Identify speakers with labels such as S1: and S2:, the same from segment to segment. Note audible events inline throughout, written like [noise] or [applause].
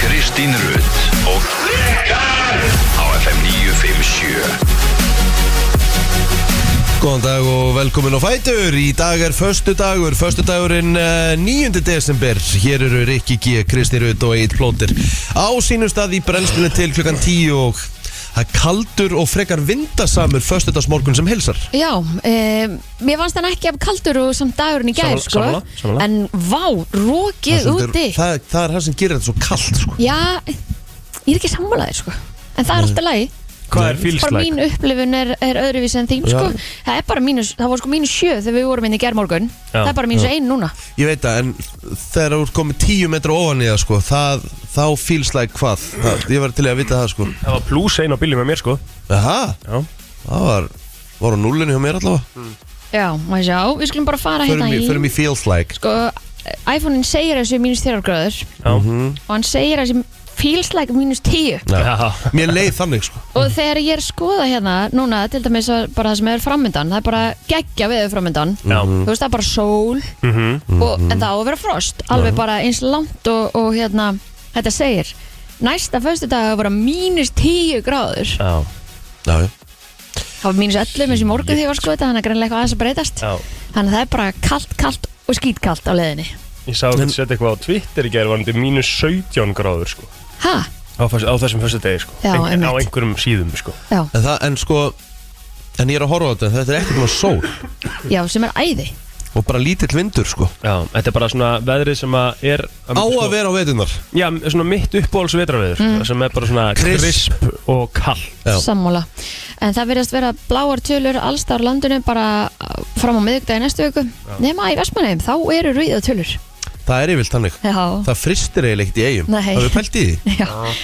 S1: Kristín Rutt og Rikar á FM 957
S2: Góðan dag og velkomin á Fætur Í dag er föstu dagur, föstu dagurinn 9. desember Hér eru Rikki G, Kristi Rut og Eitt Plóter Á sínum stað í brennslunni til klukkan 10 og Það er kaldur og frekar vindasamur föstudagsmorgun sem hilsar
S3: Já, um, ég fannst hann ekki af kaldur og samt dagurinn í gær
S2: Sammála-
S3: sko
S2: sammála, sammála.
S3: En vá,
S2: Það
S3: rókið
S2: sem þetta
S3: úti
S2: er- það, það er það sem gerir þetta svo kald sko.
S3: Já, ég er ekki sammálaðir sko En það er alltaf lagi
S4: Hvað er
S3: Bara
S4: fílslæk?
S3: mín upplifun er, er öðruvísi en þín
S2: Já.
S3: sko Það er bara mínus, það var sko mínus sjö þegar við vorum inn í gærmorgun
S4: Já.
S3: Það er bara mínus ein núna
S2: Ég veit það, en þegar þú ert komið 10 metra ofan í það sko, það, Þá fílslæk hvað það, Ég var til í að vita það sko
S4: Það var pluss einn á bílum með mér sko
S2: Aha,
S4: Já.
S2: það var, var á núllinu hjá mér allavega
S3: Já, maður sjá, við skulum bara fara
S2: Förum
S3: hérna
S2: í,
S3: í
S2: förum í feelslæk
S3: Sko, iPhone-in segir þessu mínus þérar gráður
S4: Já.
S2: Mhm.
S3: Og hann segir þessu feels like mínus tíu
S4: Já.
S2: Mér leið þannig sko
S3: Og þegar ég er að skoða hérna núna, til dæmis að bara það sem er framöndan, það er bara geggja veður framöndan.
S4: Já. Mhm.
S3: Þú veist, það er bara sól,
S2: Mhm.
S3: og, en það á að vera frost, alveg bara eins langt og, og hérna, þetta segir. Næsta föstu dag að vera mínus 10 gráður.
S4: Já.
S2: Já, já
S3: Það var mínus 11 eins í morgun þegar ég var að skoða þetta, þannig að greinlega eitthvað aðeins að breytast.
S4: Já.
S3: Þannig að það er bara kalt, kalt og skítkallt á leiðinni.
S4: Ég sá að setja eitthvað á Twitter í gerð varandi mínus 17 gráður sko
S3: Ha?
S4: á, föst- á þessum fyrsta degi sko
S3: Já,
S4: en, á
S3: einmitt.
S4: einhverjum síðum sko
S3: Já,
S2: En, það, en sko, en ég er að horfa á þetta Þetta er ekkert með sól
S3: já, sem er æði.
S2: og bara lítill vindur sko
S4: Já, þetta er bara svona veðrið sem að er um, sko-
S2: Á að vera á veitunar
S4: Já, svona mitt uppbóls vetraveður
S3: Mm.
S4: sem er bara svona
S2: Crisp.
S4: crisp, og kall
S2: Já.
S3: Sammála. En það verðast vera bláar tölur allstar landinu bara uh, fram á miðugdagi næstu viku. Nefna í Vestmanheim, þá eru rauða tölur.
S2: Það er yfirlt þannig
S3: Já.
S2: Það fristir eiginlega ekkert í eigum
S3: Nei.
S2: Það er pælt í því
S3: [laughs] Já.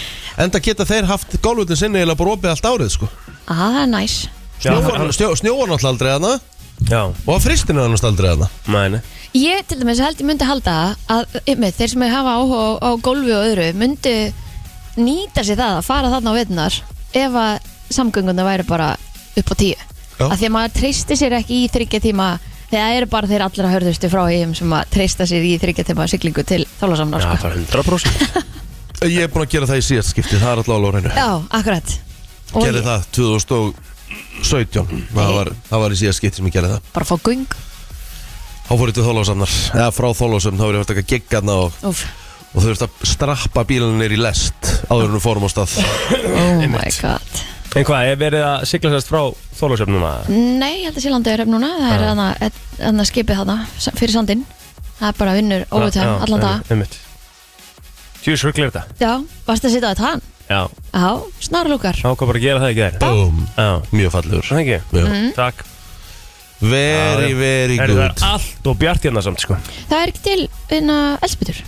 S2: Enda geta þeir haft gólfutin sinni eiginlega bara opið allt árið sko
S3: Á, það er næs.
S4: Já,
S2: Snjóar
S4: hann-
S2: snjó, snjóar náttúrulega aldrei hana
S4: Já,
S2: Og fristir náttúrulega aldrei hana
S4: mæni
S3: Ég til dæmis held ég myndi halda að ymmið, þeir sem hafa áhuga á, á gólfi og öðru myndi nýta sér það að fara þarna á veitunar ef að samgönguna væri bara upp á tíu.
S2: Já.
S3: Af því að maður treysti sér ekki í þryggja tíma það eru bara þeir allra hörðustu frá heim sem að treysta sér í þryggja tíma siglingu til þálasamnar.
S4: Já,
S3: Sko.
S4: það er 100%
S2: Ég er búin að gera það í síðast skipti Það er alltaf alveg á hreinu
S3: Já, akkurat. Og
S2: Gerði
S3: ég-
S2: það 2017 það
S3: Nei.
S2: var, það var í síðast skipti sem ég gerði það
S3: bara fá gung
S2: Þá fór ég til Þólásafnar Eða frá Þólásafn Þá var ég að taka giggarna og
S3: Úf.
S2: og þú veist að strappa bílunni nýr í lest áður en við fórum á stað
S3: Oh my god
S4: En hvað, er verið að sigla sérst frá Þólasöfn núna?
S3: Nei, ég held að sé landauður upp núna Það er
S4: Já.
S3: hana, hana skipið hana fyrir sandinn Það er bara vinnur
S4: Já,
S3: óvitaðan allan dag
S4: einmitt. Tjús rugglir þetta
S3: Já, varst að sitja á þetta hann
S4: Já,
S3: Já, snarlúkar
S4: þá kom bara að gera það í gerð
S2: Búm,
S4: Já,
S2: mjög fallegur
S4: það ekki Mhm.
S2: mm.
S4: Takk
S2: Very, very
S4: Er
S2: good
S4: það er allt og bjart hérna samt sko
S3: Það er ekki til vinna elsbytur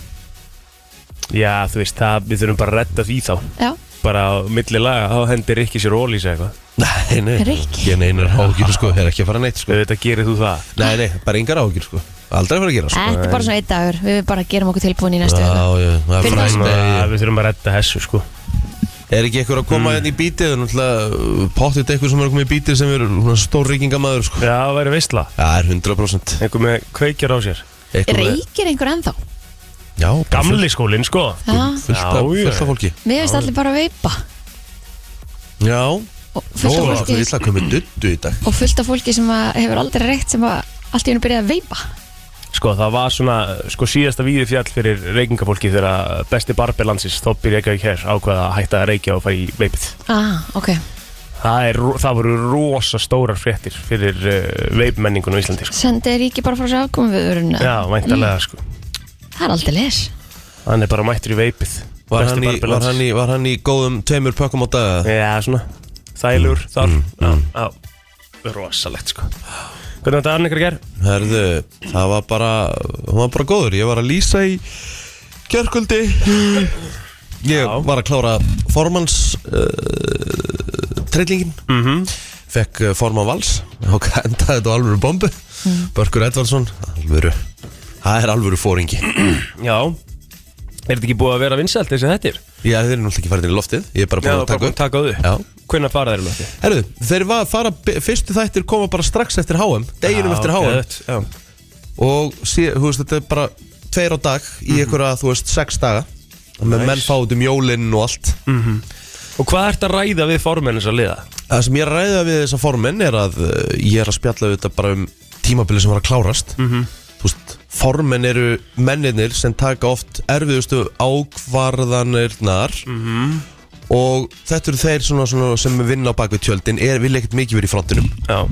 S4: Já, þú veist, það, við þurfum bara að redda því þá
S3: Já,
S4: Bara á milli laga, þá hendir ekki sér ólýsa eitthvað
S2: Nei, nei,
S3: Rikki.
S2: ég neinar ágjur sko, það er ekki að fara neitt sko
S4: Þetta gerir þú það
S2: Nei, nei, bara engar ágjur sko, aldrei að fara að gera sko
S3: þetta er bara svona einn dagur Við bara gerum okkur tilbúin í næstu
S2: Já,
S3: viku.
S2: já, það er
S3: Fyrir
S2: fræst
S4: Þannig að
S2: nei,
S4: við þurfum að redda þessu sko Mm.
S2: Er ekki eitthvað að koma hérna í bítið, það er náttúrulega pottit eitthvað sem er að koma í bítið sem er svona stór reykingamæður sko
S4: Já, það væri veistla
S2: Já, er 100%
S4: Einhver með kveikjar á sér
S2: Eitthvað með-
S3: Reykir einhver ennþá
S2: Já, bara
S4: Gamli skólinn sko
S3: Já,
S2: fullt af,
S4: Já, já.
S2: fullt af fólki
S3: mér veist allir bara að veipa
S2: Já,
S3: Og
S2: Ó,
S3: fullt af
S2: það er
S3: fólki,
S2: illa að koma duttu í dag
S3: og fullt af fólki sem að hefur aldrei reykt sem að allt í hennu byrjaði að veipa
S4: Sko, það var svona, sko, síðasta víði fjall fyrir reykingafólki þegar að besti barbi landsins Þoppi Reykjavík hér ákvaða að hætta að reykja og fara í veipið
S3: Ah, ok
S4: Það, er, ro- það voru rosa stórar fréttir fyrir uh, veipmenningun á Íslandi sko.
S3: Sendi ríki bara frá sér afkomum við
S4: Já, væntalega sko
S3: Það er aldrei les
S4: Hann er bara mættur í veipið
S2: Var
S4: Besti
S2: hann, í,
S4: barber
S2: var, hann
S4: landsins.
S2: í, var hann í góðum tveimur pökkum á Mm, daga?
S4: Já, svona Þælur þar Já, já Rosalegt sko Hvernig var dagarn ykkur ger?
S2: Herðu, það var bara hún var bara góður, ég var að lýsa í kjörkvöldi ég
S4: Já.
S2: var að klára formans uh, trillingin mm
S4: Mhm.
S2: -hmm. fekk eh, formann vals og [laughs] endaði þetta á alvöru bombu
S3: Mm.
S2: Börkur Edvardsson, alvöru það er alvöru fóringi
S4: Já Er þetta ekki búið að vera vinsælt þessi þettir?
S2: ég þeir eru náttúrulega ekki farin í loftið ég er bara búin að taka upp
S4: taka upp
S2: Já.
S4: Hvernig fara þeir um þetta?
S2: Herðu, þeir var að fara, fyrstu þættir koma bara strax eftir HM, deginum eftir HM
S4: Já, Mhm.
S2: og sé, þú veist, þetta er bara tveir á dag í einhverja, þú veist, sex daga nice. menn fá út um jólinn og allt
S4: Mhm. Og hvað ert að ræða við formenn þess að liða?
S2: það sem ég er að ræða við þessa formin er að uh, ég er að spjalla auðvitað bara um tímabilið sem var að klárast þú veist, formin eru mennirnir sem taka oft erfiðustu ákvarðanirnar og þetta eru þeir svona, svona sem vinna á bakvið tjöldin er, vilja ekkert mikið verið í frontinum
S4: Já,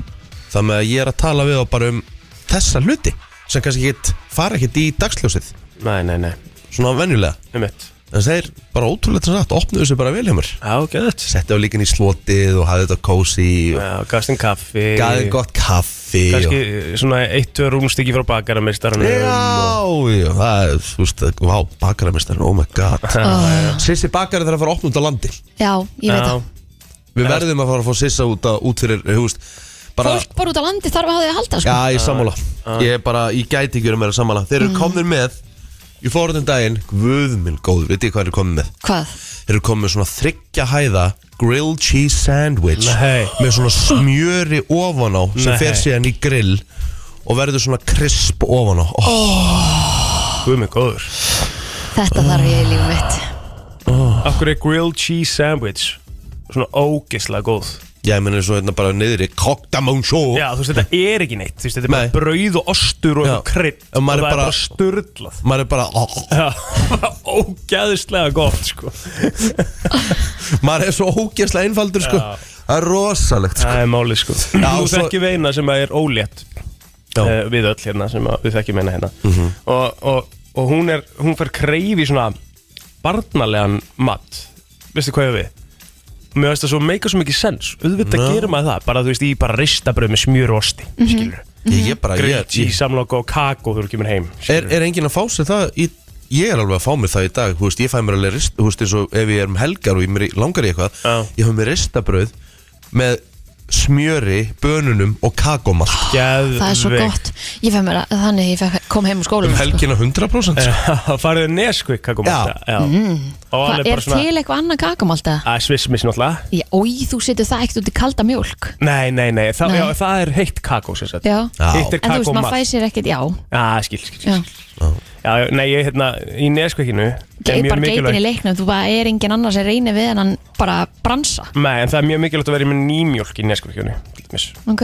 S2: þannig að ég er að tala við þá bara um þessa hluti sem kannski ekkert fara ekkert í dagsljósið
S4: nei, nei, nei,
S2: svona venjulega
S4: um mitt
S2: en þeir bara ótrúlega þess að opnuðu sig bara vel hjá mér
S4: Já, gæðið
S2: settu á líkin í slotið og hafði þetta kósi og
S4: Já, gafst þeim kaffi
S2: gaði gott kaffi og-
S4: Kanski eh, svona eitt, tvö rúmstykki frá bakarameistarnum
S2: Já, já, það er, þú veist, það- vá, bakaramistar, oh my god
S4: [laughs] Ah,
S2: Sissi bakari þarf að fara að opna út á landi
S3: Já, ég veit það
S2: Við verðum að fara að fá Sissa út, að, út fyrir, þú veist bara,
S3: Fólk bara út á landi þarf að hafa því að halda sko.
S2: Já, ég er sammála Ég er bara, ég gæti ekki verið meira sammála Þeir eru komnir með Ég fór þetta um daginn, guð minn góð, veit ég hvað þeir eru komnir með
S3: Hvað?
S2: Þeir eru komnir með svona þryggja hæða Grilled cheese sandwich
S4: Nei.
S2: Með svona smjöri ofan á Sem
S4: Nei.
S2: fer síðan í grill Og verður svona krisp ofan á oh,
S4: Guð mig góður
S3: Þetta þarf ég í lífum mitt
S2: Oh.
S4: Akkur er grilled cheese sandwich Svona ógislega góð
S2: Ég meni svo hérna bara niðri Koktamónsjó
S4: Já, þú veist, þetta er ekki neitt Þú veist, þetta er
S2: Nei.
S4: bara brauð og ostur og
S2: Já.
S4: eitthvað krydd
S2: En
S4: Og
S2: maður
S4: það
S2: er
S4: er
S2: bara-
S4: bara sturdlað
S2: Maður er bara oh,
S4: Já, [laughs] ógæðislega gott, sko
S2: Maður er svo ógeðslega einfaldur sko
S4: Já.
S2: Það er rosalegt sko
S4: Það er málið, sko
S2: Já,
S4: Nú
S2: svo-
S4: þekkjum við eina sem er ólétt
S2: Já.
S4: uh, Við öll hérna, sem að- við þekkjum eina hérna Og, og, og hún er, hún fer kreifi svona barnalegan mat Veistu hvað ég á við? Mér veist það svo meika svo mikið sens Auðvitað
S2: Já.
S4: gerir maður það, bara þú veist, í bara ristabröð með smjör og osti,
S2: Mhm.
S4: skilur
S2: Ég er bara ég,
S4: Grilled
S2: ég,
S4: cheese, samloka og kakó þegar þú kemur heim
S2: er, er enginn að fá sér það í, ég er alveg að fá mér það í dag þú veist, ég fæ mér alveg rist, þú veist, eins og ef ég er um helgar og ég mér í- langar í eitthvað
S4: Já.
S2: ég fæ mér ristabrauð með smjöri, bönunum og kakómalt
S4: Ah. Geðveikt.
S3: Það er svo gott Ég fæ mér að þannig ég fekk, kom heim úr skólanum
S2: um
S3: sko.
S2: helgina
S4: [laughs]
S2: 100% sko.
S4: Það Eh, farið Nesquik kakó
S2: Já.
S4: Já Og
S3: Hvað,
S4: alveg
S3: Mm. er
S4: bara svona
S3: til eitthvað annað kakamálta?
S4: að Svissmiss náttúrulega
S3: Ói, þú setur það ekkert út í kalda mjólk
S4: Nei, nei, nei, Þa,
S3: Nei.
S4: Já, það er heitt kakó sem sagt
S3: Já.
S2: Já.
S4: Heitt er
S3: En þú veist,
S4: kakó
S3: maður
S4: malt
S3: fæ sér ekkert, já,
S4: Já, skil, skil,
S3: já.
S4: skil Já, já, nei, ég hérna í Nesquikinu er
S3: Ég
S4: mjög
S3: bara geitin í
S4: mikilvægt
S3: leiknum, þú bara er engin annar sem reynir við en hann bara bransa
S4: Nei, en það er mjög mikilvægt að vera með nýmjólk í Nesquikinu til dæmis.
S3: Ok,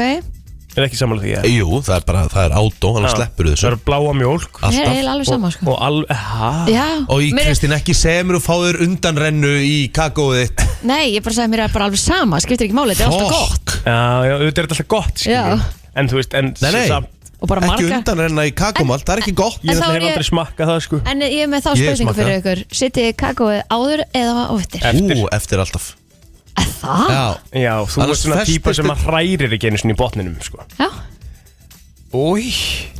S4: Er ekki sammála því, ég
S2: Eh, jú, það er bara, það er átó hann sleppur
S4: Það
S2: þessu
S4: er bláa mjólk
S3: ég er
S2: Alltaf.
S3: eiginlega alveg sama sko.
S4: Og alveg, hæ?
S3: Já,
S2: og í
S3: mér er-
S2: Kristín ekki semur og fáður undanrennu í kakóið þitt
S3: Nei, ég bara sagði mér er bara alveg sama, skiptir ekki máli, þetta er alltaf gott
S2: Fokk.
S4: Já, já, auðvitað er þetta alltaf gott,
S3: Já.
S4: skilur En þú veist, en
S2: Nei, nei.
S4: samt
S3: Og bara
S2: ekki
S3: marga
S2: undanrenna í kakómalt, það er ekki gott
S4: Ég
S3: En þá
S4: náttúrulega
S3: er
S4: hef
S3: ég-
S4: aldrei smakkað það, sko
S3: En ég er með þá
S2: Ég smakka.
S3: spurningu fyrir ykkur Sittið kakóið áður eða á eftir
S4: Eftir.
S2: ú, eftir alltaf
S3: Er Það?
S2: já,
S4: Já, þú
S2: Annars
S4: ert svona
S2: festist
S4: típa sem
S2: þetta-
S4: að hrærir ekki einu sinni í botninum, sko
S3: Já.
S4: Új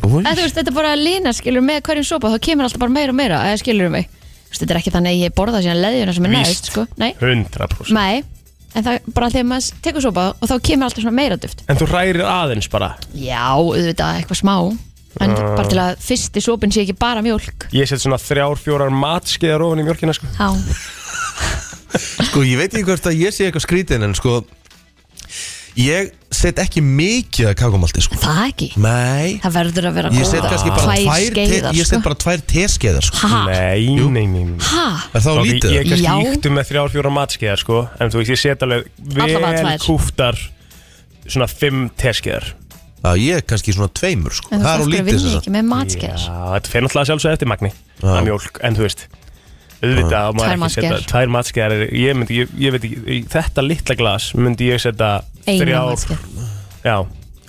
S2: Új.
S3: En þú veist, þetta er bara lína, skilur, með hverjum sopa þá kemur alltaf bara meira og meira, eða skilur mig Þú veist, Þetta er ekki þannig að ég borða síðan leðjuna sem er
S4: Víst.
S3: næst, sko Nei,
S4: 100%
S3: nei En það er bara þegar maður tekur sopa og þá kemur alltaf svona meira duft
S4: En þú hrærir aðeins bara
S3: Já, auðvitað, eitthvað smá En bara til að fyrsti sopin sé ekki bara mjólk
S4: Ég set svona þrjár, fjórar matskeiðar ofan í mjölkina, sko
S3: Já,
S2: Sko ég veit ekki hvort að ég sé eitthvað skrítin en sko Ég set ekki mikið að kakumaldi sko
S3: það ekki
S2: Nei
S3: Það verður að vera
S2: Ég set
S3: góðar
S2: kannski bara tvær,
S3: skeiðar,
S2: te, Ég set
S3: sko.
S2: bara tvær teskeiðar sko
S3: Ha,
S4: Nei, nei, nei, nei
S3: ha,
S2: Er það á
S4: Ok,
S2: lítið?
S4: Ég kannski
S3: Já.
S4: íktu með þrjár, fjórar matskeiðar, sko En þú veist, ég set alveg
S3: Allavega
S4: vel
S3: tvær.
S4: kúftar Svona fimm teskeiðar
S2: Já, ég kannski svona tveimur sko
S3: en þú
S2: Það er á
S3: þarf að
S2: lítið
S3: vinna
S2: sem
S3: ekki með
S4: Já,
S3: matskeiðar
S4: þetta fer náttúrulega sjálfsög eftir magni Að mjólk, en þú veist Auðvitað, á
S3: Tvær
S4: maður ekki setja
S3: matskeiðar.
S4: Tvær matskeiðar, er- ég myndi, ég, ég veit ekki í Þetta litla glas myndi ég setja
S3: Einu
S4: Þrjár,
S3: matskeið
S4: já,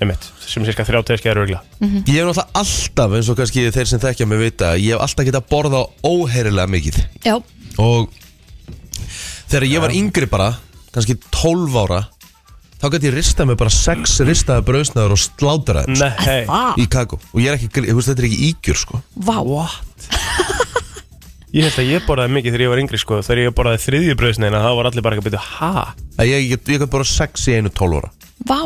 S4: einmitt Sem cirka þrjár teskeiðar örgla
S3: Mhm.
S2: sagt. Ég hef náttúrulega alltaf eins og kannski þeir sem þekkja mig vita Ég hef alltaf getað borða óheyrilega mikið
S3: Já,
S2: Og þegar ég var yngri bara Kannski 12 ára Þá gæti ég ristað mig bara sex ristaða brauðsnaður og slátra þeim sko,
S4: Nei,
S3: það,
S2: Í kakó Og ég er ekki, grí- þú veist, þetta er ekki ígjur sko
S3: vá
S4: What? ég held að ég borðaði mikið þegar ég var yngri sko Þegar ég borðaði þriðju bröðsneina þá var allir bara ekki að byrja Hæ?
S2: Að Ég, ég, ég gæti bara sex í einu 12 ára
S3: Vá,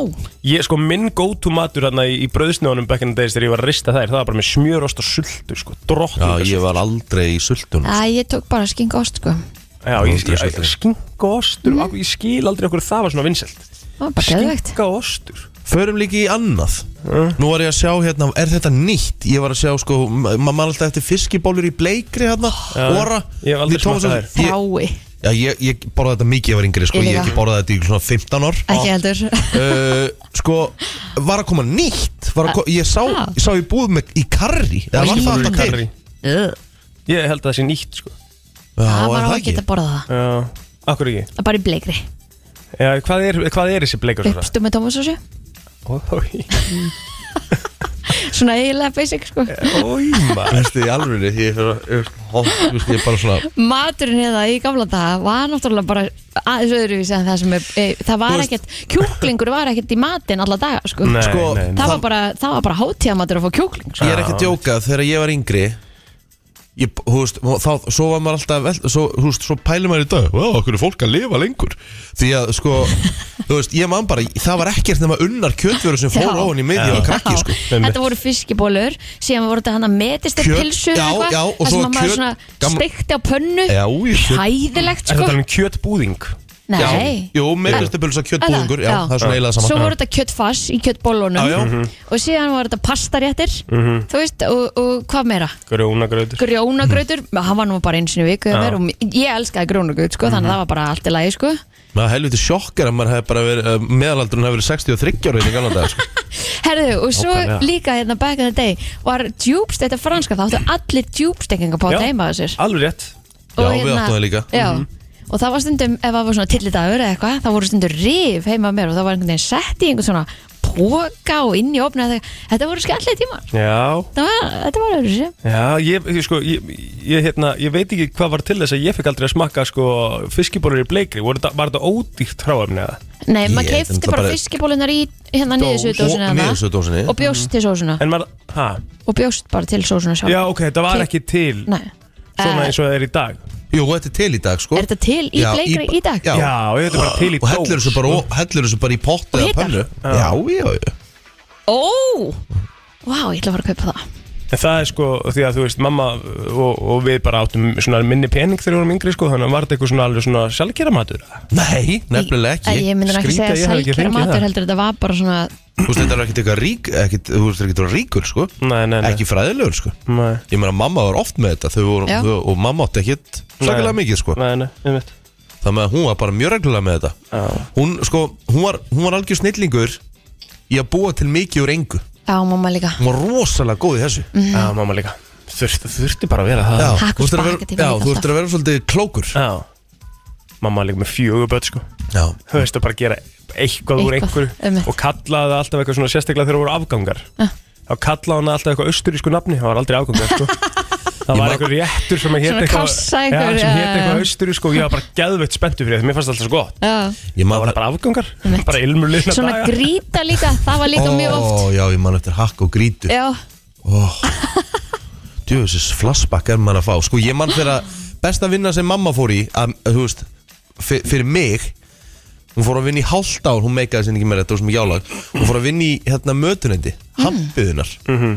S4: Ég sko minn go-to matur hérna í, í bröðsneunum back in the days þegar ég var að rista þær Það var bara með smjörost og sultu sko
S2: Já,
S4: Drottningar
S2: ég var aldrei í sultunum
S3: að ég tók bara skinga ost sko
S4: Já, ég,
S2: Aldrei
S4: ég,
S2: sultu.
S4: ég, skinka ostur, ég skil aldrei okkur það var svona vinsælt
S3: Mm. Það var bara geðvegt
S4: Skinka ostur
S2: Förum líka í annað
S4: Mm.
S2: Nú var ég að sjá hérna, er þetta nýtt? Ég var að sjá sko, ma- maður man alltaf eftir fiskibólur í bleikri hérna
S4: Já.
S2: Óra
S4: Ég hef aldrei
S2: Við Tómas-
S4: smakkað þær.
S2: Ég-
S3: Þrái,
S2: Já, ég, ég borðaði þetta mikið, ég var yngri, sko,
S3: Ég
S2: ég,
S3: líka.
S2: ekki borðaði þetta í svona 15 ár
S3: ekki heldur
S2: uh, Sko, var að koma nýtt var að ko Ég sá,
S3: Ah.
S2: sá ég búið með í karri Eða var það
S4: Fiskbollur í
S2: alltaf til
S4: karrí.
S3: Ugh.
S4: Ég held að það sé nýtt sko
S2: Já,
S3: Það
S2: er
S3: var á að
S2: ekki?
S3: geta borða það
S4: Já, akkur ekki
S3: Það er bara í bleikri
S4: Já, hvað, er, hvað er þessi bleikur? Svona?
S3: Uppstu með tómasósu
S4: Ói,
S3: Svona eiginlega basic sko
S4: ói, maður
S2: Veistu, í alvöru, ég er ég- ó, þú veist, ég er bara svona
S3: Maturinn hérna í gamla daga var náttúrulega bara aðeins öðruvísi en það sem er, e, það var ekkert, kjúklingur var ekkert í matinn alla daga sko
S4: Nei,
S2: Sko,
S4: nei, nei
S3: það, var bara, það var bara hátíðamatur að fá kjúkling sko.
S2: Ég er ekki að djóka, þegar ég var yngri Ég, þú veist, þá, svo var maður alltaf vel, svo, þú veist, svo pælum maður í dag Vá, okkur er fólk að lifa lengur Því að, sko, þú veist, ég man bara Það var ekkert nema unnar kjöldveru sem fór
S3: Já.
S2: ofan í miðjum
S4: Já.
S2: að krakki, sko
S4: Einmitt.
S3: þetta voru fiskibólur síðan voru þetta hann að metist
S2: Kjöt,
S3: pilsur
S2: já,
S3: eitthvað,
S2: já, og svo
S3: það sem að maður
S2: kjöt-
S3: svona
S2: gam-
S3: steikti á pönnu
S2: Já, ég kjöt-
S4: Er
S3: hæðilegt sko
S4: þetta um alveg kjötbúðing?
S2: Já,
S3: Nei.
S2: Jú, meðlustepulsa kjötbúðingur, já,
S3: já. Mhm.
S2: það er svona eiginlega
S3: Svo
S2: saman
S3: voru þetta kjöttfass í kjöttbólunum
S2: Já, já.
S4: Mhm.
S3: og síðan voru þetta pastaréttir
S2: Mhm.
S3: þú veist, og, og hvað meira?
S4: Grjónagrautur
S3: Grjónagrautur,
S2: Mhm.
S3: hann var nú bara eins og viku
S4: Já.
S3: og mér- ég elskaði grjónagraut sko,
S2: Mhm.
S3: þannig að það var bara allt í lagi sko.
S2: Maður helviti sjokkar að maður hefði bara verið uh, meðalaldurinn hefði verið 63 ára í gamla dag sko.
S3: Herðu, og svo
S4: Nákvæmlega.
S3: líka hérna back in the day var djúbstekta franska, þá áttu allir
S4: Já.
S3: djúbstekkinga på heima á sér
S4: Alveg rétt
S2: Já, við áttum það líka.
S3: hérna-
S2: Mhm.
S3: já, Og það var stundum, ef það var svona tillidagur eða eitthvað, það voru stundum rif heima á mér og það var einhvern veginn sett í einhvern svona póka og inn í opna þetta voru skallið tímar
S4: Já,
S3: Það var, þetta var öðru sér
S4: já, ég, ég sko, ég, ég, hérna, ég veit ekki hvað var til þess að ég fekk aldrei að smakka sko fiskibólur í bleikri Voru þetta- Var þetta ódýrt hráefni eða?
S3: Nei,
S2: Ég
S3: maður
S2: er
S3: keifti
S2: náttúrulega
S3: bara
S2: bara-
S3: fiskibólunar í hérna
S2: Og-
S3: niðursöðdósina
S2: niðursuðudósinni.
S3: og bjóst til sósuna
S4: En maður, hæ?
S3: og bjóst bara til sósuna sjálf
S4: Já, ok, þetta var
S3: Ke-
S4: ekki til
S3: Nei.
S4: svona
S3: Eh,
S4: eins og það er í dag
S2: Jú, og þetta er til í dag sko.
S3: Er þetta til í
S2: Já,
S3: bleikri í dag?
S2: Já,
S4: Já, þetta er bara til í
S2: og
S4: dós.
S2: hellir
S4: sko.
S2: þessu bara, og hellir þessu bara í pott
S3: Og
S2: eða
S3: hitar.
S2: pönnu Já, já, já
S3: Ó, vá, ég ætla að fara að kaupa það
S4: En það er sko því að þú veist mamma og, og við bara áttum svona minni pening þegar við vorum yngri sko þannig að var þetta eitthvað svona alveg svona sjálfgera matur
S2: Nei, nefnilega ekki
S3: Ég, Eh, ég myndir ekki
S4: Skrýtið
S3: segja
S4: að ég hafi ekki
S3: sælkjara
S4: fengið
S3: matur
S4: það.
S3: heldur þetta var bara svona
S2: Þú veist, þetta er ekkert eitthvað rík ekkit, Þú veist, þetta er ekkert eitthvað ríkur, sko
S4: Nei, nei, nei.
S2: Ekki fræðilegur, sko
S4: Nei,
S2: Ég meina, mamma var oft með þetta þau voru,
S3: Já.
S2: þau, Og mamma átti ekkit sakalega
S4: Nei.
S2: mikið, sko
S4: nei, nei, einmitt
S2: Það með að hún var bara mjög reglulega með þetta
S4: Já.
S2: Hún, sko, hún var, hún var algjör snillingur Í að búa til mikið úr engu
S3: Já, mamma líka
S2: Hún var rosalega góð í þessu
S3: Mhm.
S4: Já, mamma líka Þurfti, þurfti bara að vera það
S2: Já,
S3: Takk
S2: þú veist að vera,
S3: spagettí
S2: já,
S3: líka
S2: þú
S3: alltaf.
S2: veist að vera svolítið klókur
S4: Já Mamma líka með fjöguböld sko
S2: Já,
S4: Þú veist að bara gera eitthvað úr
S3: Eitthvað,
S4: einhverju
S3: einmitt.
S4: og kallaði það alltaf eitthvað svona sérstaklega þegar það voru afgangar þá kallaði hann alltaf eitthvað austurísku nafni það var aldrei afgangar
S2: [laughs]
S4: sko Það var
S2: man-
S4: eitthvað réttur sem hétt
S3: Svona
S4: eitthvað, já,
S3: kassa einhver,
S4: sem hét
S3: já,
S4: eitthvað
S3: já.
S4: austurísku og ég var bara gæðveitt spenntu fyrir því, mér fannst það alltaf svo gott.
S3: Já.
S2: ég
S4: Það
S2: man
S4: var bara afgangar,
S3: Einmitt.
S4: bara ilmur liðna
S3: Svona
S4: daga.
S3: grýta líka, það var líka mjög oft
S2: Ó, já, ég man eftir hakk og grítu
S3: Já,
S2: Djöfisins Oh. flashback er mann að fá Sko ég mann þegar að besta vinna sem mamma fór í að, að, Þú veist, fyr, fyrir mig Hún fór að vinna í hálft ár Hún meikaði sinni ekki meira, þetta var sem ekki álag Hún fór að vinna í hérna mötunendi Hampiðunar
S3: Mhm.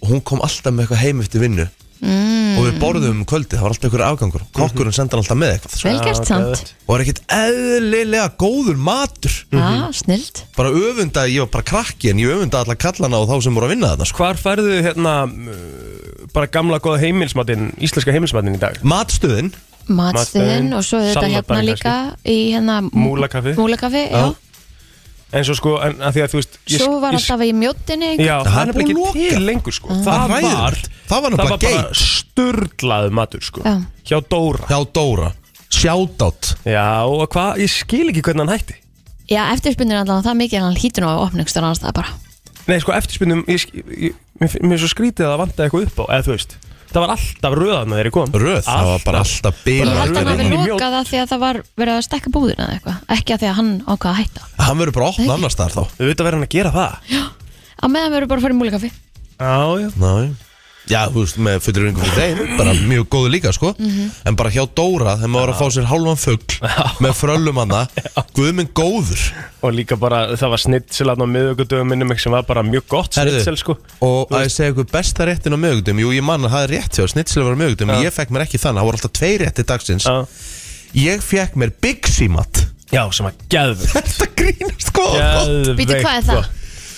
S2: Og hún kom alltaf með eitthvað heim eftir vinnu Og
S3: Mm.
S2: við borðum um kvöldi, það var alltaf einhver afgangur Kokkurinn sendi hann alltaf með eitthvað
S3: Mhm. vel
S4: Já,
S3: gert samt
S4: geðveikt.
S2: Og var ekkert eðlilega góður matur
S3: Já, snild
S2: Bara öfundaði, ég var bara krakki En ég öfundaði alla kallana og þá sem voru að vinna þarna sko.
S4: Hvar færðu hérna uh, bara gamla góða heimilsmatinn, íslenska heimilsmatinn í dag?
S2: Matstöðin
S3: Matstuðinn og svo þetta hérna
S4: Salatbarinn
S3: líka í hérna
S4: Múlakaffi.
S3: Múlakaffi, já
S4: En svo sko, en að því að þú veist ég-
S3: Svo var
S4: ég-
S3: alltaf í mjóttinni einhver-
S4: Já,
S2: Það
S4: það
S2: er
S4: er bara
S2: búið að
S4: ekki
S2: loka.
S4: til lengur sko
S2: Það er
S4: Það var
S2: hræðilegt. Það var
S4: það
S2: nefnilega
S4: var bara
S2: geit.
S4: sturlaðu matur sko
S3: Já.
S4: Hjá Dóra
S2: hjá Dóra Shoutout
S4: Já, og hvað, ég skil ekki hvernig hann hætti
S3: Já, eftirspunnir allavega það mikið en hann hlýtur nú á opningstur annars það bara
S4: Nei, sko, eftirspynnum ég, sk- ég, mér, mér er svo skrítið að það vantaði eitthvað upp á Eða þú veist, það var alltaf röðan þegar ég kom
S2: Röð, það var bara alltaf bilað.
S3: Ég held að hann
S2: Algjörlega.
S3: hafi
S4: Inn í mjólk.
S3: lokað það því að það var verið að stekka búðina eða eitthvað Ekki að því að hann ákvað að hætta
S2: Hann verður bara opnað annars þar þá
S4: Þú veit að vera hann að gera það
S3: Á meðan verður bara að fara í múlikaffi
S4: Já, já
S2: Næ Já, þú veist, með fullur yngum fyrir þeim Bara mjög góðu líka, sko En bara hjá Dóra, þegar maður var að fá sér hálfan fugg Með fröllum
S4: [laughs]
S2: hana Guðminn góður
S4: Og líka bara, það var snittsel aðna á miðugudöfum minnum sem var bara mjög gott
S2: Herðu,
S4: snittsel sko
S2: Og að ég segja ykkur besta réttin á mögundum Jú, ég man að það er rétt hjá Snitsel var á mögundum Ég fekk mér ekki þann, það voru alltaf tvei rétti dagsins
S4: Já.
S2: Ég fekk mér Big Simat [laughs]
S4: Já, sem var geðvögt
S2: Þetta grínast, sko
S3: Býtu hvað er það? Ah.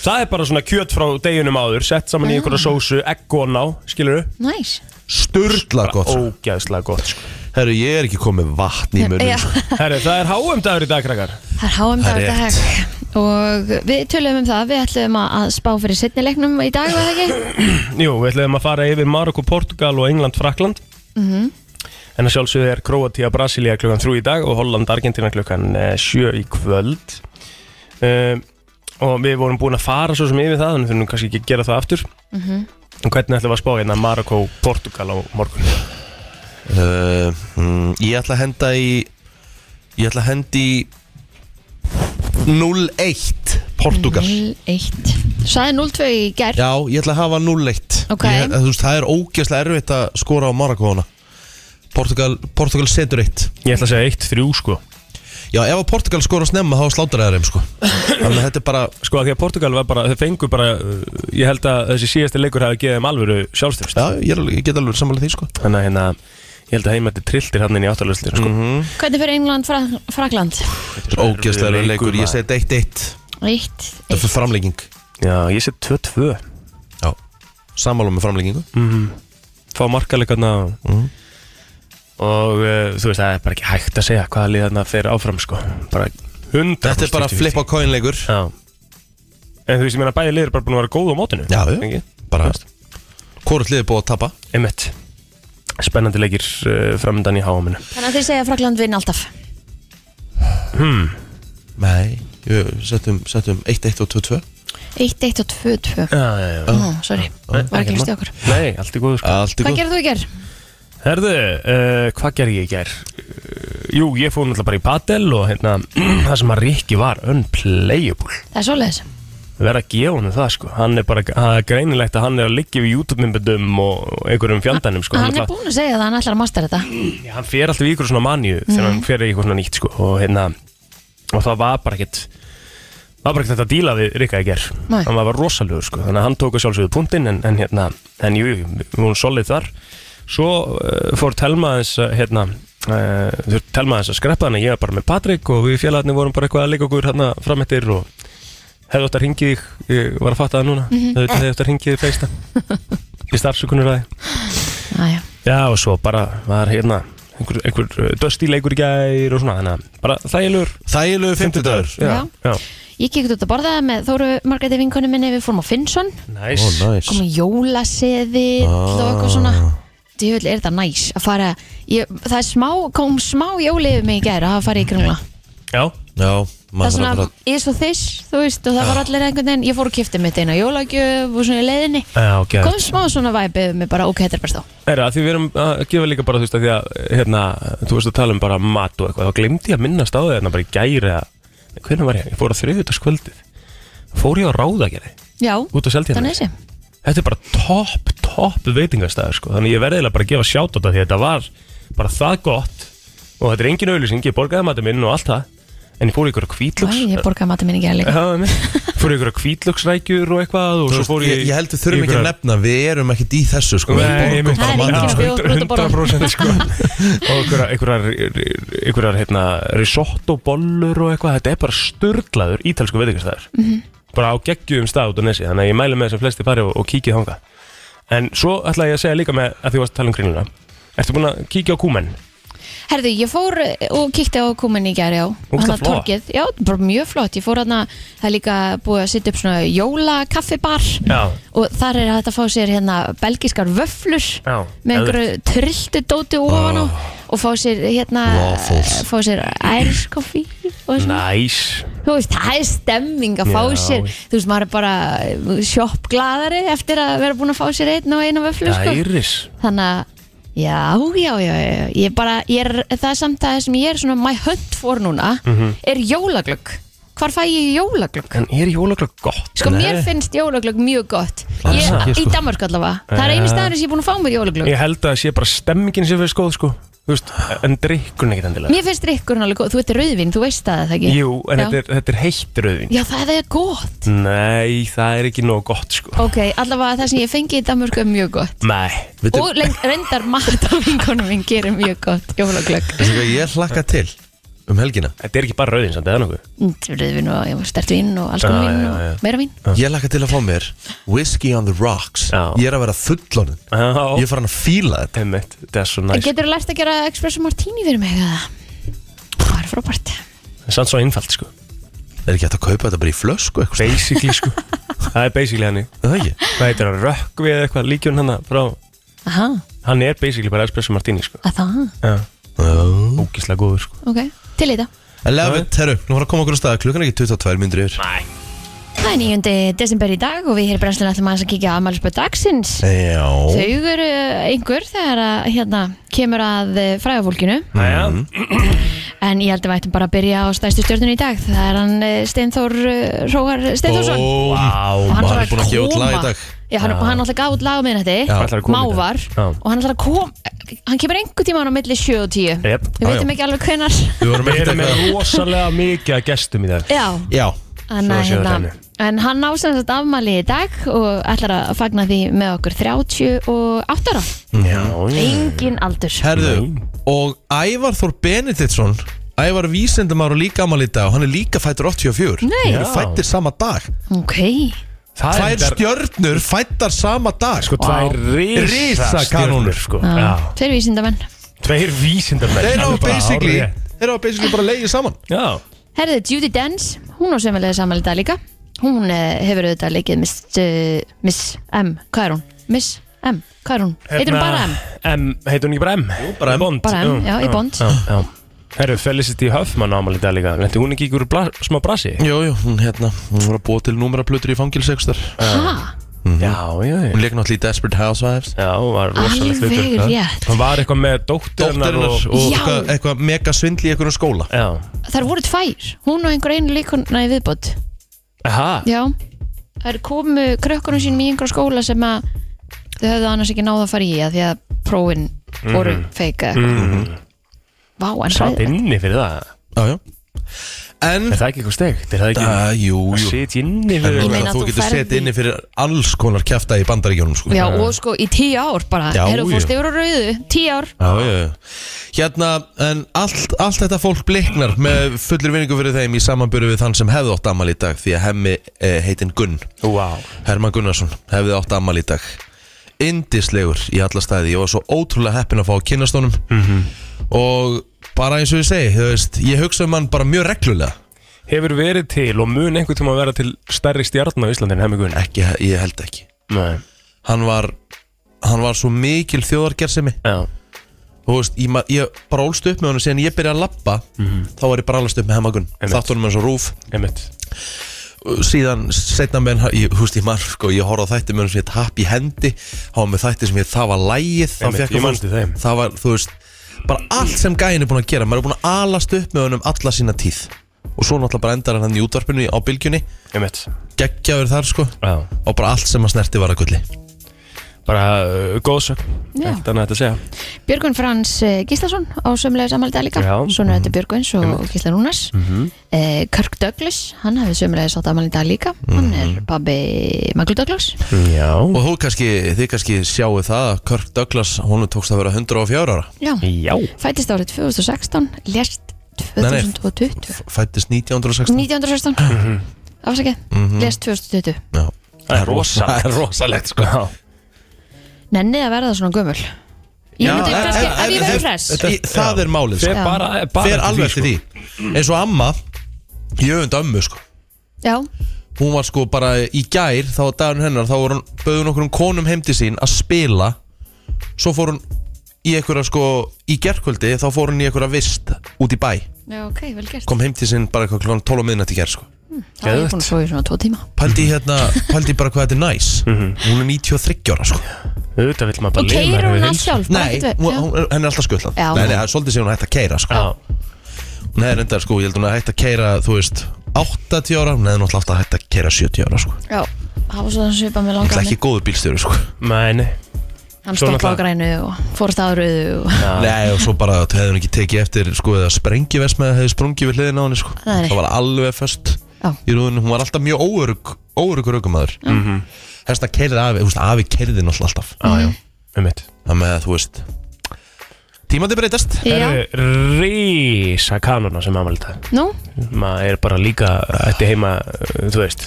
S4: Það er bara svona kjöt frá deginum áður Sett saman í einhverja sósu, egg og ná Skilur þau?
S3: Næs
S2: Sturla gott sko.
S4: Ógæðslega gott sko.
S2: Herru, ég er ekki komið vatn í munum
S3: Já,
S2: sko.
S4: Herri, það er háum dagur í dag, krakkar
S3: það er
S2: Það
S3: háum
S2: er
S3: dag í dag Og við tölum um það, við ætlum að að spá fyrir setni leiknum í dag, var það ekki?
S4: Jú, við ætlum að fara yfir Marokko, Portugal og England, Frakland
S3: Mhm.
S4: En að sjálfsögðu er Kroatia, Brasilia klukkan 3 í dag og Holland, Argentina klukkan 7 í kvöld um, Og við vorum búin að fara svo sem yfir það Þannig þurfum við kannski ekki að gera það aftur En hvernig ætlum við að spá hérna Marokko, Portugal á morgun?
S2: uh, mm, Ég ætla að henda í Ég ætla að henda í 0-1 Portugal
S3: 0-1 Sæði 0-2 í gær
S2: Já, ég ætla að hafa 0-1
S3: Ok.
S2: Ég- eh, Þú veist, það er ógeðslega erfitt að skora á Marakóna Portugal, Portugal setur eitt
S4: Ég ætla að segja 1-3 sko
S2: Já, ef að Portugal
S4: [laughs]
S2: skora snemma þá slátur það þeim sko Þannig að þetta er bara
S4: Sko að því að Portugal var bara, þau fengu bara uh, Ég held að þessi síðasti leikur hafi gefið þeim alvöru sjálfstyrst
S2: Já, ég, er alveg- ég get alveg sammála því sko
S4: Þannig að hérna, ég held að heimætti trilltir hann inn í áttalöfslir sko.
S2: Mhm.
S3: Hvernig fyrir England, Fra Frakland?
S2: Ógeðslega erfiður leikur, ég set 1-1
S3: 1
S2: Það er framlegging
S4: Já, ég sé 2-2
S2: Já, sammála með Mhm. framleggingu
S4: Mhm. Fá markaleikarna Og uh, þú veist, það er bara ekki hægt að segja hvaða lið þarna fer áfram sko. bara 100
S2: Þetta er bara flip á coin leikur
S4: Já En þú veist, ég meina bæði lið er bara búin að vera góð á mótinu
S2: Já,
S4: Ekki?
S2: já, bara Hvor er liðið búið að tapa?
S4: Einmitt Spennandi leikir uh, framöndan í háaminu
S3: Þannig að þið segja að Frakland vinn alltaf
S4: Hmm.
S2: Nei, jú, settum, settum 1-1 og 2-2
S3: 1, 1 og 2,
S4: Já,
S3: 2
S4: já, já
S3: Ó, sorry, var ekki hlustið okkur
S4: Nei, allt er góð sko.
S2: Allt í
S3: Hvað
S2: góð
S3: gerðu þú í gerð?
S4: Herðu, uh, hvað gerði ég í gær? Uh, jú, ég fór náttúrulega bara í padel og hérna, [clears throat] það sem að Rikki var unplayable.
S3: Það er svoleiðis
S4: Verða að gefa honum það, sko. Hann er bara, það er greinilegt að hann er að liggja við YouTube-myndum og einhverjum fjandanum, sko.
S3: Hann er búinn að segja það, hann ætlar að mastera þetta
S4: búinn. Hann fer alltaf í ykkur svona manju þegar hann fer í ykkur svona nýtt, sko. Og hérna, og það var bara ekkert, var bara ekkert þetta að díla við Rikka í gær.
S3: Nei.
S4: Hann var rosalegur, sko. Þannig að hann tók að sjálfsögðu punktinn, en, en hérna, en jú, jú, við vorum solid þar. svo uh, fór Telma þess að hérna, uh, þurft Telma þess að skreppa þannig að ég var bara með Patrik og við félagarnir vorum bara eitthvað að leika okkur hérna framettir og hefðu átt að ringi þig, ég var að fatta það núna mm -hmm. hefðu átt að ringi þig feista í starfsökunur aðeins
S3: Æja,
S4: já og svo bara var hérna einhver, einhver dösti leikur í gær og svona þannig að bara þægilegur
S2: Þægilegu 50 dagur
S3: Já.
S4: já.
S3: ég kikkt út að borða með Þóru Margréti vinkonu minni Við fórum á Finnsson,
S4: Næs.
S2: Ó, næs
S3: komum í jólaseði og eitthvað svona Djöfull er þetta næs að fara ég, Það er smá, kom smá jóli yfir mig í gær að hafa farið í kringla
S4: já,
S2: Já,
S3: Það er
S2: maður þarf
S3: svona
S2: bara
S3: is og þiss, þú veist og það var allir einhvern veginn, ég fór og kipti mitt eina jólagjöf og svona í leiðinni
S4: já, okay.
S3: kom smá svona væpið með bara ok, þetta er best á
S4: Herra, því við erum að gefa líka bara, þú veist, að því að, hérna, þú veist að tala um bara mat og eitthvað, þá glemdi ég að minnast á því hérna bara í gæri að, hvernig var ég, ég fór á þriðutaskvöldið, fór ég á ráðagerði,
S3: Já,
S4: út á seldjarni.
S3: Seltjarnarnesi.
S4: Þetta er bara topp, topp veitingastæður, sko, þannig ég verði eiginlega bara að gefa sjátt á þetta því að þetta var bara það gott og þetta er engin auðlýsing, ég borgaði matið minn og allt það, en ég fór í ykkur á
S3: Æ,
S4: kvítlöks.
S3: ég borgaði matur minni gæra líka
S4: [laughs] Já, einmitt. fór í ykkur á kvítlöksrækjur og eitthvað og
S2: Þú
S4: svo
S2: veist,
S4: fór
S2: ég,
S4: ég
S2: ég held við þurfum ekki að nefna Við erum ekkert í þessu sko Við
S4: Nei,
S2: borgum
S4: einmitt.
S2: bara
S3: Það er
S2: matinn,
S3: engin
S2: sko.
S3: bjór. bjóðbrot að borða.
S4: 100%
S2: [laughs]
S4: sko [laughs] og einhverjar- einhverjar einhverjar hérna risotto bollur og eitthvað þetta er bara sturdlaður ítalsku veitingastæður
S3: Mhm.
S4: bara á geggjum stað út á nesi þannig að ég mæli með þess að flesti fari og, og kíkið þanga en svo ætla ég að segja líka með að því varst að tala um grínuna ertu búin að kíkja á kúmen
S3: Herðu, ég fór eh, og kíkti á komin í gæri á
S4: Ógeðslega flott.
S3: torkið, já, bara mjög flott Ég fór hana, það er líka búið að setja upp svona jólakaffibar
S4: já,
S3: og þar er hægt að fá sér hérna belgiskar vöflur
S4: Já,
S3: með einhverju trilltu dóti ofan
S4: Ah.
S3: á og fá sér hérna
S2: Waffles.
S3: fá sér ærskoffi og svona
S4: næs
S3: þú veist, það er stemming að fá
S4: Já.
S3: sér þú veist, maður er bara sjoppglaðari eftir að vera búin að fá sér einn og eina vöflu sko.
S4: næris
S3: þannig að Já, já, já, já, já. ég bara, ég er, það er samt að það sem ég er svona my hunt for núna er jólaglögg. Hvar fæ ég jólaglögg?
S4: Mhm. en er jólaglögg gott?
S3: Sko, mér
S4: Nei.
S3: finnst jólaglögg mjög gott.
S2: Alls
S3: Ég,
S2: ekki,
S3: í
S2: sko.
S3: Danmark allavega. Það er einu staðurinn sem ég er búin að fá mér jólaglögg.
S4: Eh. ég held að það sé bara stemmingin sem við skoð sko Þú veist, en drikkun ekkert endilega
S3: Mér finnst drikkurinn alveg góð. Þú ert rauðvin, þú veist það er það ekki?
S4: Jú, en
S3: Já.
S4: þetta er, þetta er heitt rauðvin
S3: Já, það er gott.
S4: Nei, það er ekki nóg gott sko
S3: Ok, allavega það sem ég fengi í Danmark er mjög gott.
S4: Nei
S2: Veitu-
S3: Og leng, reyndar mat á vinkonum minn gerir mjög gott jólaglögg.
S2: Veistu hvað Ég hlakka til um helgina
S4: Þetta er ekki bara rauðin samt, eða nokkuð
S3: Rauðvin og já, sterkt vín og alls
S4: Já,
S3: konar vín
S4: já, já.
S3: og meira vín
S2: Ég lakka til að fá mér Whiskey on the rocks
S4: Já.
S2: Ég er að vera fullorðin
S4: Já.
S2: Ég er farin að fíla þetta
S4: Einmitt, þetta er svo
S3: En
S4: næst
S3: Getur þú lært að gera espresso martini fyrir mig eða? Það er frábært
S4: Samt svo einfalt, sko
S2: Er ekki hægt að kaupa þetta bara í flösku eitthvað
S4: Basically,
S2: [laughs]
S4: sko Það er basically hann
S2: Er Það ekki
S4: Hvað heitir hann, rökk við eitthvað líkjun hann frá
S3: Aha,
S4: Hann er basically bara espresso martini, sko
S3: að það,
S4: Já,
S2: oh.
S4: ógislega góður, sko
S3: ok, til í þetta
S2: I love it, herru, nú var að koma okkur á stað Klukkan er ekki 22 myndir yfir
S4: Næ
S3: Það er 9. desember í dag og við hér brennslun ætlum aðeins að kíkja á afmælisböð dagsins
S2: Já
S3: Þau eru eh, einhver þegar að hérna kemur að eh, fræðafólkinu
S2: Mhm.
S4: Næja,
S3: en ég held að við ættum bara að byrja á stæstu stjórnun í dag það er hann eh, Steinþór eh, Hróar Steinþórsson
S2: Bóm.
S4: Vá,
S3: og hann
S2: maður
S3: ætlar
S2: er búinn að gefa út lag í dag.
S3: Já, hann, og hann alltaf gaf út lag
S4: Ætlar
S2: Já.
S3: á
S4: að
S3: miðnætti
S4: koma í dag.
S3: Mávar
S4: Já.
S3: og hann alltaf kom hann kemur einhver tíma á milli 7 og 10
S4: Jep.
S3: við
S2: Já,
S3: veitum
S2: já.
S3: ekki alveg hvenar
S2: Við vorum
S4: við
S2: ekkert
S4: erum með
S2: eitthvað
S4: rosalega mikið að gestum í dag
S3: Já,
S2: Já,
S3: en,
S4: Svo séu
S3: hérna,
S4: dæmi.
S3: en hann ásæðast að afmæli í dag og ætlar að fagna því með okkur 38 ára
S4: Já,
S3: engin aldur
S2: Mhm. herðu
S4: Nei.
S2: Og Ævar Þór Benediktsson Ævar vísindamar og líka amal í dag og Hann er líka fættur 84
S3: Nei.
S2: Þeir eru
S4: Já.
S2: fættir sama dag
S3: Ok,
S4: Það er
S2: Tvær
S4: þetta-
S2: stjörnur fættar sama dag
S4: Sko, tvær
S2: Risakanónur.
S4: risakanónur sko.
S3: Já,
S4: Já.
S3: þeir vísindamenn
S4: Tveir vísindamenn Alveg
S2: Þeir hafa
S4: bara
S2: basically
S4: hárrétt.
S2: Þeir hafa basically bara leiðið saman
S4: Já,
S3: Herðu, Judy Denz, hún á sömulega samanlega dag líka Hún eh, hefur auðvitað leikið Miss, uh, Miss M, hvað er hún? Miss M, hvað er hún?
S2: Hérna-
S3: Heitir hún bara M?
S4: M, heitir hún ekki bara M? Jú,
S2: bara M.
S4: Bond
S3: Bara M, já, í Bond.
S4: já, já. Herru, Felicity Huffman ámali í dag líka Lendi hún ekki ykkur bla, smá brasi?
S2: Jú, jú, hún hérna, hún var að búa til númeraplötur í fangilsekstar
S4: Já,
S3: Ha?
S4: já, já
S2: Mhm. Hún leik náttúrulega í Desperate Housewives
S4: Já, hún var rosalegt
S3: Alveg
S4: hlutur. Já.
S3: rétt.
S4: Hún var eitthvað með dótturinnar
S2: Dóttirinnar og,
S4: og,
S3: Já.
S2: eitthvað, eitthvað mega svindli í einhverjum skóla
S4: Já,
S3: Þar voru tvær, hún og einhver einu leikona í viðbót
S4: aha
S3: Já, þær komu krökkunum sínum í einhver skóla sem að þau höfðu annars ekki náða að fara í að því að prófin
S2: Mhm.
S3: voru mm. feika mm. Vá, en
S4: Satt
S3: hræðilegt.
S4: Mhm. inni fyrir það
S2: Já, já En,
S4: Er það ekki eitthvað stegt? Er það ekki
S2: uh, jú,
S4: að
S2: jú
S4: sitja inni
S2: En
S4: fyrir
S2: ég
S3: meina
S2: meina,
S3: að
S2: Þú
S3: þú
S2: getur
S3: ferð
S2: setið
S3: í-
S2: inni fyrir alls konar kjafta í bandaríkjónum sko.
S3: Já, og sko í tíu ár bara,
S2: Já,
S3: herru
S2: já.
S3: fórst yfir á rauðu, tíu ár
S2: Já, já, já. Hérna, en allt, allt þetta fólk bliknar með fullir vinningu fyrir þeim í samanbyrju við þann sem hefði átt amal í dag því að hemmi eh, heitinn Gunn
S4: Vá
S2: Herman Gunnarsson hefði átt amal í dag Indislegur í alla staði Ég var svo ótrúlega heppin að fá að kynast honum -hmm. Og bara eins og ég segi þú veist, Ég hugsa um hann bara mjög reglulega
S4: Hefur verið til og mun einhvern tíma vera til stærri stjarn á Íslandin hemmi Gunn
S2: Ekki, ég held ekki
S4: Nei
S2: Hann var, hann var svo mikil þjóðargersemi
S4: Já
S2: Þú veist, ég, ma- ég bara ólst upp með honum Síðan ég byrjaði að labba Þá var ég bara allast upp með Herman Gunn
S4: Mhm. Einmitt.
S2: Þátt honum eins og rúf
S4: Einmitt
S2: síðan setna með hann, ég, húst ég marg sko, ég horfði á þætti með hann sem ég tapp í hendi hann var með þætti sem ég það var lægið þá
S4: Einmitt,
S2: fékk
S4: ég
S2: hann-
S4: man eftir þeim.
S2: það var, þú veist, bara allt sem gæin er búin að gera, maður er búin að alast upp með hann um alla sína tíð og svo náttúrulega bara endar hann hann í útvarpinu á bylgjunni
S4: Einmitt
S2: geggjaður þar sko
S4: Já
S2: og bara allt sem að snerti var að gulli
S4: Bara uh, góðsögn
S3: Já.
S4: Ekkert annað hægt að segja
S3: Björgun Frans eh, Gíslason á sömulega samaldag líka
S4: Já.
S2: Mhm.
S3: Svona þetta Björguns og Gísla Rúnars mm Kirk Douglas, hann hefði sömulega sátt amaldag líka Hann
S2: Mhm.
S3: er pabbi Maglu Douglas
S4: Já
S2: og þú kannski, þið kannski sjáu það að Kirk Douglas, honum tókst að vera 104 ára
S3: Já,
S4: Já
S3: fættist árið 2016, lest
S2: Nei, nei.
S3: 2020
S2: fættist 1916
S3: 1916 Afsakið,
S2: Mhm.
S3: lest 2020
S2: Já.
S4: Það er rosa
S2: það er rosalegt sko
S4: Já
S3: Nenni að verða svona gömul Ég myndi
S2: en-
S3: kannski,
S2: en-
S3: ef ég
S2: en-
S3: verður
S2: en-
S3: hress
S2: þetta- í- Það er málið sko.
S4: Fer
S3: Já.
S4: bara, bara sko.
S2: Fer alveg eftir því Eins og amma Ég öfund ömmu sko
S3: Já,
S2: Hún var sko bara í gær Þá var dagurinn hennar Þá var hún Böðun okkur um konum heim til sín Að spila Svo fór hún Í einhverja sko Í gerkvöldi Þá fór hún í einhverja vist Út í bæ
S3: já ok, vel gert
S2: Kom heim til sín Bara eitthvað klokkan 12 á miðnætti í gær sko
S3: Það er ég búin að svo í svona tvo tíma
S2: Paldi í hérna Paldi í bara hvað þetta er næs Hún er 93 ára sko
S4: Þetta vill maður
S3: Og
S4: bara lifa
S3: keirir
S4: með
S3: hún
S4: heilsu.
S3: allt sjálf bara
S2: Nei,
S3: ekkert við-
S2: hún,
S3: já.
S2: hún, henni er alltaf skullan
S3: Já.
S2: Nei, nei, það er svolítið sem hún er hægt að keira sko
S4: Já
S2: Hún er enda sko, ég held hún er hægt að keira Þú veist, 80 ára Hún er náttúrulega alltaf hægt að keira 70 ára sko
S3: Já, það var svona svipað með
S2: Það
S3: langar
S2: er ekki góður bílstjóri sko
S4: Nei, nei
S3: Hann
S4: Svona
S3: stoppa á
S4: það.
S3: grænu og fórst á rauðu og...
S2: Nei og svo bara hefði hún ekki tekið eftir sko eða sprengjivers með hefði sprungið við hliðin á henni sko
S3: Nei.
S2: Það var alveg föst
S3: Já.
S2: í rúðinu, hún var alltaf mjög óörug óörugur aukumæður mm -hmm. Þess að keirið afi, þú veist afi keiriði náttúrulega alltaf
S4: Já, já Um mitt
S2: Það með að þú veist Tímandi breytast
S3: Já,
S4: Það eru rísa kanona sem amal þetta
S3: nú,
S4: Maður er bara líka ætti heima, uh, þú veist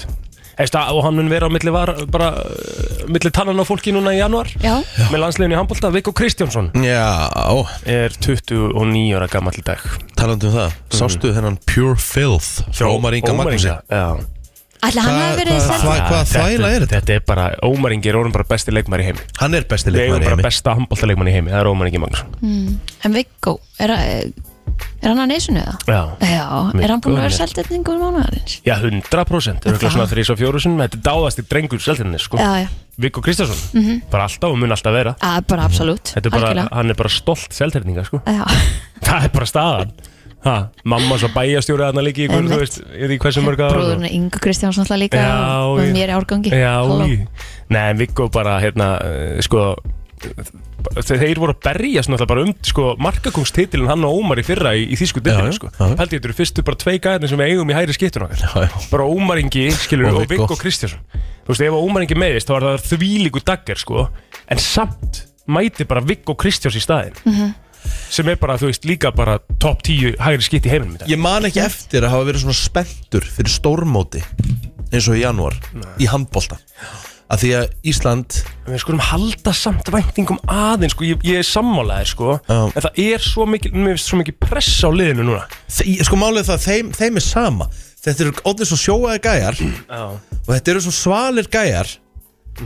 S4: Eftir, og hann mun vera á milli, var, bara, uh, milli tannan á fólki núna í januar
S3: já,
S4: með landsliðinu í handbólta Viggo Kristjánsson
S2: Já,
S4: er 29 ára gammal í dag Mhm.
S2: talandi um það Sástu þennan Pure Filth frá Ómar Inga
S4: Ómar
S2: Magnúsi
S4: Inga, já.
S3: ætla hann
S2: Hvað-
S3: hafi verið
S2: hvað-
S3: seldur
S2: hvað- hvaða
S4: Þetta-
S2: þvæla er þetta?
S4: Þetta er bara, Ómar Ingi er orðin bara besti leikmar í heimi
S2: Hann er besti
S4: Við eigum
S2: leikmaður í
S4: bara
S2: heimi
S4: besta handbólta leikmann í heimi, það er Ómar Ingi Magnús
S3: Hm, En Viggo, er, er hann að neysinu eða?
S4: Já,
S3: Já, er hann búin að
S4: Viggo
S3: vera
S4: er-
S3: seldur einhvern mánuðarins?
S4: já 100% Það er ekki svona þrís og fjórusun, þetta er dáðasti drengur seltinni, sko
S3: Já, já,
S4: Viggo Kristjánsson, bara alltaf og mun alltaf vera
S3: að, bara absolutt,
S4: Þetta er bara, hann er bara stolt selterninga, sko
S3: Já,
S4: Það er bara staðan ha, Mamma svo bæjastjóri þarna líki, í ykkur, þú
S3: Einmitt.
S4: veist, ég veit ekki hversu mörg ára.
S3: bróðurinn Inga Kristjáns náttúrulega líka
S4: Já,
S3: og
S4: ég-
S3: mér í árgangi
S4: Já,
S3: Halló.
S4: í. nei, en Viggo bara, hérna, eh, sko þe- þeir voru að berjast náttúrulega bara um sko, markakungstitilin hann og Ómar í fyrra í, í þísku
S2: Já,
S4: dildinu,
S2: já,
S4: sko
S2: já, já.
S4: held ég þetta eru fyrstu bara tvei gæðin sem við eigum í hæri skiptun okkar
S2: Já, já.
S4: bara Ómar Ingi, skilur
S2: Og
S4: og
S2: Viggó.
S4: Viggo Kristjánsson þú veist, ef Ómar Ingi meðist, þá var það þvílíku daggar, sko, en samt mæti bara Viggo Kristjáns í staðin
S5: Mhm.
S4: sem er bara, þú veist, líka bara top 10 hægri skipt í heiminum í dag
S2: Ég man ekki eftir að hafa verið svona spenntur fyrir stórmóti eins og í janúar í handbolta að því að Ísland
S4: við skulum halda samt væntingum aðeins sko, ég, ég er sammálaðið sko
S2: Já.
S4: en það er svo mikil, mér finnst svo mikil press á liðinu núna
S2: þe- sko málið er það, að þeim, þeim er sama þetta eru ótrúlega svo sjóaði gæjar
S4: Já.
S2: og þetta eru svo svalir gæjar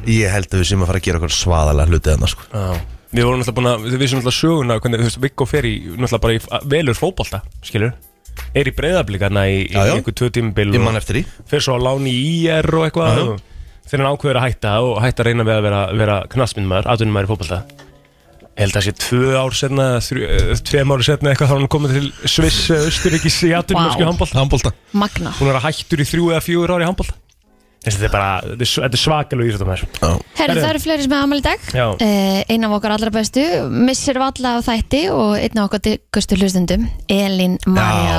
S2: ég held að við séum að fara að gera okkur svaðalega hluti þarna sko
S4: við vorum alltaf búin að, við vissum alltaf söguna hvernig, þú veist, Viggo fer í, náttúrulega bara í f- velur fótbolta, skilur er í breyðablíkarna í, í
S2: Já, já.
S4: einhver tvö tímabil
S2: ég
S4: og
S2: man eftir því
S4: fer svo á láni í IR og eitthvað og þegar hann ákveður að hætta og hætta að reyna við að vera, vera knastmyndmaður, atvinnumæður í fótbolta Ég held að sé tvö ár setna, tveim ári setna eitthvað þá er hann komið til Sviss, eða Östuríkis í atvinnumæðsku
S3: Vá.
S4: handbólta
S2: handbolta
S3: Magna
S4: hún er að hættur í þrjú eða fjúur ári handbólta þetta er bara, þetta er- þetta er svakalug íþróttamæður
S3: Herru,
S4: Herru.
S3: það eru fleiri sem er amal í dag
S4: Já.
S3: Eh, Einn af okkar allra bestu Missir Valla af þætti og einn af okkar dyggustu hlustundum Elin Marja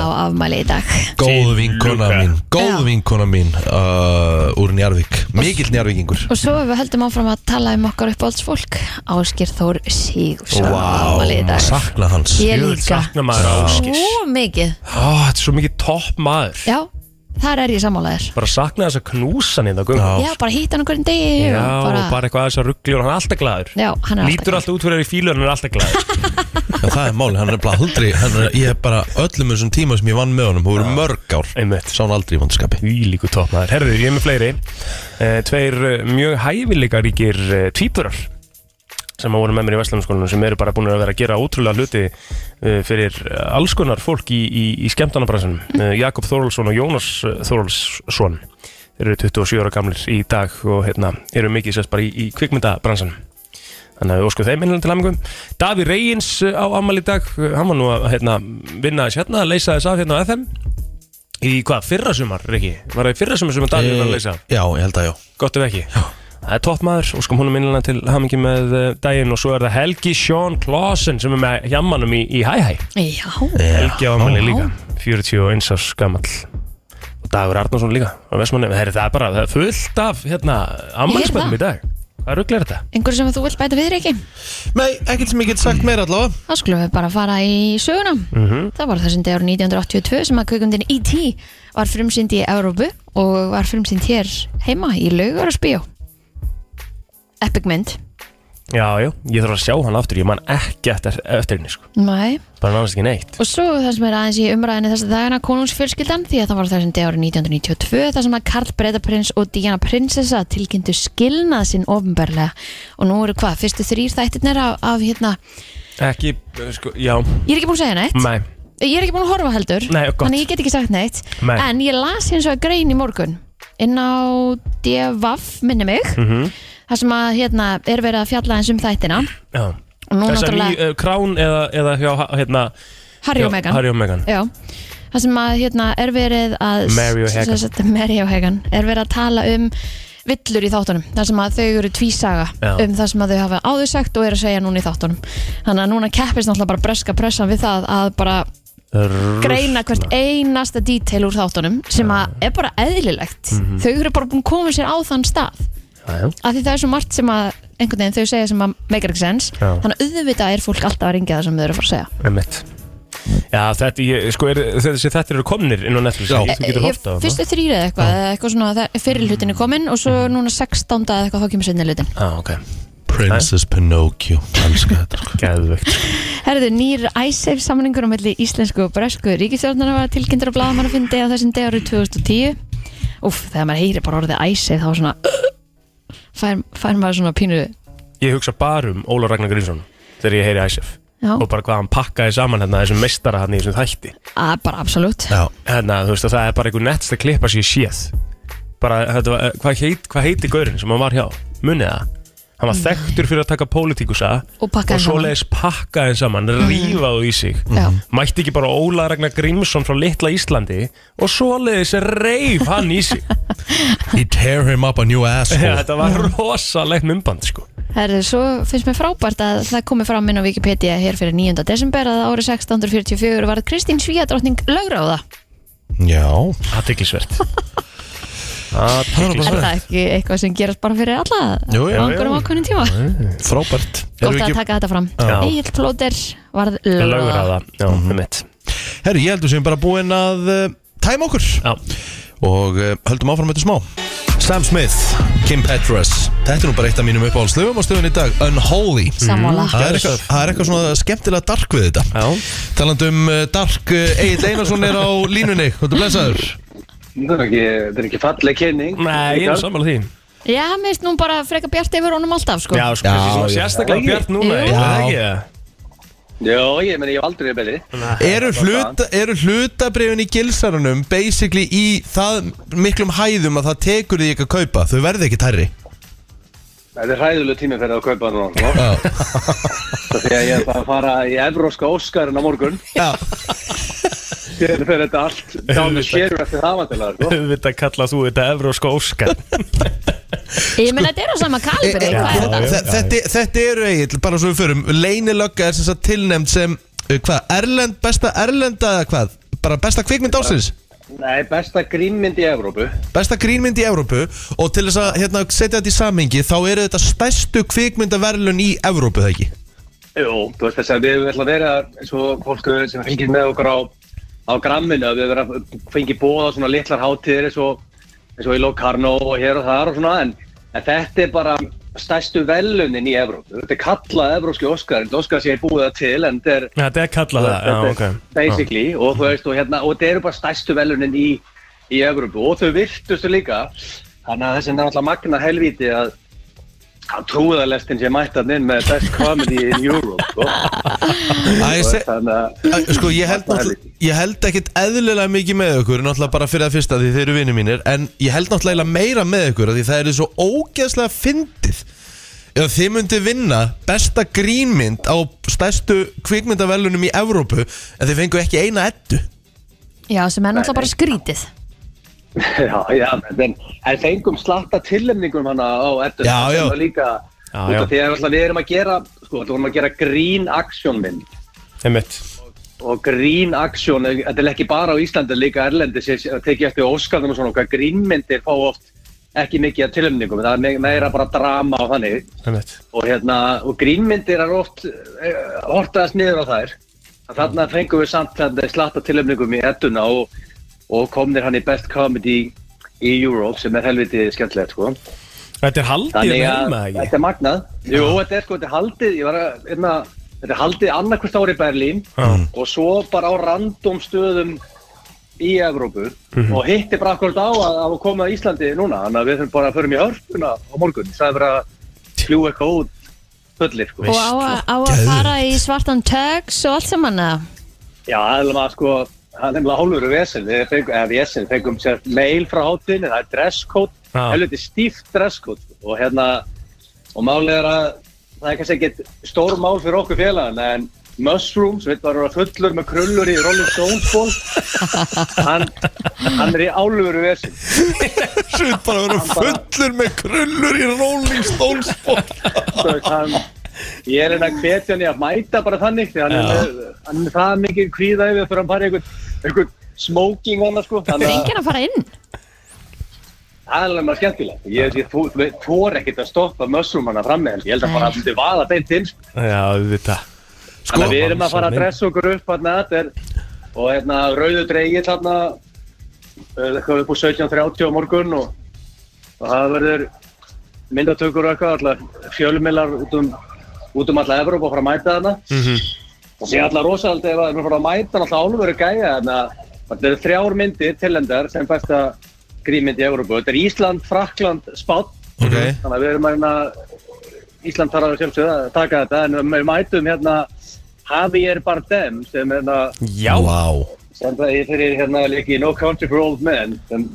S2: Já.
S3: á afmæli í dag
S2: góð
S4: Til
S2: vinkona
S4: Luka.
S2: mín góð
S3: Já.
S2: vinkona mín uh, úr Njarvík mikill Njarvíkingur [laughs]
S3: Og svo við höldum áfram að tala um okkar uppáhaldsfólk Áskir Þór Sigursson
S2: Vá,
S3: afmæli í dag
S2: sakna hans
S3: Ég
S4: Jöfull
S3: líka
S4: sakna maður áskis
S3: Svo mikið
S4: Ó, þetta er svo mikið topp maður
S3: Já, þar er ég sammálaðir
S4: bara sakna þess að knúsa niður
S2: Já.
S3: Já, bara hýta hann okkur en degi
S4: hérna, já,
S3: og
S4: bara, bara eitthvað aðeins að ruggli og hann er alltaf glaður
S3: Já, hann er
S4: lítur alltaf út fyrir að vera í fílu en hann er alltaf glaður
S2: Já, það er máli, hann er bara aldrei hann er, Ég hef bara öllum þessum tíma sem ég vann með honum Hún voru mörg ár,
S4: einmitt,
S2: sá hann aldrei í vondskapi
S4: Ílíku topp maður herðu, ég er með fleiri uh, tveir eh, mjög hæfileikaríkir uh, tvíburar sem að voru með mér í Vestlandskólanum sem eru bara búin að vera að gera ótrúlega hluti uh, fyrir eh, alls konar fólk í, í, í skemmtanabransanum uh, Jakob Þorálsson og Jónas eh, Þorálsson þeir eru 27 ára gamlir í dag og hérna, eru mikið sérst bara í, í kvikmyndabransanum þannig að við óskum þeim einhvern til hamingum Daví Reyins eh, á amal í dag eh, hann var nú að hérna, vinna þess hérna leysa þess af hérna á FM í hvað, fyrra sumar, Riki? Var það í fyrra sumar sem að Daví var að leysa?
S2: Eh, Já, ég held að já
S4: Gott ef ekki Það er topp maður, óskum húnum innlega til hamingi með eh, daginn og svo er það Helgi Sjón Klaasen sem er með hjammanum í, í Hæ Hæ
S3: Já,
S4: Helgi á ammali líka, 41 árs gamall og Dagur Arnarsson líka á Vestmanni, það er bara það er fullt af hérna, ammalispennum
S3: Ég
S4: í dag Hvað rugl er þetta?
S3: einhverju sem þú vilt bæta við, Riki?
S2: Nei, ekkert sem ég get sagt meira allavega
S3: Þá skulum við bara fara í söguna.
S4: Mhm.
S3: Það var þessum dagur 1982 sem að kvikundin E.T. var frumsynd í Európu og var frumsynd hér heima í Laugararsbíó. Epic mynd.
S4: Já, já, ég þarf að sjá hann aftur, ég man ekki eftir, eftir henni sko,
S3: Nei.
S4: bara nánast ekki neitt
S3: Og svo það sem er aðeins í umræðinni þess að dagana konungsfjölskyldan því að það var þessum dagur 1992 þar sem að Karl Breitaprins og Diana Prinsessa tilkynntu skilnað sinn ofinberlega og nú eru hvað, fyrstu þrýr þættirnir af, af hérna,
S4: Ekki, eh, sko, já,
S3: ég er ekki búin að segja neitt.
S4: nei,
S3: Ég er ekki búin að horfa heldur
S4: Nei, gott.
S3: Þannig ég get ekki sagt neitt
S4: Nei.
S3: En ég las hins vegar grein í morgun Inn á DVAF minni mig
S4: Mhm.
S3: Það sem að hérna er verið að fjalla eins um þættina
S4: já
S3: Og
S4: Þess að
S3: nú
S4: ný,
S3: náttúrulega
S4: uh, krán eða, eða hjá, hérna
S3: Harry
S4: hjá
S3: og Meghan
S4: Harry og Meghan
S3: Já Það sem að hérna er verið að
S4: Mary og Meghan.
S3: sem sagt, Mary og Hagan Er verið að tala um villur í þáttunum þar sem að þau eru tvísaga
S4: Já.
S3: um það sem að þau hafa áður sagt og eru að segja núna í þáttunum þannig að núna keppist náttúrulega bara breska pressan við það að bara greina hvert einasta dítel úr þáttunum sem að er
S4: Mhm.
S3: bara eðlilegt þau eru bara búin að koma sér á þann stað
S4: Já, já.
S3: af því það er svo margt sem að einhvern veginn þau segja sem að meikar ekki sens
S4: Já.
S3: þannig að auðvitað er fólk alltaf að ringja það sem þau eru að fara að segja
S4: Einmitt. Já, þetta, ég, sko, er, þessi þættir eru komnir inn á Netflix
S2: Já.
S4: Þú getur hótt á það
S3: Eh,
S4: Mhm.
S3: fyrstu þrýra eða eitthvað, eða eitthvað svona það- fyrri hlutin er komin og svo núna 16. eða eitthvað þá kemur sinni hlutin
S4: Já, ok,
S2: Princess Ah, Pinocchio Elskar þetta sko.
S4: geðvögt
S3: Herðu, nýr æsef samningur á melli íslensku og bresku ríkistjórnarna var tilkynntur á blaðamannafundi á þessum degur 2010 Úff, þegar maður heyri bara orðið æsef þá svona [clears throat] fær, fær maður svona pínu
S4: Ég hugsa bara um Óla Ragnar Grímsson Þegar ég heyri Æsef
S3: Já,
S4: Og bara hvað hann pakkaði saman hérna Þessum meistara hann í þessum þætti
S3: að, bara absolutt
S2: Já,
S4: Hérna, þú veist að það er bara einhver nettsta klippa sem ég séð Bara, þetta, var- eh, hvað, heit, hvað heiti gaurinn sem hann var hjá? Munið það? Hann var þekktur fyrir að taka pólitíkusa
S3: Mm. Og pakka
S4: Og
S3: þeim
S4: svo
S3: saman. Mm.
S4: leiðis pakkaði saman, rífaðu í sig
S3: Já.
S4: Mætti ekki bara Óla Ragnar Grímsson frá litla Íslandi Og svo leiðis reif hann í
S2: [laughs]
S4: sig
S2: he tear him up a new
S4: Já, [laughs]
S2: asshole
S4: þetta var rosalegt mymband
S2: [laughs]
S4: sko.
S3: Herðu, svo finnst mér frábært að það komi fram inn á Wikipedia hér fyrir 9. desember að árið 1644 varð Kristín Svíadrottning lögráða.
S2: Já,
S4: Athyglisvert
S2: það var
S3: Er
S2: bara
S3: það ekki eitthvað sem gerast bara fyrir alla
S2: Jú, jú,
S3: á einhverjum ákveðnum um tíma?
S2: það Frábært Erum
S3: Gott
S2: við
S3: að
S2: ekki-
S3: taka þetta fram.
S4: Já.
S3: Egil Plóter varð lögráða.
S4: Lögraða, já, mm -hmm. mitt
S2: Herri, ég heldur sem bara búin að uh, tæma okkur
S4: Já,
S2: og uh, höldum áfram þetta smá Sam Smith, Kim Petras Þetta er nú bara eitt af mínum uppáhaldslöfum á stöðun í dag Unholy Mhm.
S3: Sammála.
S2: Það er, eitthvað, það er eitthvað svona skemmtilega dark við þetta
S4: já
S2: Taland um uh, dark uh, Egil Einarsson er á línunni Hvort er blessaður?
S6: Það er ekki, það er ekki falleg kynning.
S4: Nei, ég er sammála því
S3: Já, mér finnst nú bara freka bjart yfir honum alltaf, sko.
S4: Já, sko,
S2: Já,
S4: þessi svona
S2: já.
S4: sérstaklega bjart núna
S3: Jú.
S4: er það ekki það?
S6: Já, ég meni, ég hef aldrei verið betri.
S2: Eru, hluta, eru hlutabrifin í gilsarunum basically í það miklum hæðum að það tekur því ekki að kaupa þau verði ekki tærri
S6: Þetta er hræðuleg tími fyrir að kaupa það núna. sko. [laughs] Það því að ég er bara að fara í evróska Óskarinn á morgun.
S2: Já,
S6: Þegar fer þetta allt, þá við sérum eftir það vantilega, sko.
S4: Auðvitað kalla þú þetta Evróska Óskar
S3: Ég meina, þetta er á sama kalibri,
S2: E- e-
S3: hvað er þetta?
S4: já.
S2: Þe- Þetta, þetta eru eigin, bara svo við förum Leynilögga er sem sagt tilnefnd sem uh, Hvað, Erlend, besta Erlenda eða Hvað, bara besta kvikmynd ásins
S6: Nei, besta grímmynd í Evrópu.
S2: Besta grínmynd í Evrópu Og til þess að hérna, setja þetta í samhengi Þá eru þetta stærstu kvikmyndaverlun í Evrópu það ekki
S6: Jú, þú veist þess að við höfum ætlað að vera eins og fólk sem fylgir með okkur á, á gramminu, að við höfum verið að fengi bóða svona litlar hátíðir eins og, eins og í Locarno og hér og þar og svona, en, en þetta er bara stærstu velunin í Evrópu. Þetta er kallað Evrópski Óskar, þetta Óskar sé búið það til, en þetta er
S4: Já, Þetta er kallað það, já,
S6: Þetta
S4: ok
S6: er basically og þú veist og hérna og þetta eru bara stærstu velunin í, í Evrópu og þau virtustu líka þannig að þessi er náttúrulega magna helvíti að að trúðalestin sé mættan inn með best comedy in Europe sko.
S2: [laughs] Æ,
S6: Og
S2: se,
S6: þannig að
S2: Æ, Sko ég held, náttúrulega- ég held ekkit eðlilega mikið með ykkur Náttúrulega bara fyrir að fyrsta því þeir eru vinni mínir En ég held náttúrulega eiginlega meira með ykkur af Því það eru svo ógeðslega fyndið Ef þið myndi vinna besta grínmynd á stærstu kvikmyndavelunum í Evrópu En þið fengu ekki eina ettu
S3: Já, sem er náttúrulega bara skrítið.
S6: [laughs] já, já, en, en fengum slatta tilnefningum hana á eftir
S2: Já, já.
S6: sem var líka
S4: Já,
S6: út
S4: já.
S6: af því að náttúrulega við erum að gera sko, við erum að gera grín aksjónmynd
S4: Einmitt
S6: og grín aksjón, þetta er ekki bara á Íslandi líka erlendis, ég teki eftir Óskarnum og svona okkar grínmyndir fá oft ekki mikið af tilöfningum, það er me- meira bara drama og þannig
S4: Einmitt
S6: og, hérna, og grínmyndir er oft eh, hortaðast niður á þær En þarna fengum við samt þarna slatta tilöfningum í ettuna og, og komnir hann í best comedy í Europe sem er helviti skemmtilegt sko.
S4: Þetta er haldið
S6: Þannig að
S4: heima, ekki?
S6: þetta er magnað Jú, þetta er sko, þetta er haldið Ég var að, hérna, þetta er haldið annarkvist ári í Berlín
S4: Já.
S6: Og svo bara á random stöðum í Evrópu Og hitti bara akkurat á að, að koma að Íslandi núna Þannig að við þurfum bara að förum í hörpuna á morgun Það er bara að fljú eitthvað út fullir sko
S3: Og á, að- á að fara í svartan tags og allt saman að...
S6: Já, aðeins maður sko Það er nefnilega hálfur vesen, við fengum, eða vesen, fengum sér mail frá hátinn, það er dresscode,
S4: Já.
S6: helviti stíft dresscode sko. og hérna, og málið er að það er kannski ekkit stór mál fyrir okkur félagin, en Mushroom, sem við varum að vera fullur með krullur í Rolling Stones
S2: [laughs]
S6: ból, hann, hann er í álfur vesen.
S2: Sjöld bara að vera fullur með krullur í Rolling Stones
S6: Þú veist, hann, ég er hérna að hvetja hann í að mæta bara þannig því hann, er með- hann er með það mikið kvíða yfir fyrir hann farið einhvern, einhvern smoking hann sko þannig
S3: Það er
S6: að
S3: enginn að fara inn.
S6: Æ, það er alveg maður skemmtilegt ég, ég þú- þú- þor ekkert að stoppa mössrumana fram með ég held að bara
S3: Nei.
S6: allir vaða beint inn sko.
S4: Já, Sko, þetta
S6: þannig að við erum að fara að
S4: Mannsæmin.
S6: dressa okkur upp hérna, þetta er, og hérna rauðu dreigir þarna eh, eitthvað upp úr 17.30 á morgun og, og það verður myndatökur og eitthvað allar fjölmilar út um, út um alla Evróp og fara að mæta þarna og sé allar rosalega ef að við fara að mæta alltaf álveru gæja þannig að þetta eru þrjár myndir tilendar sem besta grímynd í Európu. Þetta er Ísland, Frakland, Spátt
S2: Ok.
S7: Mhm.
S6: þannig að við erum að hérna, Ísland þarf að sjálfsögða að taka þetta en við mætum hérna Javier Bardem sem hérna
S4: Já,
S2: Vá
S6: sem það er fyrir hérna líki No Country for Old Men sem,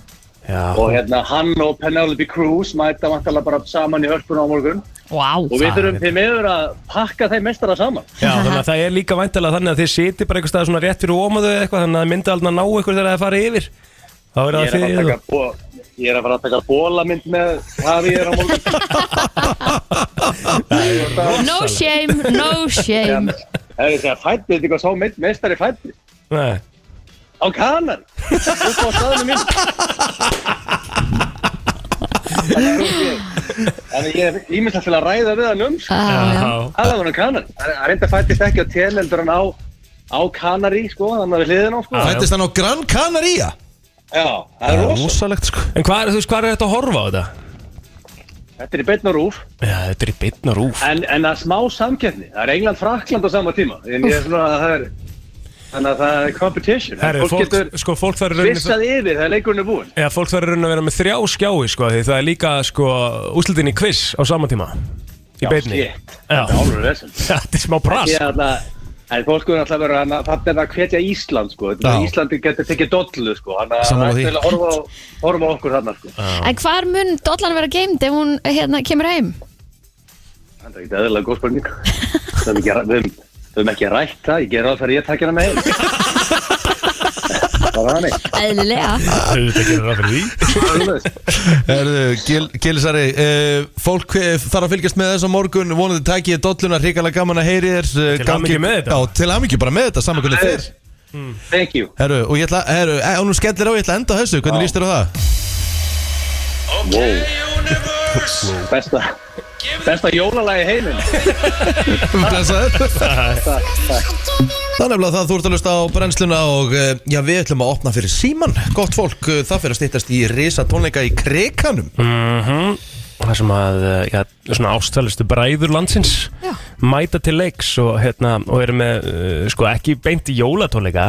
S4: já.
S6: og hérna hann og Penelope Cruz mæta vantala bara saman í hörpuna á morgun
S3: Wow.
S6: og við þurfum til meður að pakka þeim mestara saman
S4: já þannig að það er líka væntalega þannig að þið siti bara einhver stað svona rétt fyrir ómaðu eða eitthvað þannig að myndi aldrei að ná ykkur þegar það fara yfir þá er
S6: Ég
S4: það
S6: er,
S4: þið
S6: að fara að taka bó- ég er að fara að taka bólamynd með Javier á
S2: [laughs]
S6: morgun
S3: No shame, no shame.
S6: Hérna, Það er það fætti, þetta er hvað sá mynd, mestari fætti
S4: Nei.
S6: á kanar upp á staðinu mín Þannig ég er ímyndað til að ræða við hann um sko.
S3: Ah, já.
S4: Já.
S6: Það var hann á kanar Það reynda fættist ekki á tel heldur en á á kanari sko, þannig að við hliðin á sko
S4: Ah.
S2: Fættist hann á Gran Canaria
S6: Já, það er rosa
S2: Rósalegt sko
S4: En hvað er, þú veist, hvað er þetta að horfa á þetta?
S6: Þetta er í beinna rúf
S4: Já, þetta er í bitna rúf
S6: En, en það er smá samkeppni, það er England Frakland á sama tíma En ég er svona að það er Þannig að það er competition
S4: Herri,
S6: Fólk
S4: fólk,
S6: getur
S4: sko, fólk þarf í rauninni
S6: vissað yfir þegar leikurinn er búinn
S4: Já, fólk þarf í rauninni að vera með þrjá skjái sko, því það er líka sko, úslitin í quiz á sama tíma í beinni
S6: Já, shit.
S4: Já.
S6: Þetta er alveg vesum
S4: [laughs] Þetta er smá pras
S6: Ég ætla En fólk er alltaf verið að þetta er að hvetja Ísland sko Þetta er
S2: Já.
S6: að Íslandi getur tekið dollu sko Þannig að
S2: Sammála
S6: það
S2: því.
S6: er til að horfa á, horfa á okkur þarna sko
S3: En hvar mun dollan vera geimd ef hún hérna, kemur heim?
S6: Það er ekki eðlilega góð spurning Við höfum ekki, við, höfum- við höfum ekki rætt það, ég ger ráð fyrir að ég takja hana með heim. [laughs] Bara þannig,
S3: Æðilega.
S4: Þetta gerir það fyrir því
S6: svoleiðis.
S2: [laughs] Herðu, Gil- Gilsari, uh, fólk eh, þarf að fylgjast með þess á morgun vonandi takiði dolluna, hrikalega gaman að heyri þér eh,
S4: Til
S2: gangi-
S4: hamingju með þetta.
S2: Já, til hamingju bara með þetta, saman hvernig
S6: Það er-
S2: þér
S4: Hmm.
S6: Thank you
S2: Herru, og ég ætla, herru, eh, og nú skellir á, ég ætla að enda á þessu, hvernig líst þér á það?
S6: Besta, besta jólalagi heiminn
S1: [laughs]
S2: Blessaður
S6: Takk, takk
S2: Það er nefnilega það þú ert að lusta á brennsluna og eh, já, við ætlum að opna fyrir síman Gott fólk, eh, það fyrir að stýttast í risa tónleika í Krekanum
S4: Það sem að, uh, já, svona ástæðlistu bræður landsins
S3: Já.
S4: mæta til leiks og, hérna, og eru með, uh, sko, ekki beint í jólatónleika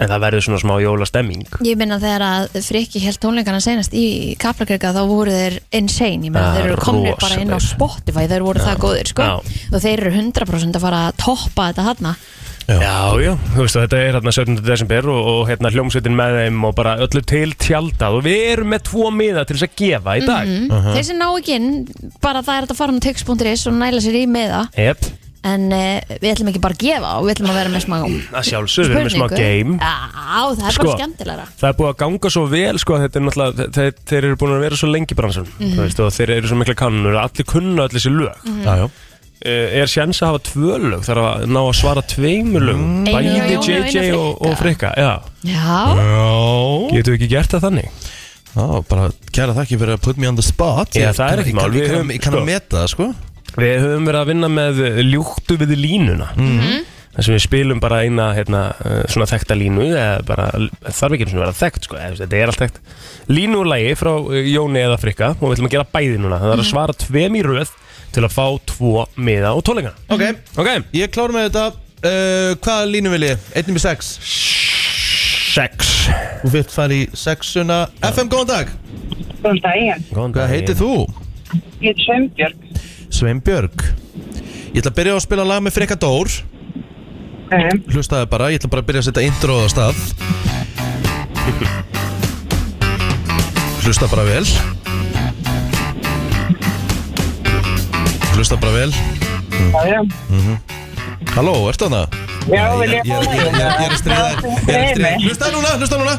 S4: en það verður svona smá jólastemming
S3: Ég minna þegar að Friki held tónleikana senast í Kaplakrika þá voru þeir insane, ég meina
S4: Ja,
S3: þeir eru komnir bara inn á
S4: rosalegir.
S3: Spotify, þeir voru það góðir sko
S4: Já.
S3: og þeir eru 100% að fara að toppa þetta hana
S4: Já, já, þú veist að þetta er hérna 17. desember og, og hérna hljómsveitin með þeim og bara öllu til tjaldað og við erum með tvo miða til þess að gefa í dag mm
S3: Mhm. Þeir sem ná ekki inn, bara það er hægt að fara á tix.is og næla sér í með það
S4: Jep,
S3: en uh, við ætlum ekki bara að gefa og við ætlum að vera með smá
S4: að sjálfsögðu, við erum með smá game
S3: Já, það er
S4: Sko.
S3: bara skemmtilegra
S4: Það er búið að ganga svo vel sko, þetta er náttúrulega, þeir, þeir eru búin að vera svo lengi í bransanum,
S3: Mhm.
S4: þú veist, og þeir eru svo mikla kannunur, allir kunna allir sér lög mm
S2: Já, já
S4: Er sjans að hafa tvö lög, þarf að ná að svara tveimur lög,
S3: Einu
S4: bæði
S3: hjá Jóni og
S4: JJ
S3: einu
S4: og,
S3: Frikka.
S4: og Frikka, já
S3: Já,
S2: Já,
S4: Getur við ekki gert það þannig?
S2: bara kæra þakki fyrir að put me on the spot
S4: Já,
S2: Ég
S4: það er
S2: kann-
S4: ekki
S2: ég kann-
S4: mál, við
S2: Ég kann-
S4: höfum-
S2: ég kann
S4: sko.
S2: að meta það, sko
S4: Við höfum verið að vinna með eh, ljúktu við línuna
S2: Mhm.
S4: þar sem við spilum bara eina hérna, eh, svona þekkta línu eða bara, þarf ekki einu sinni að vera þekkt sko, eða, þú veist, þetta er allt þekkt Línulagi frá eh, Jóni eða Frikka og við ætlum að gera bæði núna það er að svara tveim í röð til að fá tvo miða og tólingana
S2: Ok,
S4: Ok,
S2: ég klár með þetta uh, Hvaða línu vil ég? 1 með 6
S4: sex
S2: Þú vilt fara í sexuna FM, góðan dag
S8: Góðan daginn,
S4: Góðan
S2: Hvað
S4: daginn.
S2: heitir þú?
S8: ég heit Sveinbjörg.
S2: Sveinbjörg Ég ætla að byrja á að spila lag með Freka Dór
S8: Um,
S2: Hlustaði bara, ég ætla bara að byrja að setja intro á stað Hlusta bara vel Hlusta bara vel Mhm.
S8: já, já.
S2: Halló, ertu hann það?
S8: Já, vil ég
S2: Ég
S8: fá
S2: er- ég er- ég er- ég er að stríða þér Ég er að stríða þér Hlusta núna, hlusta núna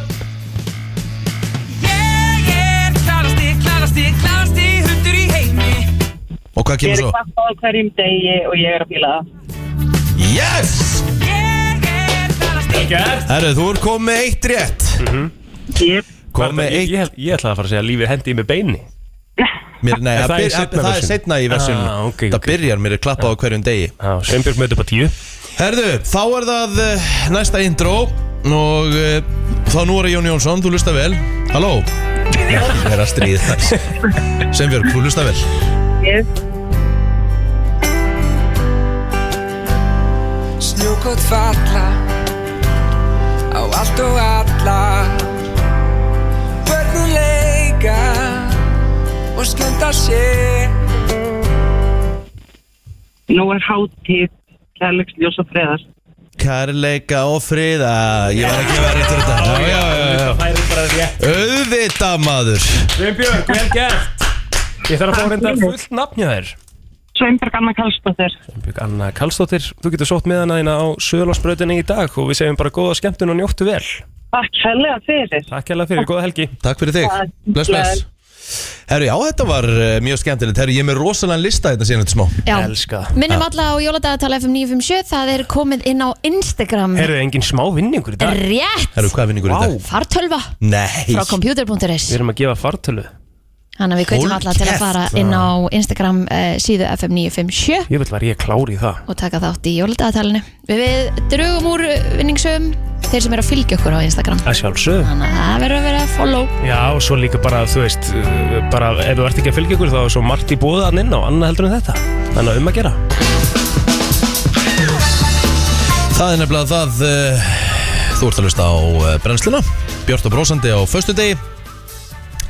S2: Og
S8: Ég
S2: hvað kemur
S8: er
S2: svo?
S8: kvart á hverjum degi og ég er að fíla það.
S2: Yes!
S4: Gert. Mhm.
S2: Herru, þú er komið eitt rétt
S8: Ég,
S2: Kom
S4: ég,
S2: með eitt
S4: ég, ég ætlaði að fara að segja lífið hendi í með beini
S2: mér, nei,
S4: Er
S2: það,
S4: það í
S2: byr,
S4: seinna
S2: það er
S4: version?
S2: setna í versjónu
S4: Ah, ok,
S2: Það
S4: ok.
S2: byrjar mér að klappa á hverjum degi
S4: Já, Sveinbjörg mötu upp á tíu
S2: Herðu, þá er það eh, næsta intro Og uh, þá nú er það Jón Jónsson, þú lusta vel Halló Ég er að stríða Sveinbjörg, þú lusta vel
S8: Yes.
S9: Snjókot falla á allt og alla Börnum leika og skemmta sér
S8: Nú er hátíð, kærleiksljós og freðast.
S2: Kærleika og friða Ég var ekki að vera réttur þetta Já, já, já, já
S4: færi bara rétt
S2: Auðvitað maður
S4: Sveinbjörg, vel gert Ég þarf að fá reynda fullt nafn hjá þér
S8: Sveinberg Anna Karlsdóttir.
S4: Sveinbjörg Anna Karlsdóttir, þú getur sótt með hana hérna á Söðlansbröðinni í dag og við segjum bara góða skemmtun og njóttu vel
S8: Takk helga fyrir.
S4: Takk hérlega fyrir, góða helgi
S2: Takk fyrir þig
S8: Takk.
S2: Bless, bless Herru, já, þetta var uh, mjög skemmtilegt Herru, ég er með rosalega lista þetta síðan þetta smá
S3: Já.
S4: Elska.
S3: Minnum alla á jóladagatala FM 957 Það er komið inn á Instagram
S4: Herðu, engin smá vinningur í dag
S3: Rétt
S2: Herru, hvað er vinningur í
S4: Vá.
S2: dag?
S3: Fartölva
S2: Nei
S3: frá computer.is
S4: Við erum að gefa fartölu
S3: Þannig að við kveitum alla til að
S2: Hólkeft.
S3: fara inn á Instagram uh, síðu FM 957
S4: Ég vil var ég klári í það
S3: og taka þátt í jóladagatalinu Við, við drögum úr vinningsum þeir sem eru að fylgja okkur á Instagram
S4: Að sjálfsög
S3: Þannig að það verður að vera að follow
S4: Já, og svo líka bara, þú veist, uh, bara ef þú ert ekki að fylgja ykkur þá er svo margt í bóðan inn á annað heldur en þetta. Þannig að um að gera.
S2: Það er nefnilega það uh, Þú ert að hlusta á uh, brennsluna Björn og brósandi á föstudegi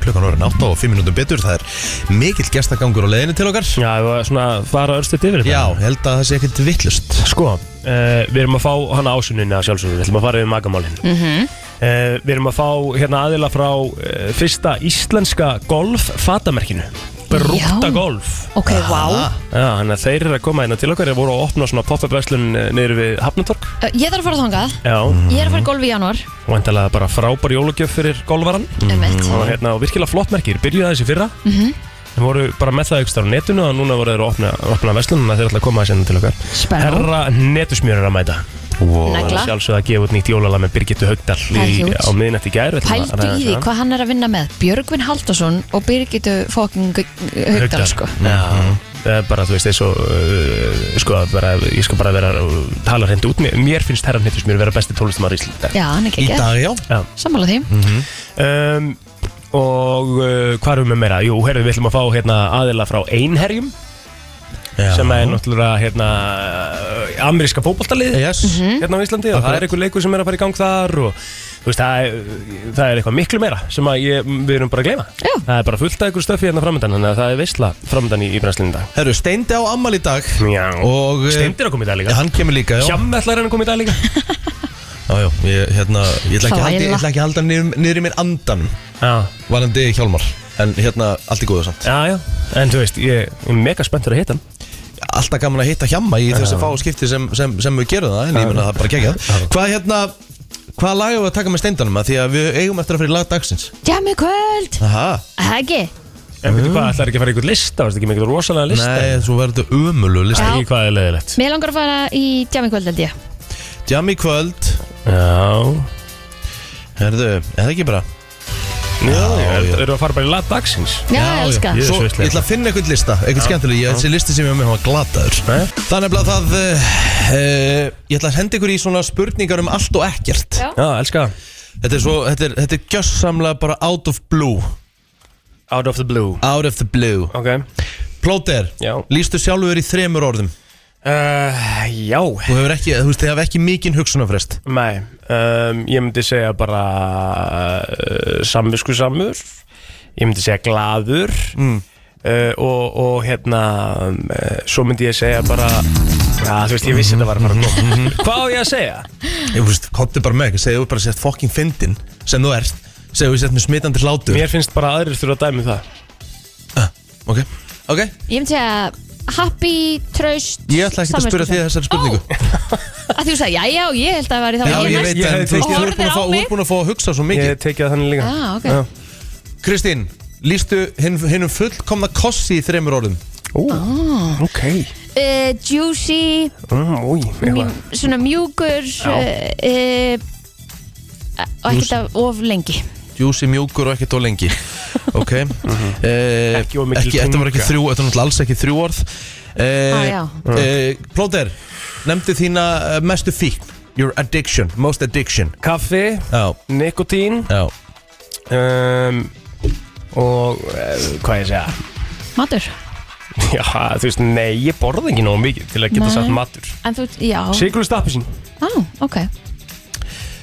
S2: Klukkan orðin 8 og 5 minútum betur Það er mikill gestagangur á leiðinu til okkar
S4: Já, ef við svona fara örstuðt yfir þetta.
S2: Já, ég held að það sé ekkert vittlust
S4: Sko, uh, við erum að fá hana ásuninu að sjálfsögðu, við ætlum að fara yfir magamálinn. Mm við erum að fá hérna aðila frá uh, fyrsta íslenska golf-fatamerkinu. Brúkta
S3: Já.
S4: golf.
S3: Ok, wow
S4: Já, þannig að þeir eru að koma hérna til okkar, þeir voru að opna svona pop-up verslun eh, niður við Hafnatorg.
S3: Uh, Ég þarf að fara þangað
S4: Já,
S3: Ég er að fara í golf í janúar
S4: og endalega bara frábær jólugjöf fyrir golvaran.
S3: einmitt.
S4: og hérna, og virkilega flott merkir, byrjuði þessi fyrra mm
S3: Mhm.
S4: þeir voru bara með það aukstar á netinu og núna voru þeir að opna, opna verslunum að þeir ætla að koma þessi hérna til okkar
S3: Spennó.
S4: Herra netusmjör er að mæta
S2: wow.
S4: og
S3: Negla
S4: sjálfsögðu að gefa út nýtt jólalag með Birgittu Haugdal
S3: Það er
S4: í,
S3: huge.
S4: á miðnætti gær við ætlum að
S3: Pældu
S4: ræða
S3: í
S4: þessu
S3: því
S4: hérna.
S3: hvað hann er að vinna með Björgvin Haldarsson og Birgitu fokking Haugdal sko
S4: Já, það er bara þú veist eins og uh, sko bara, ég skal bara vera að tala hreint út, mér, mér finnst herra netusmjör vera besti tólistamar í Ísland
S3: Já, hann
S2: Í
S3: er ekki ekki
S2: dag, já
S4: Já.
S3: Sammála því
S4: Mhm. um, og uh, hvað erum við með meira? Jú, herðu, við ætlum að fá hérna, aðila frá Einherjum
S2: Já.
S4: sem er náttúrulega hérna, uh, ameríska fótboltalið
S2: Yes.
S4: hérna á Íslandi og það er einhver leikur sem er að fara í gang þar og þú veist, það, er, það er eitthvað miklu meira sem að ég, við erum bara að gleyma
S3: Já.
S4: það er bara fullt af einhver stöfi hérna framöndan þannig að það er veistla framöndan í, í brennslinn í dag
S2: Herru, steindi á ammal í dag
S4: Já.
S2: Og eh,
S4: Steindir að koma í dag
S2: Já,
S4: líka
S2: hann kemur líka, já
S4: Hjammi ætlar hann að koma í dag líka
S2: Já, já, ég, hérna, ég ætla ekki að halda- ég
S3: Þvæla.
S2: ætla ekki að halda niður, niður í mér andan
S4: Já,
S2: Varandi Hjálmar En hérna, allt í góðu samt
S4: já, já En þú veist, ég er mega spenntur að hitta hann
S2: alltaf gaman að hitta hjamma í þessi fá skipti sem, sem, sem við gerum það en ég meina það er bara gegja hvað hérna hvað lag erum við að taka með steindanum að því að við eigum eftir að fyrir lag dagsins
S3: Jammi kvöld
S2: aha
S3: Það ekki
S4: En veitu hvað, ætlar ekki að fara í einhvern lista, veist ekki með einhvern rosalega lista
S2: nei svo verður þetta umölu
S4: Það
S2: lista
S4: er ekki hvað er leðilegt
S3: Mér langar að fara í Jammi kvöld held ég
S2: jam í kvöld
S4: Já
S2: herðu er það ekki bara
S4: Já,
S2: já.
S4: já Þau eru að fara bara í lat dagsins
S3: Já, ég elska
S4: Ég er
S2: Svo,
S4: svo
S2: ég
S4: veistlega.
S2: ætla að finna einhvern lista, einhvern skemmtileg Ég- Þessi listi sem ég var með, hann var glataður
S4: Nei.
S2: Þannig að það uh, uh, Ég ætla að henda ykkur í svona spurningar um allt og ekkert
S3: Já.
S4: Já, elska
S2: Þetta er svo, þetta er, þetta er gjössamlega bara out of blue
S4: Out of the blue
S2: Out of the blue
S4: Ok
S2: Plóter,
S4: Já.
S2: lístu sjálfur í þremur orðum
S4: uh, Já
S2: Þú hefur ekki, þú veist, þið hafa ekki mikinn hugsunafrest
S4: Nei um, Ég myndi segja bara uh, Samvisku samur Ég myndi segja glaður mm. uh, og, og hérna um, uh, Svo myndi ég segja bara Já, þú veist, ég vissi þetta var að fara að
S2: Mhm.
S4: koma Hvað á ég að segja?
S2: Ég veist, komdu bara með, segðu bara sért fokking fyndin sem þú ert, segðu sért með smitandi hlátur Ah,
S4: Mér finnst bara aðrir þurfa að dæmi það
S2: Ok, ok,
S3: Ég myndi segja happy, tröst
S2: ég ætla ekki að spyrja því þessari spurningu
S3: Að þú sagði, já, já, ég held að það væri það
S2: Já,
S3: var
S2: ég
S3: næst.
S2: veit,
S4: Ég
S2: en
S4: hefði
S2: þú veist,
S3: tekið-
S2: þú ert búin að fá-
S3: Horfir á
S2: þú ert búin að fá að hugsa svo
S4: Ég
S2: mikið
S4: hef tekið það þannig líka
S3: Ah, ok.
S4: Já.
S2: Kristín, lístu hinn hinn um fullkomna kossi í þremur orðum
S4: Ú, ok Ah,
S3: Uh, Juicy
S4: Új,
S3: mjú, eh, svona mjúkur uh, uh, og ekkert af of lengi
S2: Juicy mjúkur og ekkert og
S4: [laughs]
S2: lengi Ok Eh,
S4: Mhm. Ekki of mikil
S2: ekki- Þetta var ekki
S4: tunga.
S2: þrjú, þetta var náttúrulega alls ekki þrjú orð
S3: Ah,
S2: eh,
S3: já.
S2: eh, Plóter, nefndi þína eh, mestu fíkn Your addiction, most addiction
S4: Kaffi,
S2: Já,
S4: nikotín
S2: já
S4: um, Og uh, hvað ég segja
S3: Matur
S4: Já, þú veist, nei, ég borða ekki nógu mikið til að geta
S3: Nei.
S4: sagt matur
S3: En þú, já
S4: Sigurður stappi sín
S3: Á, ok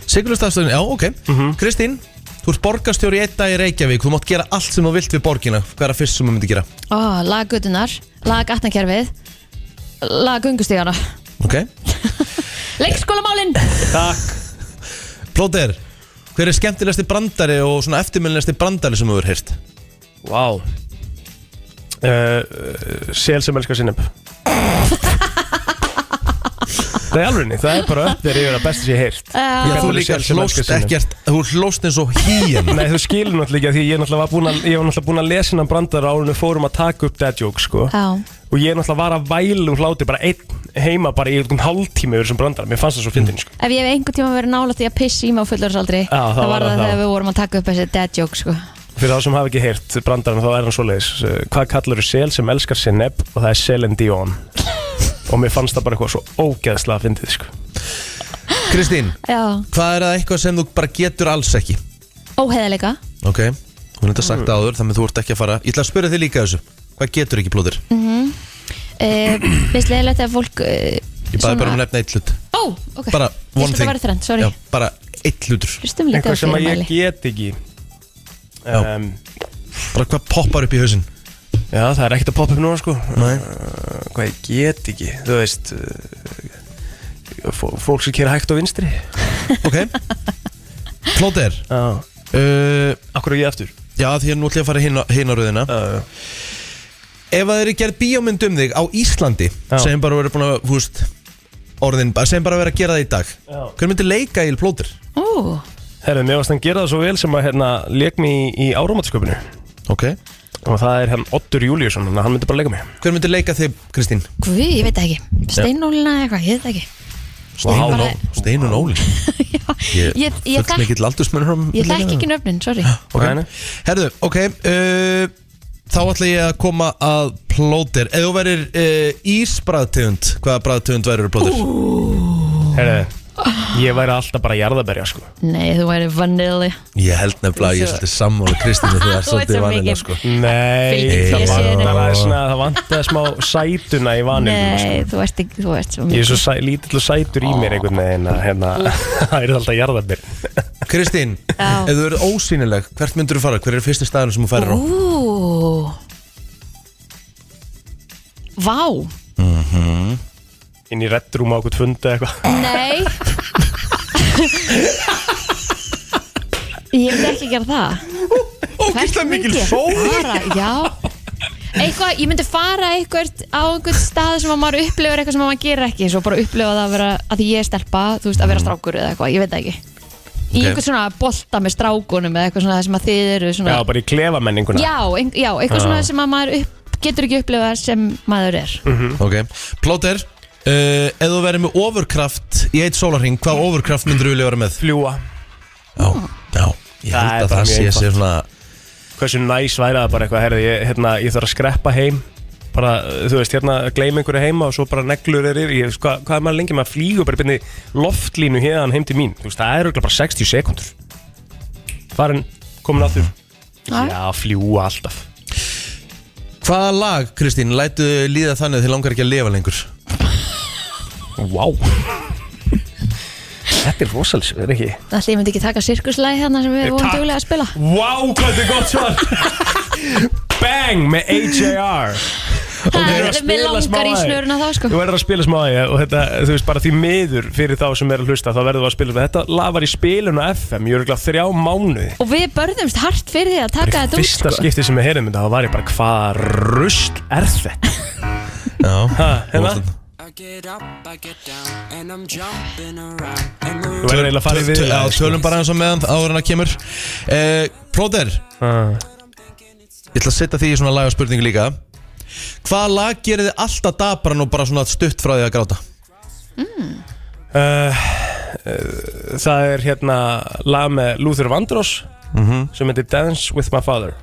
S2: Sigurðustafstöðin, já, ok
S4: Mhm.
S2: Kristín, þú ert borgarstjóri í einn dag í Reykjavík Þú mátt gera allt sem þú vilt við borgina Hvað er að fyrst sem þú myndi gera?
S3: Ó, lag gutunar Lag gatnakerfið Lag gungustígana
S2: Ok
S3: Leikskólamálin
S4: Takk
S2: Plóter, hver er skemmtilegasti brandari og svona eftirmjölinasti brandari sem þú hefur heyrt?
S4: Vá wow. Eh, Sel sem elskar sinneb Það er alveg niður, það er bara upp þegar ég er að besta sér heyrt
S3: Já,
S2: Já,
S4: Hvernig
S2: þú
S4: er
S2: líka
S4: sel sem elskar
S2: hlóst
S4: sinnep?
S2: ekkert, þú hlóst eins og híin
S4: Nei, þú skilur náttúrulega ekki að því ég er náttúrulega var búin að, ég var náttúrulega búin að lesa innan brandara áður en við fórum að taka upp dad joke, sko
S3: Já,
S4: Og ég er náttúrulega var að vælu og hláti bara einn heima bara í einhvern hálftími yfir þessum brandara, mér fannst það svo fyndin, sko
S3: ef ég hef einhvern tíma verið nála því að pissa í mig á fullorðsaldri
S4: Já, það var
S3: var
S4: það,
S3: það
S4: það
S3: þegar
S4: var.
S3: við vorum að taka upp þessi dead joke sko.
S4: Fyrir þá sem hafa ekki heyrt brandaran þá er hann svoleiðis Eh, Hvað kallar þú sel sem elskar sinneb og það er Selin Dion Og mér fannst það bara eitthvað svo ógeðslega fyndið, sko
S2: Kristín,
S3: Já,
S2: hvað er það eitthvað sem þú bara getur alls ekki?
S3: óheðalega
S2: Ok, hún er þetta
S4: Mm.
S2: sagt áður þannig að þú ert ekki að fara Ég ætla að spyrja þig líka þessu Hvað getur ekki plóter?
S3: Mhm. Mér Eh, finnst leiðilegt að fólk Ég
S2: Ég baði bara um að nefna eitt hlut
S3: Ó, ok
S2: Bara
S3: Ég
S2: one
S3: held að það
S2: thing
S3: væri þrennt, sorry
S2: Já, Bara eitt hlutur
S3: Hlustum lítið
S4: eitthvað
S3: á
S4: sem að ég
S3: fyrirmæli
S4: get ekki
S2: Já.
S4: um,
S2: Bara hvað poppar upp í hausinn
S4: já, það er ekkert að poppa upp núna sko
S2: Nei.
S4: Uh, hvað ég get ekki þú veist uh, fó- fólk sem kera hægt á vinstri
S2: Ok Plóter
S4: já,
S2: uh,
S4: akkur er ég aftur
S2: Já, því að nú ætla ég að fara hinn á- hina rauðina
S4: uh,
S2: Ef að þeir eru gerð bíómynd um þig á Íslandi
S4: Já.
S2: sem bara verið búin að, þú veist orðin, bara- sem bara verið að gera það í dag
S4: Já.
S2: Hver myndi leika í plóter?
S3: Ó,
S4: herru, mér varst hann gera það svo vel sem að hérna, leik mig í, í áramátsköpunu
S2: Ok
S4: og það er hann Ottur Júliusson þannig að hann myndi bara leika mig
S2: Hver myndi leika þig, Kristín?
S3: Guð, ég veit það ekki Steinólina eða eitthvað, ég veit það ekki
S2: Steinun Ó-
S3: Bara-
S2: Steinun Óli
S3: [laughs] Já, Ég, ég,
S2: Full
S3: þekk-
S2: mikill aldursmunur á
S3: ég þekk
S2: leikana.
S3: ekki nöfnin, sorry
S2: Ok.
S4: Nei, nei.
S2: Herðu, ok uh, Þá ætla ég að koma að plóter Ef þú verir uh, ísbræðtegund Hvaða bræðtegund verður plóter?
S4: herru, ég væri alltaf bara jarðaberja sko
S3: Nei, þú væri vanilli
S2: Ég held nefnilega að ég er svolítið sammála
S3: [laughs]
S2: Kristínu Þú
S3: Þú
S2: er
S3: ert svo
S2: svolítið vanilega
S3: mikið.
S2: sko
S4: nei,
S3: Fylgir
S4: það
S3: sér. hérna.
S4: vantaði svona- það vantaði smá sætuna í vanilinu sko.
S3: Nei, þú ert ekki, þú ert svo
S4: Ég er
S3: mikið
S4: svo sæ, lítill og sætur í mér einhvern veginn að hérna, [laughs] það er alltaf jarðabir
S2: Kristín,
S3: Já.
S2: ef þú verður ósýnileg Hvert myndur þú fara? Hver er fyrsti staðurinn sem þú færir á?
S3: Ú Vá
S2: Mhm.
S4: inn í reddrúm á okkur fundu eitthvað
S3: Nei [laughs] Ég myndi ekki gera það Ógislega mikil fóra Já Eitthvað, ég myndi fara eitthvað á einhvern stað sem að maður upplifir eitthvað sem að maður gerir ekki svo bara upplifa það að vera, að því ég er stelpa þú veist, að
S4: Mm.
S3: vera strákur eða eitthvað, ég veit það ekki í
S2: Ok.
S3: einhvern svona bolta með strákunum eða eitthvað svona sem að þið eru svona
S4: Já, bara í klefamenninguna
S3: já, ein, já eitthvað svona sem að maður upp, getur ekki upplifað sem maður er
S4: Mhm.
S2: Ok, plóter Uh, ef þú verður með overkraft í eitt sólarring, hvað overkraft myndur þú vilja vera með?
S4: Fljúa
S2: Já, já, ég
S4: Það er
S2: held að
S4: bara
S2: það
S4: mjög
S2: sé
S4: einfalt.
S2: sér svona
S4: Hversu næs væri það bara eitthvað, herði, ég, hérna, ég þarf að skreppa heim bara, þú veist, hérna, gleym einhverju heima og svo bara neglur er yfir, ég, veist, hvað, hvað er maður lengi maður flýgur bara byrni loftlínu hérna heim til mín, þú veist, það er auðvitað bara 60 sekundur Farin, komin aftur
S3: Já.
S4: Já, fljúa alltaf
S2: Hvaða lag, Kristín, lætu þau líða þannig að þið langar ekki að lifa lengur?
S4: Vá Þetta er rosalis, er ekki?
S3: Ætli ég myndi ekki taka sirkuslæði þarna sem við vorum
S4: Takk.
S3: duglega að spila
S4: Vá, wow, hvað þetta er gott svar [laughs] Bang með AJR
S3: Það
S4: verður að
S3: er með
S4: spila smá
S3: langar í
S4: aðeins.
S3: snöruna þá sko
S4: Þú verður að spila smá í það og þetta, þú veist, bara því miður fyrir þá sem er að hlusta þá verður þú að spila þetta Þetta lag var í spilun á FM, ég er ekki þrjá mánuði
S3: Og við börðumst hart fyrir því að taka þetta út
S4: Fyrsta
S3: sko
S4: skipti sem ég heyrðum þetta, þá var ég bara hvað rusl er þetta?
S2: Já,
S4: Ha, hérna?
S9: I get up, I get down, and I'm jumping around and we're
S4: Þú verður eiginlega að fara í
S2: Töl- töl-
S4: við
S2: Já, tölum bara eins og meðan áður en að kemur eh, Plóter, ég ætla að setja því í svona lag og spurningu líka Hvaða lag gerir þið alltaf dabran og bara svona stutt frá því að gráta?
S4: Eh, Það er hérna lag með Luther Vandross
S2: Mhm.
S4: sem heitir Dance With My Father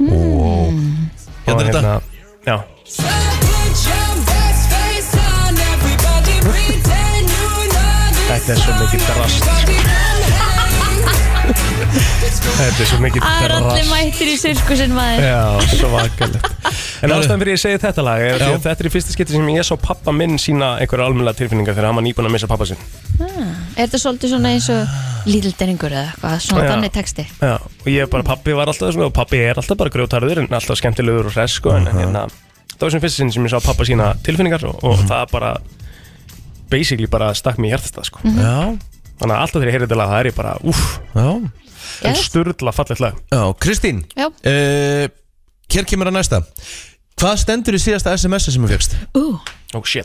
S2: Mm. Hérna er þetta
S4: Já, Þetta er svo mikið drast,
S3: [laughs]
S4: þetta er svo mikið
S3: Það er allir mættir í sirkusinn maður
S4: Já, svakalegt En ástæðan fyrir ég segi þetta lag er því að Þetta er í fyrsta skipti sem ég sá pappa minn sína einhverja almennilega tilfinningar þegar hann var nýbúin að missa pappa sinn
S3: Ah, Er þetta svolítið svona eins og lítildenningur eða eitthvað, svona
S4: Já.
S3: þannig texti
S4: Já, og ég bara, pappi var alltaf svona og pappi er alltaf bara grjótarður en alltaf skemmtilegur og hress sko, en hérna, það var sem fyrst sinn sem ég sá pappa sína tilfinningar og, og það bara basically bara stakk mér hjartast það sko.
S2: Já,
S4: þannig að alltaf þegar ég heyrði þetta lag það er ég bara, úff,
S2: já,
S4: en
S3: Yes.
S4: sturla fallið lag
S2: já, Kristín
S3: Já.
S2: eh, Hér kemur að næsta Hvað stendur í síðasta SMS-i sem þú fegst?
S3: Ú,
S4: Oh shit,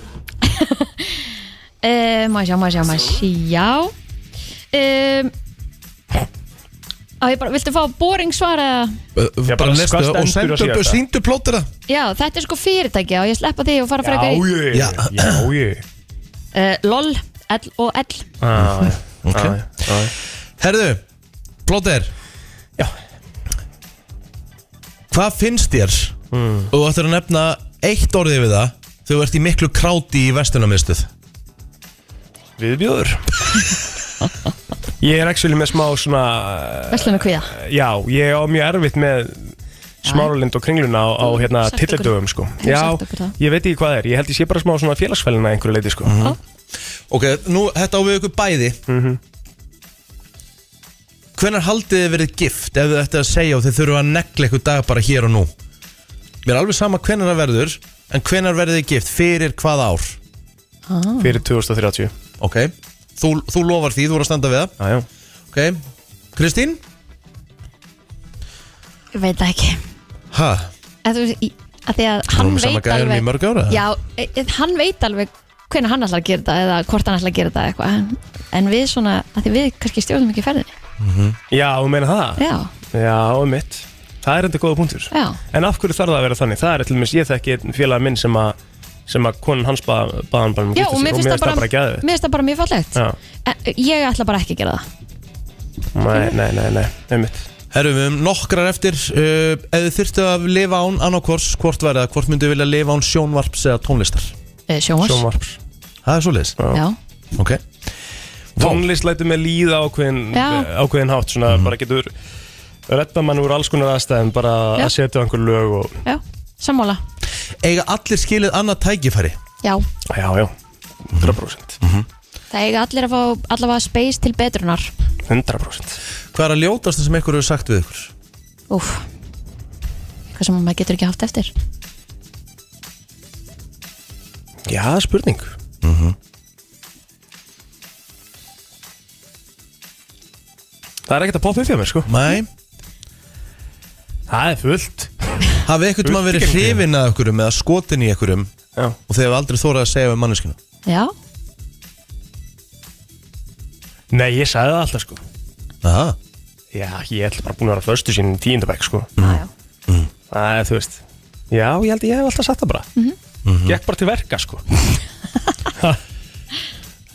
S3: uh, má ég sjá, má ég sjá, má ég sjá um, Á ég bara, viltu fá boring svar eða
S4: Já,
S2: bara
S4: bara
S2: lestu
S4: hvað
S2: og
S4: stendur á
S2: sendu upp
S4: síðasta?
S2: síndu plótera
S3: Já, þetta er sko fyrirtæki og ég sleppa því og fara
S4: já
S3: frekar í
S4: ég, já
S2: Já.
S4: ég
S3: uh, LOL, L og L
S4: ah,
S2: [laughs] Ok.
S4: okay. ah,
S2: Herðu, plóter
S4: Já.
S2: Hvað finnst þér
S4: Hmm.
S2: og þú ættir að nefna eitt orðið við það þegar þú ert í miklu kráti í vestunarmiðstöð
S4: Viðbjóður Ég er actually með smá
S3: [laughs]
S4: svona eh,
S3: Vestlun og kviða
S4: Já, ég á mjög erfitt með smáralind og kringluna á, á
S3: Þú
S4: hérna
S3: sagt okkur-
S4: tilladöfum sko.
S3: þú
S4: Já,
S3: sagt okkur það.
S4: ég veit ekki hvað það er, ég held ég sé bara smá svona félagsfælina einhverju leiti sko.
S3: Ó.
S2: Mhm. Ok, Eh, nú þetta á við ykkur bæði mm
S4: Mhm.
S2: Hvenær haldið þið verið gift ef þið ætti að segja og þið þurfa að negla ykkur dag bara hér og nú Mér er alveg sama hvenær það verður en hvenær verðið þið gift fyrir hvað ár
S4: Fyrir 2030
S2: Ok, þú, þú lofar því, þú voru að standa við það
S4: Já, já.
S2: Ok, Kristín?
S3: Ég veit það ekki
S2: Ha?
S3: að þú veist, í- að því að hann
S2: erum við sama
S3: veit
S2: gæjanum
S3: alveg
S2: í mörg ár, eða?
S3: já, e, e- hann veit alveg hvernig hann ætlar að gera þetta eða hvort hann ætlar að gera þetta eitthvað en, en við svona, að því við kannski stjórnum ekki ferðinni
S4: Já, þú meina það?
S3: já,
S4: Já, mitt. Það er enda góða punktur.
S3: já,
S4: En af hverju þarf það að vera þannig? Það er til dæmis, ég þekki einn félag minn sem að sem að konun hans bað, baðan bara um að
S3: já
S4: gifta
S3: og
S4: sig
S3: mér finnst það bara
S4: gæðið.
S3: mér finnst það bara mjög fallegt
S4: Já,
S3: en, ég ætla bara ekki að gera það
S4: nei, nei, nei, nei, einmitt.
S2: Herru, við höfum nokkrar eftir uh, Ef þið þyrftu að lifa án annarkvors Hvort værið það, hvort myndu vilja lifa án sjónvarps eða tónlistar
S3: e, sjónvars,
S4: Sjónvarps.
S2: Það er svoleiðis
S3: já,
S2: Ok
S4: tónlist lætur mig líða ákveðin,
S3: Já.
S4: ákveðin hátt svona
S2: Mhm.
S4: bara getur redda mann úr alls konar aðstæðum bara
S3: Já.
S4: að setja á einhver lög og
S3: já, sammála
S2: Eiga allir skilið annað tækifæri
S3: já,
S4: já, já,
S2: Mhm.
S4: 100%
S3: það eiga allir að fá allavega space til betrunar
S4: 100%
S2: Hvað er að ljótast sem ykkur hefur sagt við ykkur?
S3: úf hvað sem maður getur ekki haft eftir
S4: já, spurning Mhm. það er ekkert að poppa upp hjá mér sko
S2: Mæ,
S4: það er fullt
S2: hafið ykkur mann verið hrifin að ykkurum eða skotin í ykkurum
S4: já,
S2: og þið hefur aldrei þórað að segja við manneskinu
S3: já,
S4: nei, ég sagði það alltaf sko
S2: Aha,
S4: já, ég ætla bara búin að vera förstu sín tíundabæk sko
S3: já, já,
S2: Mm.
S4: það er, þú veist já, ég held að ég hef alltaf sagt það bara
S10: Mhm.
S2: Mhm.
S4: gekk bara til verka sko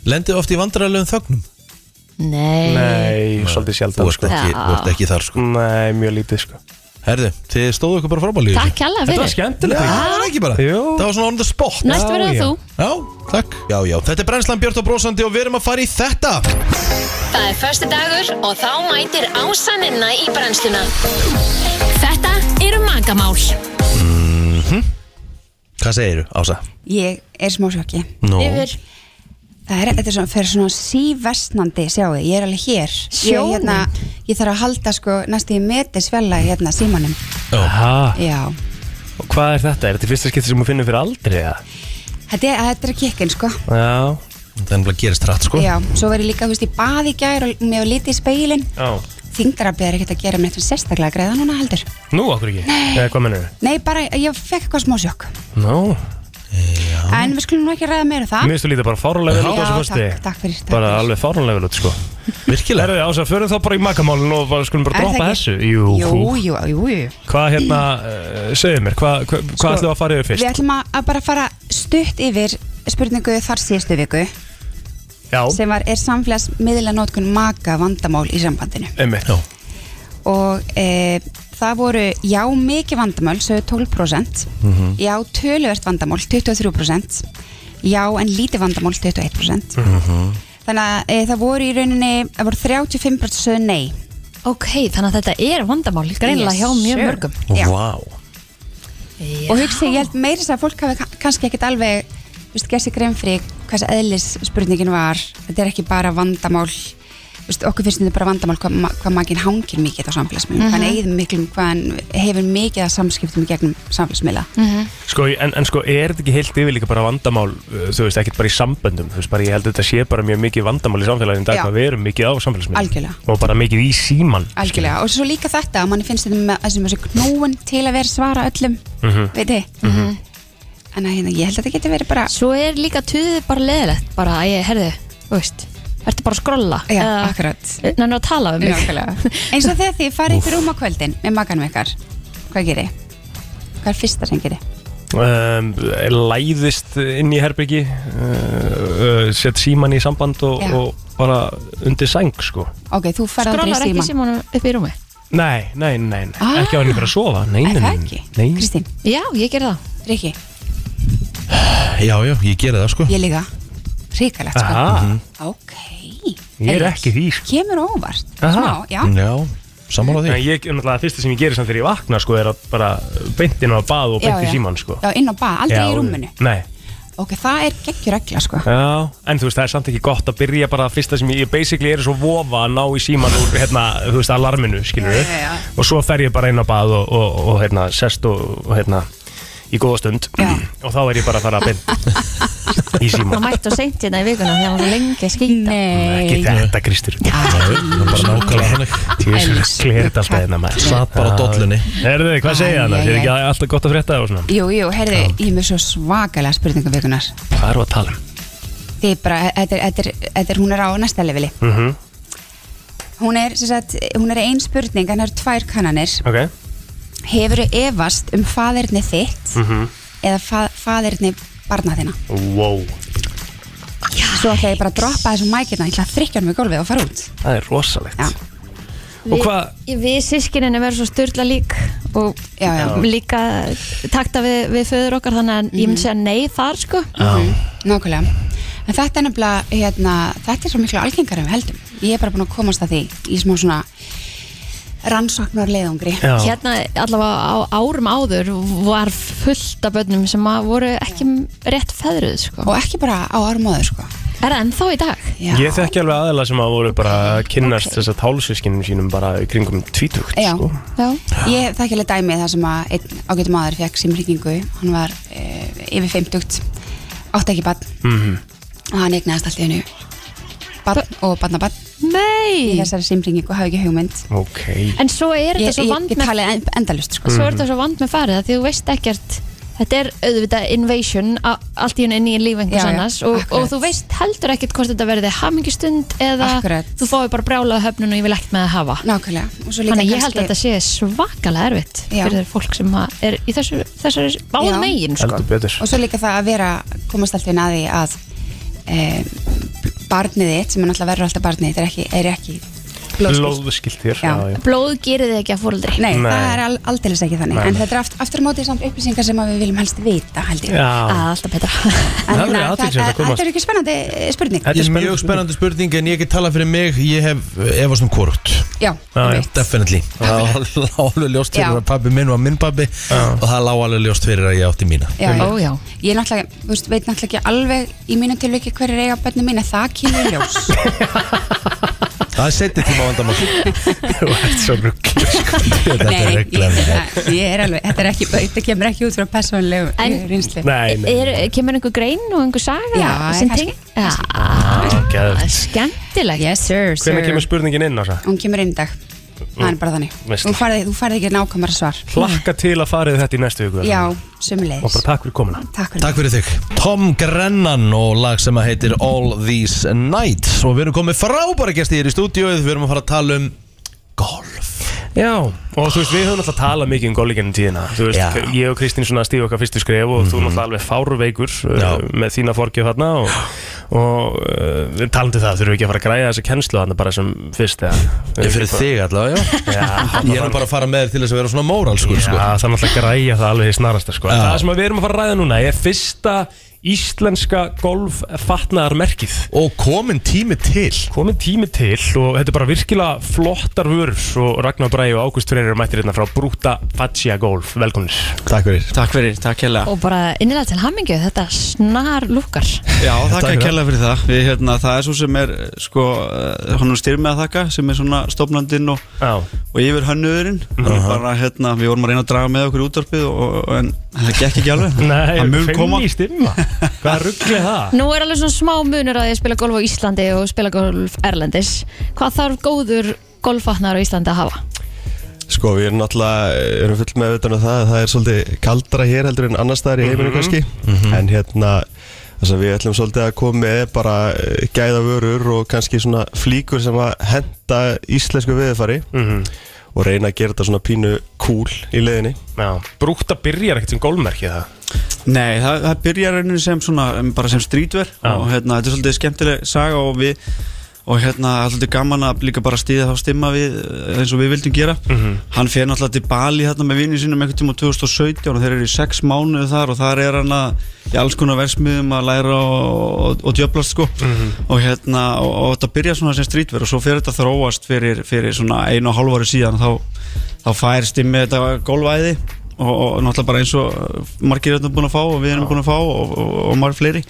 S2: lendið oft í vandrarlegum þögnum
S3: nei,
S4: nei, svolítið
S2: Þú
S4: sjaldan
S2: ert
S4: sko
S2: ekki, þú ert ekki þar sko
S4: Nei, mjög lítið sko
S2: Herðu, þið stóðu ykkur bara frábæli
S3: takk hella
S4: Þetta var
S3: fyrir
S2: Já,
S4: skemmtilegt
S2: það er ekki bara
S4: Jú.
S2: Það var svona on the spot
S3: næst
S4: Já,
S3: verður það
S4: já.
S3: þú
S2: Já, takk Já, já, þetta er brennslan Björn og Brósandi og við erum að fara í þetta
S11: Það er förstu dagur og þá mætir ásaninna í brennsluna. Þetta eru magamál.
S2: Mhm. Hvað segiru, Ása?
S10: Ég er smá sjokki
S2: Nú,
S3: yfir
S10: Það er, þetta er svona, fer svona sívestnandi, sjáu, ég er alveg hér Ég,
S3: Sjónin.
S10: er hérna, ég þarf að halda sko næstu í meti svella hérna símanum
S4: Aha,
S10: Já,
S4: og hvað er þetta? Er þetta í fyrsta skipti sem hún finnur fyrir aldrei? eða?
S10: þetta er, þetta er kikkin sko
S4: Já
S2: það er nefnilega gerist rætt sko
S10: Já, svo verið líka, þú veist, ég baði í gær og mér var litið í speilin
S4: Já
S10: Þingdarabið er ekkert að gera mér eitthvað sérstaklega greiða núna heldur
S4: Nú, okkur ekki? Nei Eða, Hvað mennur þau?
S10: Nei, bara, ég fekk eitthvað smá sjokk
S4: Nú
S10: En við skulum nú ekki ræða meira um það
S4: Mér finnst þú lítið bara fáránlega vel út á
S10: Já,
S4: þessu fyrsti
S10: takk- takk fyrir, takk
S4: Bara
S10: fyrir.
S4: alveg fáránlega vel út sko
S2: Virkilega
S4: Herðu, Ása, förum þá bara í makamálun og bara skulum
S10: Er
S4: bara
S10: það
S4: droppa
S10: ekki?
S4: þessu
S10: Jú,
S4: Jú,
S10: jú,
S4: hú.
S10: jú, jú, jú.
S4: Hvað hérna, uh, segðu mér, hvað hva, hva
S10: Sko,
S4: ætlum við að fara yfir
S10: Við
S4: fyrst?
S10: ætlum að að bara fara stutt yfir spurningu þar síðustu viku
S4: Já,
S10: sem var, er samfélagsmiðla notkun maka vandamál í sambandinu
S4: emmitt
S2: Já.
S10: og e, það voru já mikið vandamál, sögðu 12%
S4: Mhm.
S10: já töluvert vandamál, 23% já en lítið vandamál, 21%
S4: Mhm.
S10: þannig að e, það voru í rauninni það voru 35% sögðu nei
S3: Ok, þannig að þetta er vandamál Greinlega
S10: Yes,
S3: hjá mjög
S10: sure.
S3: mörgum
S10: Já.
S2: Vá
S3: Já.
S10: og hugsi, ég held meiri þess að fólk hafi ka- kannski ekkit alveg viðst, gerð sér grein fyrir hvers eðlis spurningin var þetta er ekki bara vandamál viðst, okkur finnst þetta bara vandamál hvað, ma- hvað maginn hangir mikið á samfélagsmiðlum hvað
S3: Mhm.
S10: hann eigður miklum, hvað hann hefur mikið að samskiptum í gegnum samfélagsmiðla
S3: Mhm.
S4: Sko, en, en sko, er þetta ekki heilt yfir líka bara vandamál, uh, þú veist, ekkert bara í samböndum, þú veist, bara ég held að þetta sé bara mjög mikið vandamál í samfélaginu í dag,
S10: Já.
S4: hvað við erum mikið á samfélagsmiðlum.
S10: Algjörlega.
S4: Og bara mikið í síman.
S10: algjörlega, og svo líka þetta að mann finnst þetta með þessum þessu knúin til að vera að svara öllum
S4: Mhm.
S10: veit þið en að, hérna, ég held að þetta geti verið bara
S3: Svo er líka tuðið bara leðilegt bara að ég, herðu, þú veist Ertu bara að skrolla
S10: Já, akkurat.
S3: Nennar að tala um mig
S10: Nákvæmlega.
S3: [laughs]
S10: eins og þegar þið farið upp í rúm á kvöldin með makanum ykkar, hvað gerir hvað er fyrsta sem gerir
S4: Um, læðist inn í herbyggi, uh, uh, sett síman í samband og,
S10: Já.
S4: og bara undir sæng, sko.
S10: Ok, þú farið aldrei
S3: Skrollar
S10: í
S3: ekki
S10: síman
S3: símanum upp í rúmi
S4: Nei, nei, nei, nei.
S10: Ah.
S4: ekki á henni fyrir að sofa, nei, nei,
S10: Er það
S4: nei,
S10: ekki?
S4: nei.
S10: Kristín,
S3: Já, ég ger það
S10: Riki,
S2: Já, já, ég gera það sko
S10: ég líka Ríkalegt sko
S4: Aha,
S10: Ok
S4: ég er
S10: Heyrðu,
S4: ekki því, sko.
S10: Kemur á óvart
S4: Aha.
S10: Smá, já
S2: Já, sammála
S4: Nei,
S2: því
S4: ég, náttúrulega, það fyrsta sem ég gerir samt þegar ég vakna, sko, er að bara beint inn á bað og beint
S10: já.
S4: í síman, sko.
S10: Já, inn á bað, aldrei
S4: Já,
S10: í rúminu
S4: Nei,
S10: Ok, það er geggjur regla sko
S4: Já, en þú veist, það er samt ekki gott að byrja bara að fyrsta sem ég, ég basically er svo vofa að ná í síman úr, hérna, þú veist, alarminu, skilur við
S10: Já, já, já.
S4: og svo fer ég bara inn á bað og, og, og hérna, sest og, og hérna, í góða stund
S10: Já.
S4: og þá er ég bara að fara að beint
S10: [laughs]
S4: í
S3: Það
S4: síman
S3: mætti og seint hérna í vikuna þegar hann var lengi að skýta
S4: Ekki
S10: Nei
S4: þetta, Kristur
S2: Það er bara nákvæmlega þannig
S10: Elsku
S4: Klir þetta alltaf hérna maður
S2: Satt bara á dollunni
S4: Herðu, hvað segja
S10: Æ,
S4: hann?
S10: æ,
S4: Er ekki
S10: æ.
S4: alltaf gott að frétta og svona?
S10: Jú, jú, heyrðu, ég er með svo svakalega spurningum vikunar
S4: Hvað eru að tala um?
S10: Þið er bara, þetta er, þetta er, þetta er, hún er á næsta leveli
S4: Mhm.
S10: Hún er, sem sagt, hún er ein spurning, hann er tvær kannanir
S4: Ok,
S10: Hefurðu efast um faðirni þitt eða fa faðirni barna þina?
S4: wow
S10: Svo ætla ég bara að droppa þessum mækirna, ég ætla að þrykja hann við gólfið og fara út.
S4: Það er rosalegt
S10: Já.
S4: Og hvað,
S3: Við, við sískininu verðum svo styrla lík og
S10: Já, já.
S3: líka takta við, við föður okkar þannig að ég myndi segja nei þar sko
S10: Mhm. Nákvæmlega. En þetta er nefnilega, hérna, þetta er svo miklu algengara en við heldum. Ég er bara búin að komast að því í smá svona rannsóknar leiðungri.
S4: Já.
S3: Hérna allavega á árum áður var fullt af börnum sem að voru ekki rétt feðruð sko.
S10: Og ekki bara á árum áður, sko.
S3: Er það ennþá í dag?
S10: Já.
S4: Ég þekki alveg aðeila sem að voru bara að kynnast þess að tálsískinum sínum bara í kringum tvítugt
S10: Já.
S4: sko.
S3: Já
S10: Ég þekki alveg dæmið þar sem að einn ágættum maður fekk símringingu, hann var eh, yfir 50, átti ekki barn
S4: Mhm.
S10: og hann eignaðist allt í hennu barn og barnabarn í
S3: Nei
S10: þessari símringingu, hafi ekki hugmynd.
S4: Ok
S3: En svo er
S10: Ég,
S3: þetta svo
S10: ég,
S3: vand
S10: ég
S3: með
S10: tali en- endalaust, sko.
S3: svo er þetta svo vand með farið að því þú veist ekkert þetta er auðvitað invasion a- allt í hún inn í líf einhvers
S10: Já, já,
S3: annars og,
S10: akkurat.
S3: og þú veist heldur ekkert hvort þetta verði hamingistund eða
S10: Akkurat.
S3: þú fáið bara brjála á höfnun og ég vil ekkert með að hafa
S10: Nákvæmlega og svo líka
S3: þannig að ég held að
S10: kannski-
S3: þetta sé svakalega erfitt
S10: Já.
S3: fyrir þeir fólk sem að er í þessu, þessari báðum
S10: Já.
S3: megin sko.
S4: Heldur betur
S10: og svo líka það að vera komast alltaf inn að því að e, barnið þitt sem er náttúrulega verður alltaf barnið þitt er ekki, er ekki blóðskylt
S4: Lóðskilt þér
S10: Já.
S4: já.
S3: blóð gerir þið ekki að fóruldri
S10: Nei,
S4: Nei.
S10: það er al, aldeilis ekki þannig
S4: Nei.
S10: en þetta er aft, aftur á móti samt upplýsingar sem að við viljum helst vita held ég
S3: að
S4: já.
S3: Ah, alltaf betra
S10: En
S4: Það er
S10: hérna,
S4: athyglisvert að
S10: þetta
S4: komast.
S10: þetta er ekki spennandi eh, spurning
S4: Þetta er
S2: Þetta er
S4: spennandi
S2: mjög spennandi spurning en ég get talað fyrir mig Ég hef efast um hvort
S10: Já,
S4: Já, já.
S10: einmitt.
S2: Definitely [laughs] Það lá alveg ljóst
S10: Já.
S2: fyrir að pabbi minn var minn pabbi Og það lá alveg ljóst fyrir að ég átti mína
S10: Já, já.
S3: Ó, já.
S10: Ég náttúrulega, þú veist, veit náttúrulega ekki alveg í mínu tilviki hverju eiga bönni mín en það kemur í ljós
S2: Það er setið tíma vandamál
S4: [laughs] Þú ert svo rugg
S10: Nei,
S2: Þetta er
S10: nei, ég,
S2: reglan
S10: ég- ég er alveg, þetta er ekki, þetta kemur ekki út frá persónlegu
S3: En-
S10: reynslu
S4: Nei, nei
S3: er, kemur einhver grein og einhver saga
S10: Já,
S3: sem
S10: kannski.
S3: teng... Já,
S4: Ah, Geðveikt.
S3: skemmtilegt
S10: Yes sir, sir
S4: Hvenær kemur spurningin inn á það?
S10: Hún kemur inn í dag Það er bara þannig
S4: Veistla.
S10: Þú farið, þú farið ekki nákvæmara svar
S4: Hlakka til að farið þetta í næstu viku
S10: Já,
S4: Og
S10: sömulegis
S4: bara takk fyrir komuna
S10: Takk fyrir
S2: Takk fyrir þig Tom Grennan og lag sem að heitir All These Nights Og við erum komið frábæra gesti hér í stúdíóið Við erum að fara að tala um golf
S4: Já Og þú veist, við höfum alltaf talað mikið um golfleikinu tíðina Þú veist,
S2: Já. Mhm.
S4: ég og Kristín svona stíf okkar fyrstu skref Og þú náttúrulega alveg fáruveikur uh,
S2: Já.
S4: Með þína forgjöf þarna og, og uh, við talandi það þurfum við ekki að fara að græja þessa kennslu þannig bara sem fyrst eða
S2: Ég fyrir þig allavega, já Ég er nú bara að fara með þér til þess að vera svona móralskur
S4: Já,
S2: sko.
S4: það er náttúrulega að græja það alveg í snarasta sko.
S2: Já.
S4: Það sem við erum að fara að ræða núna er fyrsta íslenska golffatnaðarmerkið
S2: Og komin tími til
S4: Komin tími til og þetta er bara virkilega flottar vörur og Ragnar Bræði og Ágúst Freyrir eru mættir hérna frá Brúta Faccia Golf Velkomnir
S2: Takk fyrir
S5: Takk fyrir, takk hella
S3: Og bara innilega til hamingju, þetta snar lukkar
S5: Já, þakka
S2: fyrir.
S5: kjærlega fyrir það Við, hérna, Það er svo sem er sko, honum styrmið að þakka sem er svona stofnandinn og,
S4: Já, Mhm.
S5: og yfir hönnuðurinn bara, hérna, Við vorum að reyna að draga með okkur í útvarpið og, og, en það gekk ekki alveg
S4: [laughs] nei,
S5: Það mun koma
S4: í stimma Hvað ruggli það?
S3: Nú er alveg svona smá munur að ég spila golf á Íslandi og spila golf Erlendis Hvað þarf góður golfvatnar á Íslandi að hafa?
S7: Sko við erum náttúrulega erum full með auðvitað um það að það er svolítið kaldara hér heldur en annar staðar í heiminu kannski en hérna það sem við ætlum svolítið að koma með er bara eh, gæða vörur og kannski svona flíkur sem að henda íslensku veðurfari og reyna að gera þetta svona pínu cool í leiðinni
S4: Já, Brúta byrjar ekkert sem golfmerkið það
S5: Nei, það, það byrjar rauninni sem svona, em, bara sem strítver
S4: Já.
S5: og hérna, þetta er svolítið skemmtileg saga og við og hérna, það er svolítið gaman að líka bara stíða þá stimma við eh, eins og við vildum gera
S4: Mhm.
S5: hann fer náttúrulega til Bali hérna með vinið sínum einhvern tíma 2017 og þeir eru í sex mánuðu þar og þar er hann að í alls konar versmiðum að læra og, og, og djöblast sko
S4: Mhm.
S5: og hérna, og, og þetta byrjar svona sem strítver og svo fer þetta að þróast fyrir, fyrir svona einu og hálfari síðan þá, þá fær stimmi þetta gólvæði og, og náttúrulega bara eins og uh, margir erum búin að fá og við erum búin að fá og, og, og margir fleiri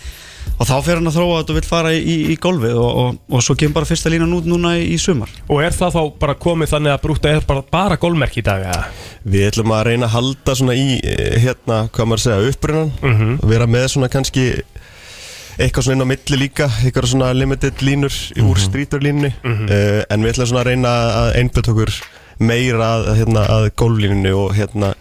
S5: og þá fer hann að þróa þetta og vill fara í, í, í golfið og, og, og svo kemur bara fyrsta línan út núna í, í sumar
S4: Og er það þá bara komið þannig að Brúta er bara, bara golfmerki í dag eða?
S7: Við ætlum að reyna að halda svona í eh, hérna, hvað maður að segja, upprunan
S4: Mhm.
S7: og vera með svona kannski eitthvað svona inn á milli líka, eitthvað svona limited línur
S4: Mhm.
S7: úr strítarlínunni uh, en við ætlum svona að reyna að einbjönd okkur meira að, hérna, að gólflínunni og hérna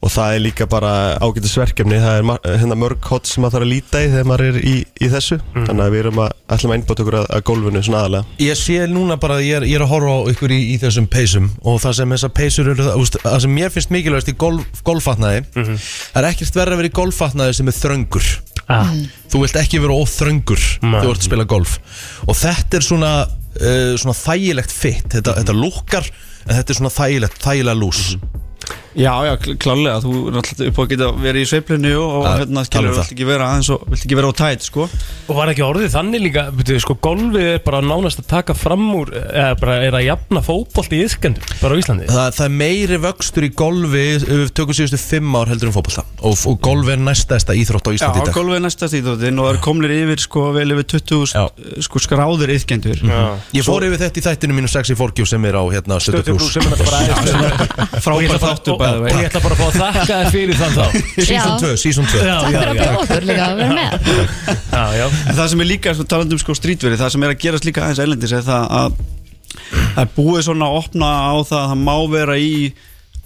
S7: og það er líka bara ágætis verkefni það er ma- hérna, mörg hot sem maður þarf að líta í þegar maður er í, í þessu
S4: Mhm.
S7: þannig að við erum að, ætlum að einbjönd okkur að, að gólfinu svona aðalega
S2: Ég sé núna bara að ég er, ég er að horfa á ykkur í, í þessum peysum og það sem þessar peysur eru það, úst, það sem mér finnst mikilvægast í golf, golffatnaði það er ekkert verið að vera í golffatnaði sem er þröngur
S4: Ah.
S2: þú vilt ekki vera óþröngur þegar þú ert að spila golf og þetta er svona, uh, svona þægilegt fit þetta, þetta lukkar en þetta er svona þægilegt, þægilega lús
S5: Já, já, kl- klárlega, þú er náttúrulega upp á að geta verið í sveiflinu og, og
S2: Ja,
S5: hérna,
S2: alveg
S5: skilur,
S2: það.
S5: vilt ekki vera aðeins og vilt ekki vera á tætt, sko
S4: Og var ekki orðið þannig líka, veitu, sko, golfið er bara nánast að taka fram úr, eða bara er að jafna fótbolt í yðskendum, bara á Íslandi.
S2: það, það er meiri vöxtur í golfi við tökum síðustu fimm ár heldur um fótbolta og, og golfi er næstæðsta íþrótt á
S5: Já,
S2: Íslandi í dag
S5: golfið er næsta stíðóttin og það er komlir yfir, sko, vel yfir 20
S2: Já.
S5: sko, skráður yðkendur
S2: Mhm. Ég fór yfir þetta í þættinu mínu 6 í 4Q sem er á hérna, 70
S4: Stötu
S2: plus
S4: brú sem er bara aðeins.
S2: [laughs]
S5: Frábær þáttur, bæði
S4: Og ég ætla bara að fá að þakka þér fyrir þann þá.
S3: Já.
S2: Season 2, season 2
S4: Já,
S3: Takk
S4: já,
S3: fyrir að
S4: já.
S3: bjóða okkur líka að vera með
S4: Já, já.
S5: En það sem er líka, sko, talandum sko strítverið, það sem er að gerast líka aðeins ælendis er það að það er búið svona að opna á það að það má vera í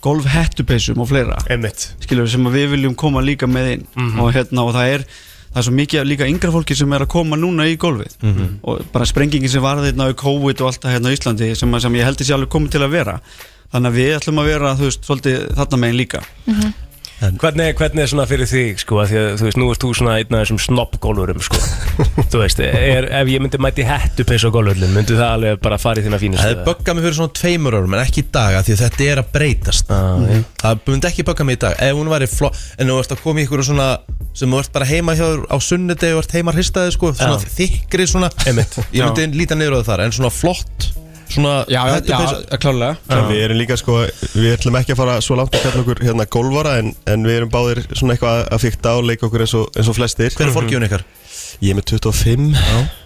S5: golf hettupesum og fleira
S4: Einmitt. Mhm.
S5: skilur sem að við viljum koma líka með inn og hérna og það er það er svo mikið af líka yngra fólki sem er að koma núna í golfið og bara sprengingin sem varði hérna á COVID og allt það hérna á Íslandi sem, að- sem ég heldur sé alveg komið til að vera þannig að við ætlum að vera þú veist svolítið þarna megin líka
S4: Hvernig, hvernig er svona fyrir þig, sko, að því að, þú veist, nú ert þú svona einn af þessum snoppgólfurum,
S2: [laughs]
S4: sko. þú veist, er, ef ég myndi mæti hættu peins á golfullin, myndi það alveg bara fara í þína sko? fínustu?
S2: Það er böggað mig fyrir svona tveimur árum en ekki í dag af því að þetta er að breytast Mhm. Það myndi ekki böggað mig í dag ef hún væri fló en þú ert að koma í ykkur svona sem þú ert bara heima hjá þér á sunnudegi og ert heima hristaði sko svona
S4: Já.
S2: þykkri svona
S4: Einmitt.
S2: Ég myndi líta niður á það þar en svona flott svona hettupeysa-
S5: klálega
S7: En við erum líka sko, við ætlum ekki að fara svo langt að kalla okkur hérna golvara en, en við erum báðir svona eitthvað að- að fykta og leika okkur eins og, eins og flestir
S2: Hver er
S4: Mhm.
S2: fórgjöfun ykkar?
S7: Ég er með 25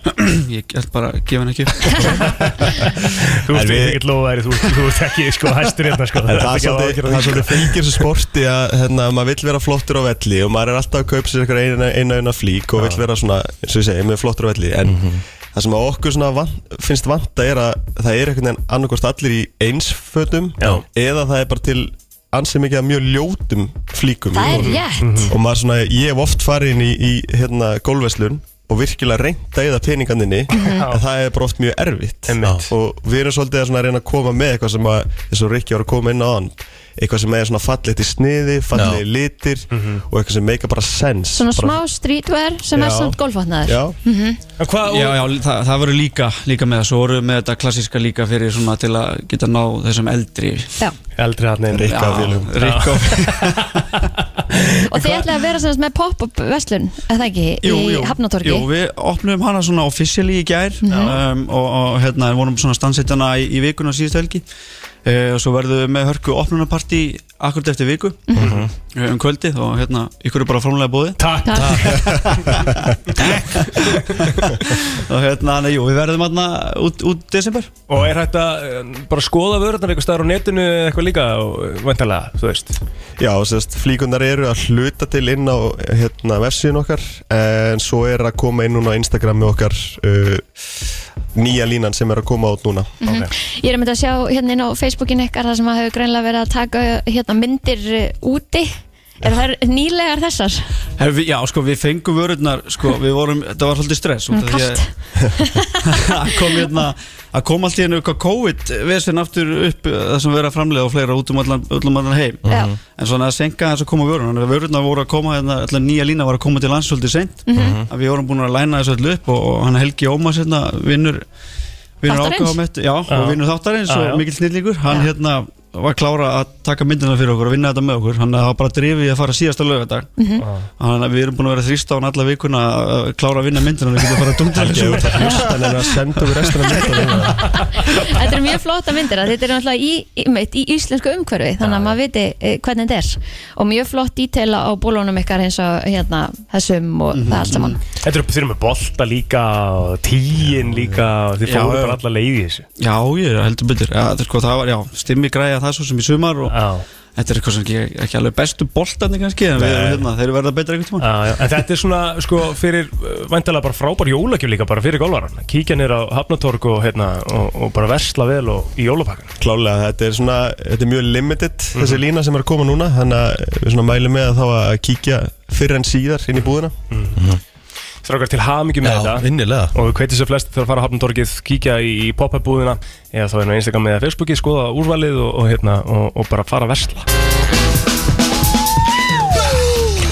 S5: [clears throat] Ég held bara að gefa hann ekki upp
S4: [laughs] Þú
S7: En
S4: veist,
S7: við-
S4: ég get lofa þér, þú, þú ert ekki, sko, hæstur hérna,
S2: [laughs]
S4: [laughs] sko.
S7: En það er
S4: þarf ekki að hafa áhyggjur af því,
S7: svolítið, það er
S4: sko.
S7: svolítið fylgir þessu sporti að hérna, maður vill vera flottur á velli og maður er alltaf að kaupa sér eitthvað eina eina, eina flík og vill vera svona, eins og ég segi, með flottur á velli en
S4: Mhm.
S7: það sem að okkur svona van, finnst vanta er að það er einhvern veginn annarkost allir í einsfötum
S4: Já.
S7: eða það er bara til ansið mikið af mjög ljótum flíkum í
S3: Það er
S7: golfi.
S3: rétt
S7: og maður svona, ég hef oft farið inn í, í hérna, golfveslun og virkilega reynda í það peninganinni
S3: Mhm.
S7: en það er bara oft mjög erfitt Einmitt. og við erum svolítið að svona reyna að koma með eitthvað sem að, eins og Rikki var að koma inn á hann eitthvað sem er svona fallegt í sniði fallegt í litir og eitthvað sem meika bara sens
S3: Svona
S7: bara,
S3: smá streetwear sem er
S7: Já.
S3: samt golfvatnaður
S7: Já.
S3: Mhm.
S4: Hvað,
S5: já, já, það, það voru líka, líka með þessu voru með þetta klassíska líka fyrir svona til að geta ná þessum eldri
S3: Já.
S4: Eldri hann einn
S5: Rikka og félögum Rikka og
S3: Og þið ætlaði að vera sem sagt með pop-up verslun eða ekki, í Hafnatorgi
S5: Jú, við opnum hana svona officially í gær um, og, og hérna vorum svona stansettana í, í vikuna síðustu helgi uh, og svo verðum við með hörku opnunarparti akkurat eftir viku eh, um kvöldið og hérna ykkur er bara frámlega bóði
S4: Takk,
S5: [laughs] og hérna, nei, jú, við verðum hérna út, út desember
S4: Og er hægt að eh, bara skoða vörðnar eitthvað staðar á netinu eða eitthvað líka og vantarlega, þú veist
S7: Já, sérst, flíkunar eru að hluta til inn á hérna, vefsíðun okkar en svo er að koma inn núna á Instagrami okkar uh, nýja línan sem er að koma át núna
S3: Mhm. Ég er að mynda að sjá hérna inn á Facebookin ykkar það sem að hefur greinlega verið að taka hérna, myndir eh, úti Er það nýlegar þessar?
S5: Hef, við- já, sko, við fengum vörurnar sko, við vorum, þetta var svolítið stress út
S3: Mm,
S5: af því að- [laughs] að kom hérna að kom allt í hennu eitthvað COVID vesen aftur upp eh, það sem verið að framlega og fleira út um allan, út um allan heim
S3: Já.
S4: Mhm.
S5: en svona að senka þess að koma vörurnar Þannig að vörurnar voru að koma, hérna, allan nýja lína var að koma til lands svolítið seint
S3: Mhm.
S5: að við vorum búin að læna þessu allu upp og, og hann Helgi Ómas hérna vinnur vinnur
S4: Þáttarins?
S5: ákveða með já,
S4: Já.
S5: og vinnur þáttarins
S4: Já, já.
S5: og mikil snillíkur hann hérna var klára að taka myndina fyrir okkur og vinna þetta með okkur, hann hafa bara drifið að fara síðasta lögadag
S4: Mhm.
S5: Þannig að við erum búin að vera að þrýsta á hann alla vikuna að klára að vinna myndina og við getum bara að dundra þessu út
S7: Þannig að senda við restina myndina
S3: Þetta eru mjög flotta myndir að þetta er náttúrulega í, í, mitt, í íslensku umhverfi þannig að maður viti eh, hvernig þetta er og mjög flott dítela á bólunum ykkar eins og hérna þessum og það allt saman
S4: Þetta eru þeir eru með bolta líka og tíin líka og þeir
S5: Já,
S4: fóru
S5: já.
S4: bara alla leið í þessu
S5: Já, ég er heldur betur Já, þetta er sko, það var, já, stimmi græja það svo sem í sumar og þetta er eitthvað sem ekki, ekki alveg bestu boltarnir kannski en við erum
S4: Nei.
S5: hérna, þeir eru verða betra einhvern tíma
S4: Já, já, en þetta er svona, sko, fyrir vantarlega bara frábær jólagjöf líka bara fyrir golvaran kíkja nýr á Hafnatorg og, hérna, og, og bara versla vel og í jólapakkan
S7: Klálega, þetta er svona, þetta er mjög limited
S4: Mhm.
S7: þessi lína sem er að koma núna þannig að við svona mælum með að þá að kíkja fyrr en síðar inn í búðina
S4: Strákar til hamingjum með þetta
S2: vinnilega.
S4: Og við kveitum sér flest til að fara á Hafnatorgið, kíkja í, í pop-up búðina eða þá einu einstakam með Facebookið, skoða úrvalið og, og, hérna, og, og bara fara að versla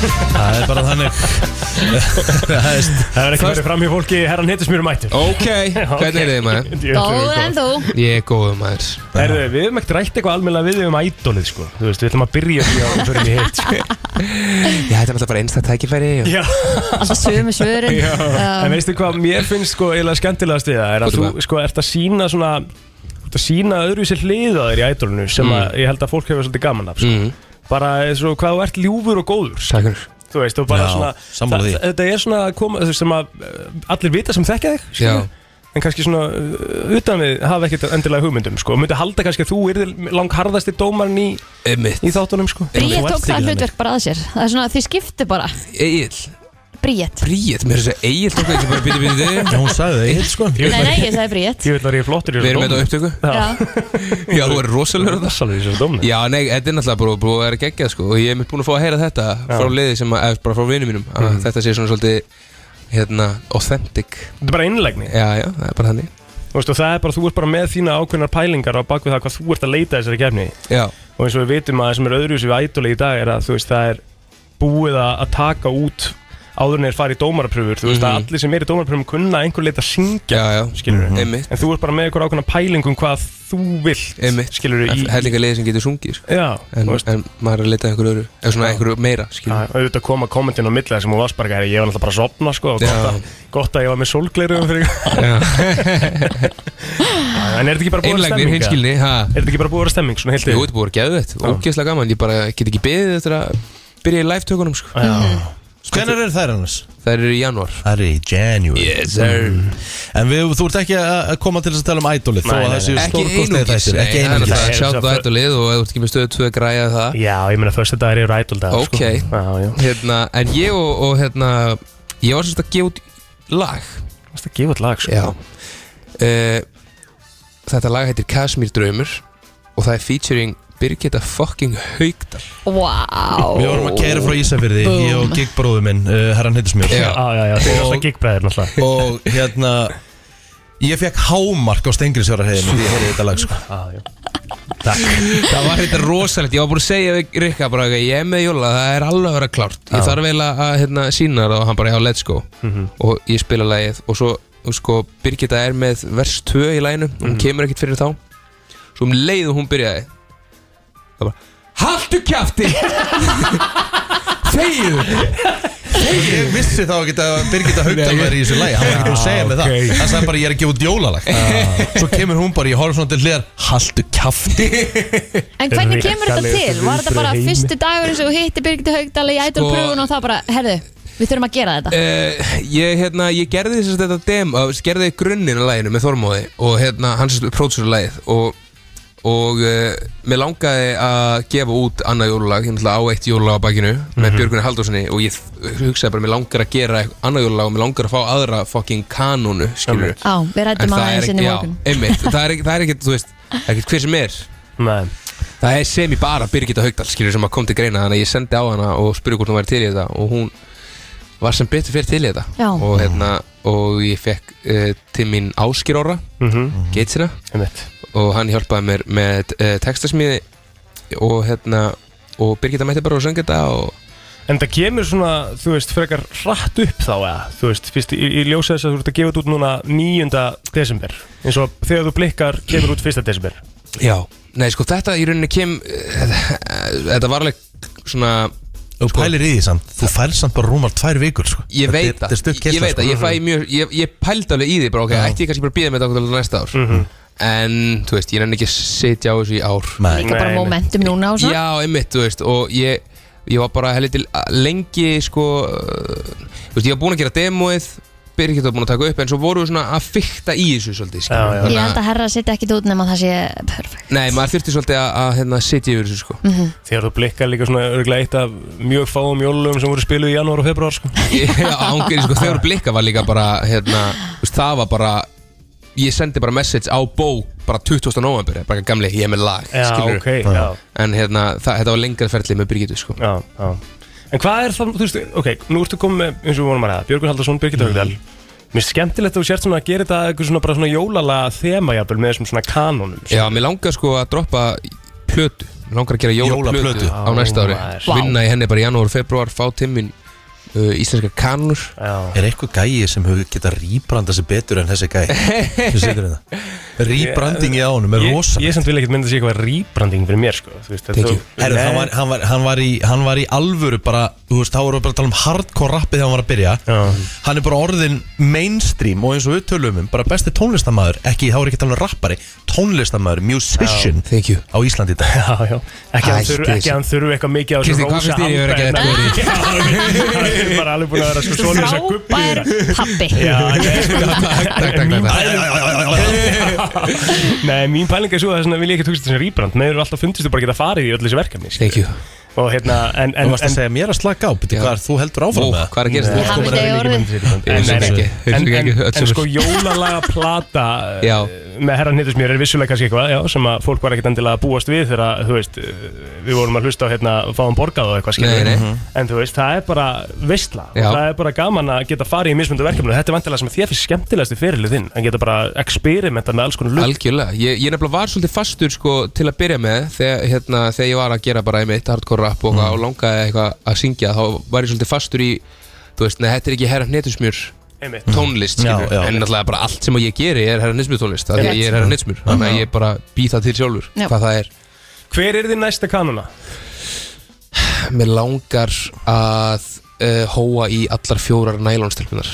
S2: Það er bara þannig Það er
S4: Það er ekki verið fram hjá fólki, herran hittis mjög mættur [laughs]
S12: Ok, hvernig er þið maður?
S3: Góð en þú
S12: Ég er góður maður
S4: Herðu, við hefum ekkert rætt eitthvað almennilega við þig um ædolið sko Þú veist, við ætlum að byrja því að við fyrir í
S12: [laughs]
S4: hitt sko.
S12: Já, þetta er alltaf bara einstakt tækifæri og...
S4: Já
S3: Alltaf sömu svörin
S4: [laughs] Já. En
S3: um,
S4: veistu hvað mér finnst sko eiginlega skemmtilegast við það er að
S12: Veitu
S4: þú sko ert að sína svona þú ert að sína öðruvísi hliða þér í ædolinu sem
S12: Mm.
S4: að ég held að fólk hefur svolítið gaman af sko. bara eins og hvað þú ert ljúfur og góður sko.
S12: Sækur
S4: þú veist og bara
S12: Já,
S4: svona
S12: sammála því.
S4: það- þetta er svona að koma þú veist, sem að eh, allir vita sem þekkja þig
S12: Já.
S4: skilur. en kannski svona eh, utan við hafa ekkert endilega hugmyndum sko og myndi halda kannski að þú yrðir langharðasti dómarinn í, í þáttunum sko
S3: Bríett tók það hlutverk bara að sér það er svona að þið skiptu bara
S12: Egil
S3: Bríett
S12: Bríet, mér er þessi Egil tók ekki bara býti býti
S2: Já, hún sagði Egil sko
S3: Nei, nei, ég sagði Bríett
S4: Ég vil var ég flottur í
S12: Við erum með þetta á upptöku
S3: Já.
S12: Já, þú er rosalegur þetta
S4: Rosalegur í þessu dómni
S12: Já, nei, þetta er náttúrulega bara búið að vera geggjað sko Og ég er mitt búin að fá að heyra þetta frá liði sem að, eða bara frá vinum mínum að
S4: Mhm.
S12: Þetta sé svona svolítið, hérna, authentic
S4: Þetta er bara innlegni
S12: Já, já, það er bara þannig
S4: Þú veist, og það er bara, þú ert bara með þína ákveðnar pælingar á bakvið það hvað þú ert að leita þessari kefni
S12: Já.
S4: og eins og við vitum að það sem er öðruvísi við ædoli í dag er að þú veist, það er búið að að taka út áður en þeir fara í dómarapröfur þú veist að
S12: Mhm.
S4: allir sem er í dómarapröfum kunna að einhver leita að syngja
S12: Já, já,
S4: skilur
S12: Mhm. Einmitt.
S4: en þú ert bara með einhver ákveðna pælingum hvað þú vilt
S12: Einmitt.
S4: skilur
S12: Það
S4: í
S12: er líka liði sem getur sungið sko.
S4: Já,
S12: en,
S4: þú veist.
S12: en maður er að leta einhverju öðru Eða svona einhverju meira skilur.
S4: að auðvitað koma kommentin á milli þar sem hún var sparka ég var náttúrulega bara að sopna sko og
S12: Já.
S4: gott að, gott að ég var með sólgleirugum fyrir
S12: Já.
S4: Já, [laughs] en er þetta ekki bara búið að vera
S12: Einlægnir,
S4: stemming? eða?
S12: hinskilni, ha?
S4: Er þetta ekki bara búið að vera stemming svona heilt
S12: Jú,
S4: yfir?
S12: þetta er búið að geða þetta Ógeðslega gaman, ég bara get ekki beðið eftir að byrja í live-tökunum sko.
S2: Hvernig eru þær annars?
S12: Það eru í janúar
S2: Það eru í January
S12: Yes, sir.
S2: En við, þú ert ekki að að koma til þess að tala um ædolið Þó að það séu
S12: Ekki
S2: stórkostið
S12: einungis
S2: þessir Ekki einungis
S12: Sjátt á ædolið og ef þú ert ekki með stöðu 2 græja það
S4: Já, ég meina fyrst þetta er yfir ædol dag
S12: Ok, hérna, en ég og, og hérna Ég var sérst að gefa út lag
S4: Varst að gefa út lag,
S12: sko Já Eh, Þetta lag heitir Kasmír draumur Og það er featuring Birgitta fucking haugdal
S3: Wow
S2: Við vorum að kæra frá Ísafyrði, ég og gigbróðu minn, uh, herran Hittismjör
S12: Já. Já, já, já, þeir eru alltaf
S2: gigbræðir náttúrulega Og hérna, ég fekk hámark á Stengriðsjórarheginu því ég heyrði þetta lag sko
S12: Ah,
S2: Já, já
S12: Það var þetta rosalegt, ég var búin að segja við Rikka bara að ég er með Jóla, það er alveg að vera klárt
S2: Já.
S12: Ég þarf eiginlega að hérna, sína það og hann bara já, let's go
S2: Mhm.
S12: Og ég spila lagið og svo og sko, Birgitta er með vers 2 í læginu og hún
S13: Mhm.
S12: kemur ekkert fyrir þá Svo um leið og hún byrjaði Það bara, haltu
S2: [laughs]
S12: kjafti Þegiðu
S2: Ég vissi þá ekki að Birgitta Haugdal
S12: Nei, ég-
S2: væri í þessu lagi Hann var ekki búin að
S12: Já,
S2: segja mig það
S12: ok.
S2: Hann sagði bara ég er að gefa út jólalag
S12: Ah.
S2: Svo kemur hún bara, ég horf svona til hliðar Haltu kjafti
S3: En hvernig kemur þetta til? Var þetta bara fyrstu dagurinn sem þú hitti Birgitta Haugdal í ætlum
S12: Sko-
S3: pröfun og það bara, herðu, við þurfum að gera þetta
S12: Eh, ég, hérna, ég gerði þess að þetta dem, uh, gerði grunninn að læginu með Þormóði og hérna, hans prótsur að lægið og, og uh, mér langaði að gefa út annað jólulag, ég náttúrulega á eitt jólulag á bakinu með
S13: Mhm.
S12: Björgunni Haldurssoni og ég hugsaði bara, mér langar að gera eitthvað annað jólulag og mér langar að fá aðra fucking kanónu, skilur
S3: Á, við rættum að það sinni
S12: já,
S3: morgun
S12: einmitt, það er, ekki- það er ekkert, þú veist, það er ekkert hver sem er Nei. Það er sem í bara Birgitta Haugdal, skilur, sem að kom til greina Þannig að ég sendi á hana og spurði hvort hún væri til í þetta Og hún var sem betur fyrir til í þetta
S13: Já.
S12: og, hérna, og ég fekk uh, til mín Áskir Orra, mm -hmm. geitsina Og hann hjálpaði mér með uh, textasmíði Og hérna, og Birgitta mætti bara og söng þetta og
S4: En það kemur svona, þú veist, frekar hratt upp þá eða, þú veist, fyrst í, í ljósa þess að þú ert að gefa þetta út núna 9. desember eins og þegar þú blikkar kemur út 1. desember
S12: Já, nei sko þetta í rauninni kem eh, Þetta var alveg svona
S2: Þú pælir í því samt, þú fær samt bara rúmar tvær vikur sko.
S12: Ég veit
S2: Þetta er- þetta er
S12: það,
S2: stutt
S12: ég
S2: keyrsla,
S12: veit það,
S2: sko.
S12: ég fæ
S4: Mhm.
S12: mjög, ég, ég pældi alveg í því bara, ok,
S2: Já.
S12: ætti ég kannski bara að býða með þetta okkur til næsta ár
S4: Mhm.
S12: En, þú veist, ég nenni ekki að sitja á þessu í ár
S3: Líka bara momentum núna og svona
S12: Já, einmitt, þú veist, og ég, ég var bara heldur til lengi, sko, uh, þú veist, ég var búinn að gera demoið Birgit var búinn að taka upp, en svo voru við svona að fykta í þessu svolítið, skilur við.
S3: Ég
S12: Þannig
S3: held að herra setja ekkit út nema það sé perfekt
S12: Nei, maður þurfti svolítið að, að hérna, sitja yfir þessu, sko
S3: Mhm.
S4: Þegar þú blikkar líka svona örglega eitt af mjög fáum jólum sem voru spiluð í janúar og februar
S12: [laughs]
S4: sko.
S12: ángurinn sko, þegar blikka var líka bara hérna, þú veist, það var bara ég sendi bara message á bó bara 20. november, bara gamli, ég er með lag
S4: Já,
S12: skilurðu.
S4: ok, já.
S12: en hérna, það, þetta var lengra ferli með Birgitu sko.
S4: já, já. En hvað er það, þú veist, ok, nú ertu komið með, eins og við vorum að ræða, Björgun Haldarsson, Birgit
S12: Mhm.
S4: Haugdal Mér er skemmtilegt að þú sért svona að gera þetta að eitthvað svona bara svona jólalega þema jafnvel með þessum svona kanónum sko.
S12: já, mér langar sko að droppa plötu, mér langar að gera
S4: Jólaplötu.
S12: jólaplötu á næsta ári,
S4: Ó, maður.
S12: vinna í henni bara í janúar, februar, fá timmin uh, íslenska kanur já.
S2: Er eitthvað gæi sem hefur getað rýbranda sig betur en þessi gæi sem situr hérna. þetta? Rýbrandingi á honum er
S4: Ég-
S2: rosa
S4: Ég samt vil ekkert mynda sér eitthvað rýbranding fyrir mér sko þú veist, þetta-
S2: Herru,
S4: Nei.
S2: hann, var, hann, var, hann, var í, hann var í alvöru bara, þú veist, þá voru bara að tala um hardcore rappið þegar hann var að byrja Hann er bara orðin mainstream og eins og við tölum um, bara besti tónlistamæður, ekki, þá er ekki að tala um rappari, tónlistamæður, musician
S12: já,
S2: á Íslandi í dag
S4: Já, já, ekki að hann þurfi- ekki að hann þurfi eitthvað mikið á þessu
S2: Kristín, hvað
S4: rósa
S2: finnst þér ég vera að gera
S4: handbragði?
S2: þetta?
S4: Já, Ég er [laughs] bara alveg búin að vera sko svona þess að guppi
S3: Frábær pappi
S12: [laughs]
S4: [laughs] Já, nei, sko, mín
S2: takk.
S4: pæling- [laughs] Nei, mín pæling er svo að þess vegna vil ég ekki tókst þessi rýbrand Mér eru alltaf fundist þú bara geta farið í öll þessi verkefni skilur.
S12: Thank you
S4: Og hérna, en, en
S2: Þú varst að segja mér að slaka á, betur hvað er þú heldur áfram
S12: Ó,
S2: með það?
S12: hvað er að gerast? Ég hafði
S2: Komin að
S12: ekki
S2: reyna
S12: orðið.
S2: ekki með þetta.
S12: Ég hugsa
S4: En,
S12: ekki, hugsa
S4: en,
S12: ekki
S4: en,
S12: öll
S4: en
S12: sem
S4: sko
S12: er.
S4: jólalaga plata eh,
S12: Já.
S4: með herran hittus mér er vissulega kannski eitthvað já, sem að fólk var ekkert endilega að búast við þegar að, þú veist, eh, við vorum að hlusta á hérna fáum borgað og eitthvað Mhm. skilur
S12: Nei,
S4: við.
S12: nei.
S4: en þú veist, það er bara veistla og
S12: Já.
S4: það er bara gaman að geta farið í mismundu verkefni og þetta er vantilega sem þér finnst skemmtilegasti fyrirlið þinn að geta bara experimentað með alls konar lutt
S12: Algjörlega, ég, ég nefnilega var svolítið fastur sko, til að byrja með þegar, hérna, þegar ég var að gera bara einmitt hardcore rap og, mm. og langaði eitthvað að syngja þá var ég svolítið fastur í þú veist, neða, þetta er ekki herra hnetusmjör
S4: Einmitt.
S12: tónlist,
S4: Mm. Já,
S12: skilur,
S4: já.
S12: en náttúrulega bara allt sem ég geri er herra hnetusmjör tónlist af því að ég er herra hnetusmjör, þannig að ég bara bý það til sjálfur
S4: Mhm. Já.
S12: hvað það er
S4: Hver er þinn næsta kanuna?
S12: Mér langar að uh, hóa í allar fjórar nælónstelpunar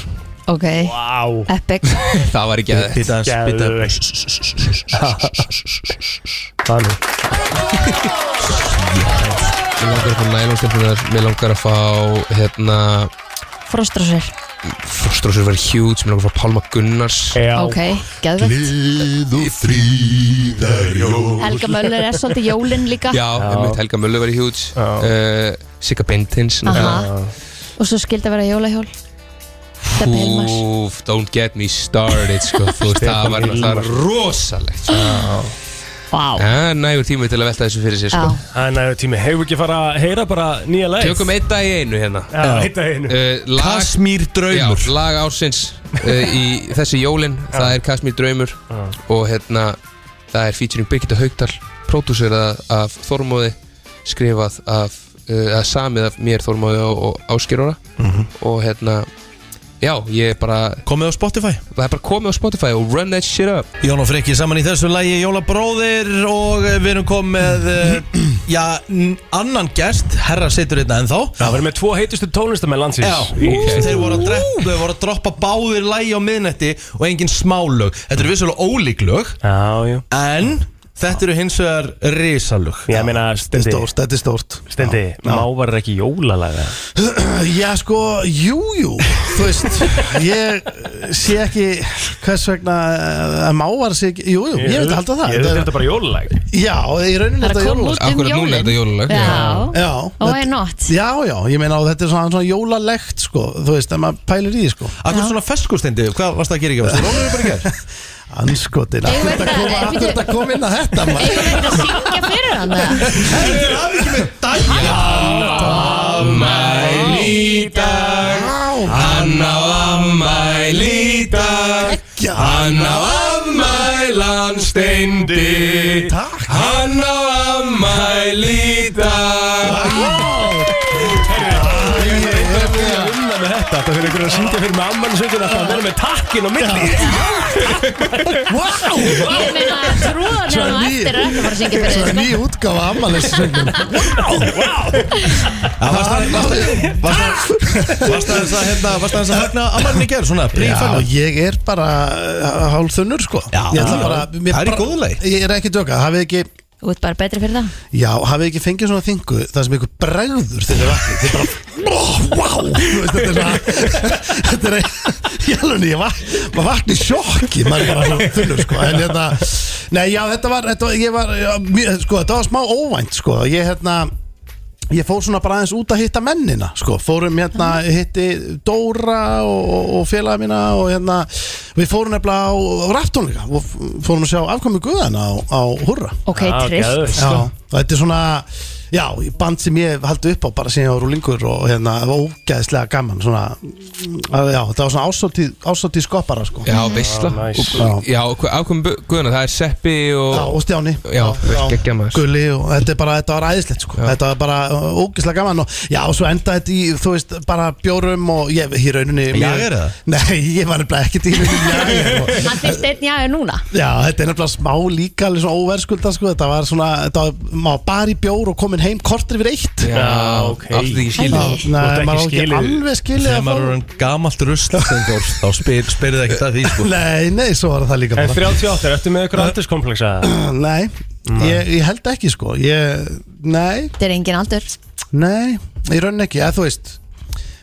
S3: Ok,
S4: wow.
S3: epic
S12: [laughs] það var ekki
S2: Bíddu aðeins, bíddu aðeins.
S4: Þannig
S12: Mér langar að fá nælónstelpunar, mér langar að fá hérna
S3: Frostrosir
S12: Frostrósur verið huge, mér langar að fá Pálma Gunnars
S3: Ok, geðvegt
S12: Gleð og fríðar jól
S3: Helga Möller er svolítið jólinn líka
S12: Já, einmitt, Helga Möller verið huge uh, Sigga Bentins
S3: Aha. Og svo skildi að vera jólahjól Steppi Hilmars
S12: Úf,
S4: [laughs]
S12: don't get me started sko, þú veist, það var náttúrulega rosalegt sko.
S3: Vá
S12: Það er nægur tími til að velta þessu fyrir sér sko.
S3: Já.
S4: Það er nægur tími, hefur ekki fara að heyra bara nýja leið
S12: Tökum einn dag í einu hérna
S4: Já, einn dag í einu.
S12: uh,
S2: Kasmír draumur
S12: Já, lag ársins uh, í þessi jólin Það er Kasmír draumur Og hérna, það er featuring Birgitta Haugdal Pródúserað af Þormóði Skrifað af uh, að Samið af mér Þormóði og, og Áskirora
S2: Mhm.
S12: Og hérna Já, ég er bara
S2: Komið á Spotify
S12: Það er bara komið á Spotify og run that shit up
S2: Jón og Frikki saman í þessu lægi Jólabróðir og eh, við erum komið með já, n- annan gest herra situr hérna ennþá
S4: Já, við erum með tvo heitustu tónlistamenn landsins
S2: Já, þeir voru að, drepp, þeir voru að droppa báðir lægi á miðnætti og engin smálög Þetta eru vissulega ólík lög
S4: já, já.
S2: En þetta eru hins vegar risalög
S4: Ég meina,
S13: Þetta
S4: Stendi
S13: er stórt, þetta er stórt
S4: Stendi, mávar er ekki jólalaga
S13: [clears throat] Já, sko, jú, jú Þú veist, ég sé ekki hvers vegna eh, að mávar sé ekki Jú, jú, ég veit að halda það
S4: Ég veit þetta bara jólalag
S13: Já, í rauninni
S4: Það er
S13: þetta
S4: að koma
S13: jólalag
S4: út um Akkúrat núna er þetta jólin. jólalag, já.
S13: Já,
S4: Já.
S13: já
S4: Og
S13: þetta-
S4: er
S13: [laughs]
S4: not.
S13: Já, já, ég meina og þetta er svona, svona jólalegt, sko Þú veist, ef maður pælir í, því, sko
S2: Akkur svona feskustindi, hvað varst það að gera ekki? Varstu rólegur bara í gær?
S13: [laughs] Anskotin
S2: Eigum við
S13: Þetta
S2: þetta-
S13: kom-
S2: nei,
S13: þetta kom inn að þetta maður.
S3: Syngja fyrir hann eða?
S12: Ammæli í dag Hann á ammæli í dag Hann á ammælan steindi Hann á ammæli í dag
S4: Unna með þetta, það fyrir ykkur að syngja fyrir með ammannsöngin að það verður með takkin og milli
S13: Wow!
S3: Ég meina, trúðan er hann
S13: Svo
S3: á
S13: ný-
S3: eftir er ekki að fara að syngja fyrir sko.
S13: Svo er ný útgáfa ammælisöngum
S2: Varst það að hérna, varst það að hérna Amalni ger svona,
S13: Já,
S2: prífæna
S13: ég er bara hálf þunnur sko já, Ég ætla bara mér
S2: það er í
S13: bara-
S2: góðu lagi.
S13: Ég er ekki að döka, hafið ekki
S3: Þú ert bara betri fyrir það
S13: Já, hafið ekki fengið svona þingu Það sem ykkur bregður þegar vatni Þið bara, oh, wow Þú veist, Þetta er svona Þetta er, ég alveg, ég vak, maður vakni í sjokki Maður er bara svona þunnur sko En hérna, nei já, þetta var, þetta var, ég var já, mjög, Sko, þetta var smá óvænt sko Ég hérna Ég fór svona bara aðeins út að hitta mennina sko. Fórum hérna, hitti Dóra og, og, og félaga mína og hérna, við fórum nefnilega á, á raftónleika og f- fórum að sjá afkomi guðana á, á Hurra
S3: Ok, Já, tryllt. geðveikt. sko.
S13: Já, og Þetta er svona, já, band sem ég haldi upp á bara síðan á Rúlingur og hérna, það var ógæðislega gaman svona, að, já, það var svona ásóttíð, ásóttíð skoppara sko.
S12: Já, veistla Og- Já, ákveðum guðuna, það er Seppi og
S13: Já, og Stjáni
S12: Já, geggja maður
S13: Gulli og þetta, er bara, þetta var æðislegt sko. þetta var bara uh, ógeðslega gaman og já og svo endaði þetta í þú veist bara bjórum og ég í rauninni
S2: Jager eða?
S13: [laughs] Nei, ég var nefnilega ekkert í rauninni jager og-
S3: Hann fyrst einn já núna
S13: Já, þetta er nefnilega smá líka alveg svona óverskulda sko. þetta var svona þetta var, maður bara í bjór og komin heim kortir yfir eitt
S4: Já, ok
S2: Átti þið ekki skilið?
S13: Já, nei, Þú átti ekki maður á ekki skilið. alveg skilið að
S2: Þegar maður
S13: fá-
S2: er orðinn gamalt rusl
S13: [laughs]
S2: Steindór, þá spyr, spyrðu ekkert að því sko
S13: Nei, nei, svo var það líka
S4: En
S13: bara
S4: 38, ertu með ykkur aldurskomplexa?
S13: Nei, ég, ég held ekki sko ég, Nei
S3: Þetta er engin aldur
S13: Nei, í rauninni ekki, eða þú veist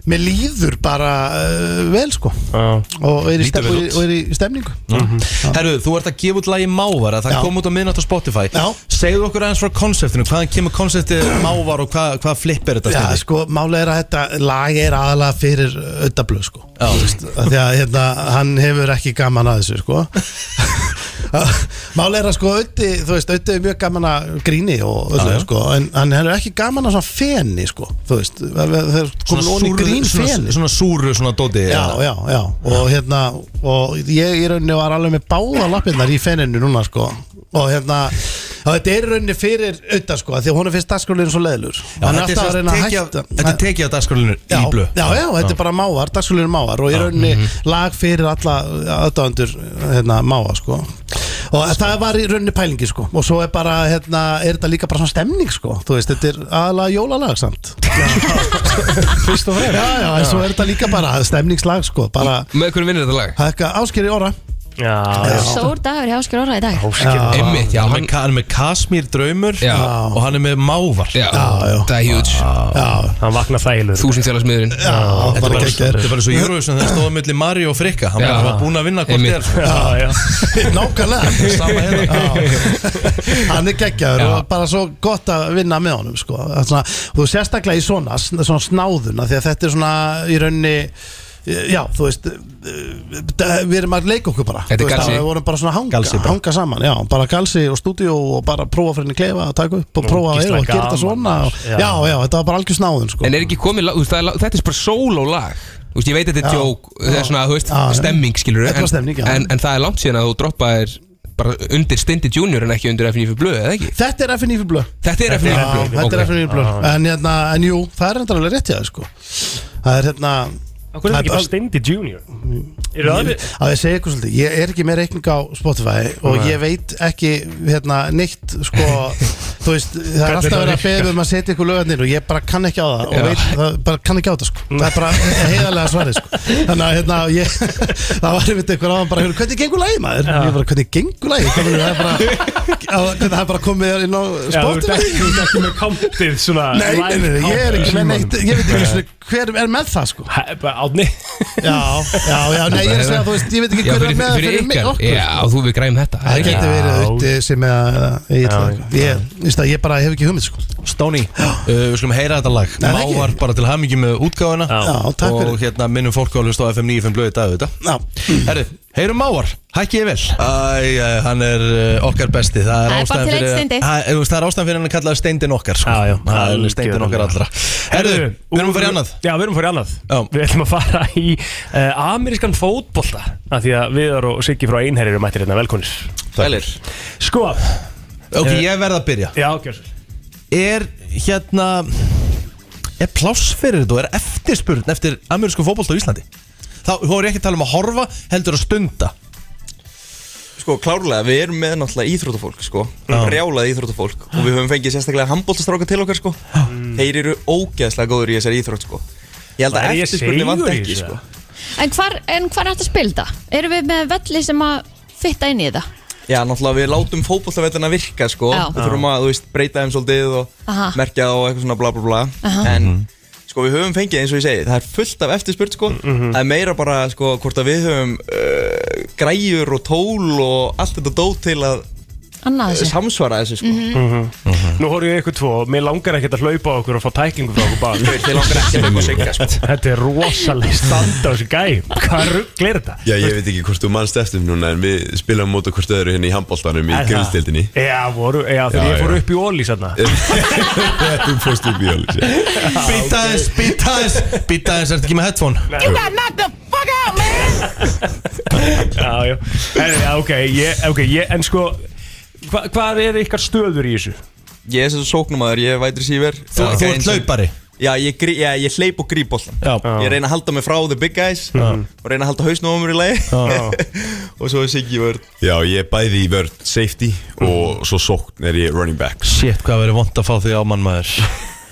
S13: Mér líður bara uh, vel sko
S4: ah.
S13: og, er í
S2: Lítur
S13: stef,
S2: vel
S13: og, er,
S2: út.
S13: og er í stemningu
S2: Mhm. Herru, þú ert að gefa út lagi Mávara Það
S13: Já.
S2: kom út á miðnátt á Spotify Já. Segðu okkur aðeins frá konseptinu Hvaðan kemur konseptið Mávar og hvað, hvað flipp er þetta
S13: Já,
S2: Steindór?
S13: sko, málega er að þetta lag er aðalega fyrir öttablöð sko Þú veist, af Því að hérna, hann hefur ekki gaman að þessu
S2: [laughs]
S13: sko Málega er að sko Ötti, þú veist, Ötti er mjög gaman að gríni og öllu sko En hann hefur ekki gaman að svona feni sko Þú veist, þegar komin onni grín feni
S2: svona, svona súru, svona dóti
S13: já, já, já og hérna og ég í rauninni var alveg með báða lappirnar í fenninu núna sko og hérna og þetta er í rauninni fyrir auðvitað sko af því að hún er fyrst dagskólinn svo leiðlur
S2: Já, þetta er
S13: alltaf að
S2: sem
S13: reyna að
S2: tekið af-
S13: hætta
S2: Þetta er tekið á dagskorlinu í blöð
S13: já, já, þetta er bara mávar, dagskólinn mávar og í rauninni lag fyrir alla aðdáðandur hérna, máva sko og það var í rauninni pælingi sko og svo er bara, hérna, er þetta líka bara svona stemning sko, þú veist, þetta er aðalega jólalag samt [laughs]
S4: Fyrst og
S13: já, já, en svo er þetta líka bara stemningslag sko, bara
S12: Með hvernig vinnir þetta lag?
S13: Hækka áskeri orra
S4: Já,
S3: Stór dagur hjá Áskir Orra í dag
S2: Einmitt, já, hann, hann er með Kasmír draumur já. og hann er með Mávar
S12: Já, það er huge
S4: Hann vaknar þægilegur
S12: Þúsund félagsmiðurinn
S2: Þetta er
S12: bara
S2: bara,
S12: geggjað.
S2: þetta er
S12: [laughs]
S2: bara svo Eurovision þegar stóða milli Mari og Frikka hann
S12: Já.
S2: bara var búin að vinna hvort
S12: Einmitt.
S2: þér sko. hérna.
S13: Já,
S2: [laughs]
S4: já
S13: Nákvæmlega
S2: Sama hérna. [laughs]
S13: Já. Hann er geggjaður
S2: Já.
S13: og bara svo gott að vinna með honum sko. Það er svona, Þú sérstaklega í svona, svona snáðuna því að þetta er svona í raunni Já, þú veist eh, eh, Við erum að leika okkur bara
S12: Þetta er
S13: Þú veist,
S12: galsi.
S13: Við vorum bara svona að hanga,
S12: Galsi bara.
S13: hanga saman já, Bara galsi og stúdíu og bara prófa fyrir henni klefa að taka upp og
S12: Nú,
S13: prófa að eiga
S12: gísla
S13: og gera þetta
S12: gaman,
S13: svona og,
S12: maður.
S13: já. já, þetta var bara algjör snáðun sko.
S12: En er ekki komið, lag- þú veist, það er lag- þetta er bara sóló lag Þú veist, ég veit að þetta er
S13: Já.
S12: tjók, þetta er svona, þú veist,
S13: Já, já.
S12: stemming skilur
S13: Þetta var stemning, já.
S12: en, en það er langt síðan að þú droppaðir bara undir Stindi Junior en ekki undir FNF Blöð, eða ekki?
S13: Þetta er FNF Blöð
S12: Þetta er FNF
S13: Já,
S12: Blöð,
S13: Þetta er
S12: ok.
S13: FNF Blöð
S4: Ah.
S12: Já.
S13: en, hérna, en jú, það er endalega rétt í það sko. Það er hérna
S4: Akkur er þetta ekki bara Steindi Junior? Eru það við?
S13: að ég segja ykkur svolítið, ég er ekki með reikning á Spotify og
S4: Nei.
S13: ég veit ekki hérna, neitt
S4: [laughs]
S13: sko, þú veist, það
S4: Hvernig
S13: er
S4: það
S13: alltaf verið að
S4: virkar.
S13: beða um að setja ykkur lögarnir og ég bara kann ekki á það
S4: Já.
S13: og veit, það, bara kann ekki á það sko. það er bara heiðarlega svarið sko. þannig að hérna, ég, [laughs] það var einmitt einhver áðan bara, hvernig gengur lagi maður? Ég bara, hvernig gengur lagi? Hvernig það
S4: [laughs]
S13: er bara, að- það er bara komið inn á
S4: Já, þú ert ekki-
S13: Spotify?
S4: þú ert ekki með kantið svona
S13: Nei, nei, nei, nei, ég er ekki með neitt Ég veit ekki
S4: [laughs]
S13: einu sinni hver er með það sko
S4: Átni
S13: Já, já, já, nei, ég er að segja þú veist, ég veit ekki
S12: Já,
S13: hver er
S12: fyrir-
S13: með það
S12: fyrir
S13: fyrir mig
S12: ykkar.
S13: okkur
S12: Já, þú við græm þetta
S13: Það
S12: ekki?
S13: getur verið auðviti sem er
S2: Já,
S13: eitthvað Ég, veist það, ég bara hef ekki hugmynd sko
S2: Stóni, uh, við skulum heyra þetta lag
S13: Nei, ekki.
S2: Mávar bara til hamingi með útgáfuna
S13: Já, takk
S2: Og
S13: fyrir.
S2: hérna minnum fólk á að hlusta á FM 95 blöði dag þetta Herru, heyrum Mávar, hækki ég vel Æ, æ, hann er uh, okkar besti Það
S3: Það
S2: er
S3: er bara
S2: ástæðan
S3: til
S2: fyrir
S3: einn Steindi.
S2: Æ, þú veist, Það er ástæðan fyrir hann að kalla steindin okkar sko. já, já, Það er steindin okkar allra Herru, við erum að fara í annað
S4: Já, við erum að fara í annað Við ætlum að fara í uh, amerískan fótbolta af Því að Viðar og Siggi frá Einherri eru mættir hérna velkonir
S2: Sælir
S4: Sko eh,
S2: Ok, ég verð að byrja
S4: Já, gjör svo
S2: Er hérna Er pláss fyrir þetta og er eftirspurn Eftir amerísku fótbolta á Íslandi Þá þá er ég ekki að tala um að horfa Heldur að stunda
S14: Sko klárlega, við erum með náttúrulega íþrótafólk sko
S2: Já.
S14: Rjálað íþrótafólk Og við höfum fengið sérstaklega handbóltastráka til okkar sko Þeir eru ógeðslega góður í þessari íþrótt sko Ég held
S4: Er
S14: að
S4: ég
S14: eftirspurni vant
S4: seigur í
S14: ekki
S4: þessu,
S14: sko
S3: En hvar, en hvar er þetta að spila þetta? Erum við með velli sem að fitta inn í þetta?
S14: Já, náttúrulega við látum fótbolltavellina virka sko
S3: Já.
S14: Við þurfum að, þú veist, breyta þeim svolítið og
S3: Aha.
S14: merkja þá og eitthvað svona bla bla bla
S3: Aha.
S4: Mhm.
S14: En sko við höfum fengið eins og ég segi Það er fullt af eftirspurt sko
S4: Mhm.
S14: Það er meira bara sko hvort að við höfum uh, græjur og tól og allt þetta dót til að
S3: Annað þessu
S14: samsvara þessu sko
S3: Mhm.
S4: Nú horfum ég ykkur tvo og mér langar ekkert að hlaupa á okkur og fá tæklingu frá okkur bara
S14: Þið langar ekki að hlaupa á Sigga, sko.
S4: Þetta er rosalega standa á þessu gæm Hvað rugglir þetta?
S15: Já, ég veit ekki hvort þú manst eftir núna en við spilum mót okkur stöður hérna í handbóltanum í
S4: Er það?
S15: [laughs] grillstildinni
S4: Já, voru, já, þegar
S15: Já,
S4: ég fór
S15: já.
S4: upp í ólís
S2: [laughs]
S4: þarna
S15: Þú fórst upp í alveg sér.
S2: Býta þess, býta þess Býta þess, ertu ekki með headphone?
S16: You got knocked the fuck out, man!
S4: Já, já, Herri, já, ok, ég, ok, ég, en sko hva, Hvað er ykkar stöður í þessu?
S14: Ég er sem sóknumæður, ég er vætri síver
S4: Þú- þú ert hlaupari?
S14: Já, ég, grí- já, ég hleyp og gríp boltan Ég reyna að halda mig frá the big guys Og reyna að halda hausnum á mér í lagi [laughs]
S15: [laughs]
S14: Og svo er Siggi vörð
S15: Ah. Já, ég er bæði í vörð safety og svo sókn er ég running back
S2: Shit, hvað verður vond að fá því á mann maður [laughs]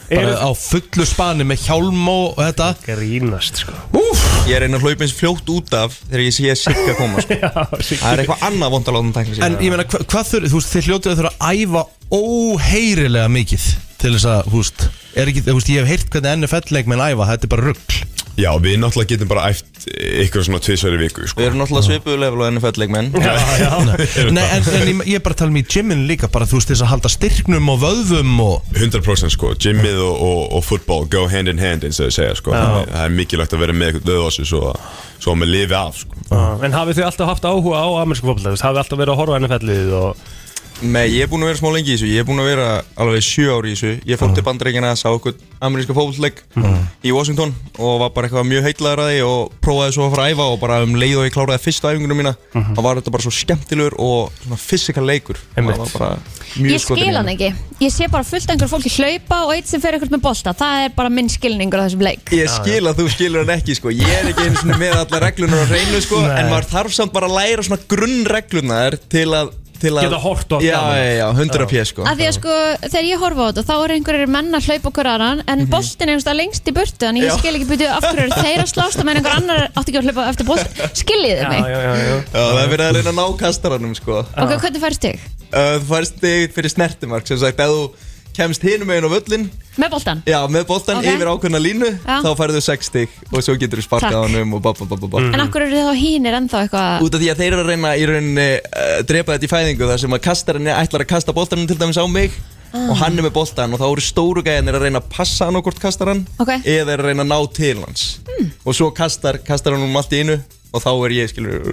S2: Bara á fullu spani með hjálm og þetta
S4: Grínast sko
S2: Úf,
S14: Ég reyna að hlaupa eins fljótt út af Þegar ég sé Siggi að koma
S4: [laughs]
S14: sko. Það er eitthvað annað vond að láta hann tækna sig
S2: En ég meina, hva, hvað þurfið, þú veist, þið hljótið að þurfa að æfa óheyrilega mikið Til þess að, þú veist, er ekki, þú veist, ég hef heyrt hvernig NFL-leikmenn æfa, þetta er bara rugg
S15: Já, við náttúrulega getum bara æft ykkur svona tvisveri viku sko.
S14: Við erum náttúrulega svipuðu level og NFL leikmenn
S2: Hérna. [laughs] Nei, en, en ég, ég er bara að tala um í gyminu líka, bara þú veist, þess að halda styrknum og vöðvum og
S15: 100% sko, gymmið og, og, og fútból go hand in hand eins og þau segja sko.
S4: Já.
S15: Það er mikilvægt að vera með eitthvað döðvási svo, svo að maður lifi af sko.
S4: En hafið þið alltaf haft áhuga á amerísku fólkvölda? Hafið þið alltaf verið að horfa á NFL-ið og
S14: Nei, ég er búin að vera smá lengi í þessu Ég er búin að vera alveg sjö ári í þessu Ég fór til bandreikina að sá okkur ameríska fókvöldleik í Washington og var bara eitthvað mjög heitlaður að því og prófaði svo að fara að æfa og bara um leið og ég kláraði fyrstu æfingunum mína þá var þetta bara svo skemmtilegur og svona fysikal leikur
S4: Einmitt.
S14: Það var bara mjög
S3: Ég
S14: skotinn í
S3: skil hann
S14: mér.
S3: ekki Ég sé bara fullt einhver fólki hlaupa og eitt sem fer einhvert með bolta Það er bara minn skilningur á þessum leik
S14: Ég skil að þú skilur hann ekki sko Ég er ekki einu sinni með alla reglunar á reynu sko
S4: Nei.
S14: En maður þarf samt bara að læra svona grunnreglunar til að til að-
S4: Geta horft á
S14: Já,
S4: gaman.
S14: já, já, 100 pjö sko
S3: Af því að sko, þegar ég horfa á þetta þá eru einhverjir menn að hlaupa okkur annan en mm -hmm. boltin er einhverstað lengst í burtu en ég
S14: Mhm. Já.
S3: skil ekki byrju af hverju eru þeir að slásta menn einhver annar átti ekki að hlaupa eftir bolt Skiljið þið mig?
S14: já, já, já. það er verið að reyna að ná kastaranum sko
S3: Ok, hvernig færst þig?
S14: Uh, Þú færst þig fyrir snertimark sem sagt, ef þú kemst hinum meginn á völlin
S3: Með boltan?
S14: Já, með boltan
S3: Ok.
S14: yfir ákveðna línu
S3: Já.
S14: þá færðu 6 stig og svo getur þú sparkað
S3: Takk.
S14: honum og bá, bá, bá, bá, bá.
S3: En af hverju eru þá hínir ennþá eitthvað
S14: Mhm. Út af því að þeir eru að reyna í rauninni uh, drepa þetta í fæðingu þar sem að kastarinn ætlar að kasta boltanum til dæmis á mig
S3: Ah.
S14: og hann er með boltan og þá eru stóru gæðinir að reyna að passa hann og hvort kastar hann
S3: Ok. Hmm.
S14: eða er að reyna að ná til hans og svo kastar, kastar hann um allt í einu og þá er ég skilur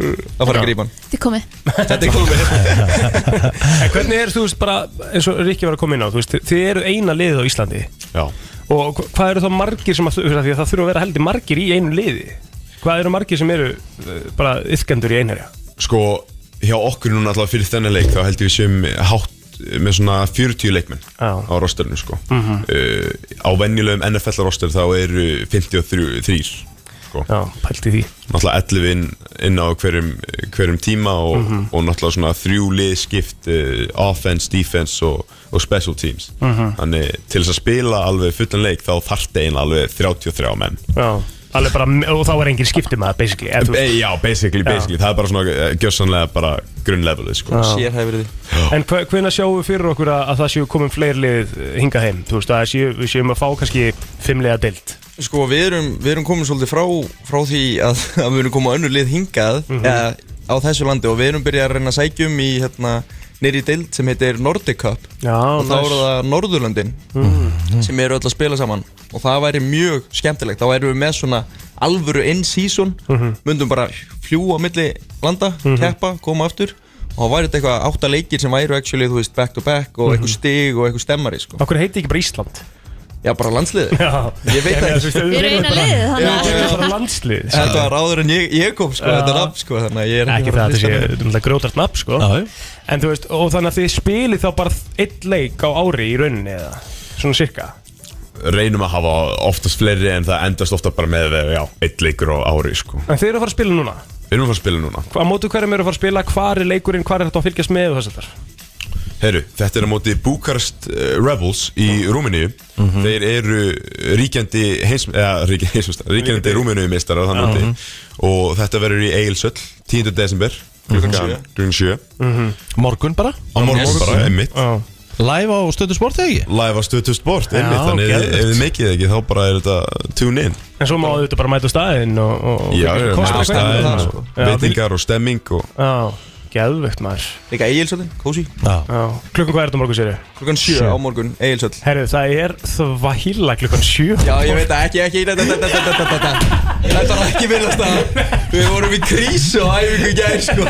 S14: að fara að grípa hann
S3: Þetta er komið
S14: Þetta er komið
S4: En hvernig er, þú veist, bara eins og Rikki var að koma inn á, þú veist, þið eru eina liðið á Íslandi
S15: Já
S4: Og hva- hvað eru þá margir sem að, þú veist, af því að það þurfa að vera heldur margir í einu liði Hvað eru margir sem eru uh, bara yfkendur í einherja?
S15: Sko, hjá okkur núna alltaf fyrir þennan leik þá held ég við séum hátt með svona 40 leikmenn á rosterinu sko
S4: Mhm.
S15: uh, Á venjulegum NFL roster þá eru 53 sko.
S4: Já, pælti því
S15: Náttúrulega 11 inn, inn á hverjum, hverjum tíma og,
S4: Mhm.
S15: og náttúrulega svona þrjú liðskipt uh, offense, defense og, og special teams
S4: Mhm.
S15: Þannig til þess að spila alveg fullan leik þá þarfti eiginlega alveg 33 menn
S4: Já, alveg bara, og þá er engin skiptum að, basically eða þú
S15: Be
S4: veist.
S15: Eh, já, basically,
S4: Já.
S15: basically Það er bara svona gjössanlega bara grunnlevelið sko.
S4: Já. Sérhæfir En hvernig sjáum við fyrir okkur að, að það séu komin fleiri lið eh, hingað heim? Þú veist, að það séu, við séum að fá kannski fimmlega deilt
S14: Sko við erum, við erum komin svolítið frá, frá því að, [laughs] að við erum komið önnur lið hingað
S4: Mhm.
S14: eða, á þessu landi og við erum byrjað að reyna að sækjum í hérna, nýri deild sem heitir Nordic Cup
S4: Já, Mm.
S14: og þá
S4: nice. Mhm.
S14: eru það Norðurlöndin sem eru öll að spila saman og það væri mjög skemmtilegt þá væri við með svona alvöru in season
S4: Mhm.
S14: myndum bara fljúa á milli landa,
S4: Mhm.
S14: keppa, koma aftur og þá væri þetta eitthvað átta leikir sem væru actually, þú veist, back to back og
S4: Mhm.
S14: eitthvað stig og eitthvað stemmari sko.
S4: Okkur heiti ekki bara Ísland
S14: Já, bara landsliðið
S4: [laughs] Já.
S14: Ég veit
S4: Já,
S14: það
S4: þú
S14: ekki
S4: veist, Við erum eina bara- liðið, þannig að- Við erum bara landslið, sko.
S14: Þetta var áður en ég, ég kom, sko,
S4: Já.
S14: þetta nafn, sko Þannig að ég er
S4: Ekki það að þetta sé grjótart nafn sko En þú veist, og þannig að þið spilið þá bara einn leik á ári í rauninni eða Svona cirka
S15: Reynum að hafa oftast fleiri en það endast ofta bara með já, eitt leikur á ári sko.
S4: En þið eru að fara að spila núna
S15: Við erum að fara að spila núna
S4: Á mótu hverjum eru að fara að spila, hvar er leikurinn, hvar er þetta að fylgjast með og þess að
S15: Heru, Þetta er á móti Búkarst uh, Rebels í Rúmeníu
S4: Mhm.
S15: Þeir eru ríkjandi heims, eða, rík, heimsmeistar, ríkjandi Rúmeníu meistar á þann móti
S2: Mhm.
S15: og þetta verður í Egilsöll 10. desember
S4: Mhm.
S15: klukkan klukkan sjö
S2: Morgun bara
S15: Á morgun
S2: Yes.
S15: bara, einmitt
S2: Live á stöðu sport eða ekki?
S15: Live á stöðu sport, einmitt
S2: Já,
S15: Þannig ef-
S2: geðvegt.
S15: ef þið meikið það ekki þá bara er þetta tune in
S4: En svo má auðvitað bara mæta á staðinn og, og, og
S15: Já, já,
S4: og-
S15: já,
S4: kosta eitthvað.
S15: staðinn og
S2: sko?
S4: Já,
S15: veitingar og stemming og
S4: Já, geðvögt maður
S14: Líka Egilsöldin, kósi
S4: Já, klukkan hvað er þetta á morgun sér?
S14: Klukkan sjö á morgun, Egilsöld
S4: Herru, það er þvæla klukkan sjö
S14: Já, ég veit það, ekki, ekki, þetta, þetta, þetta, þetta, þetta Þetta var ekki viljast að Við vorum í krísu á æfingu í gær, sko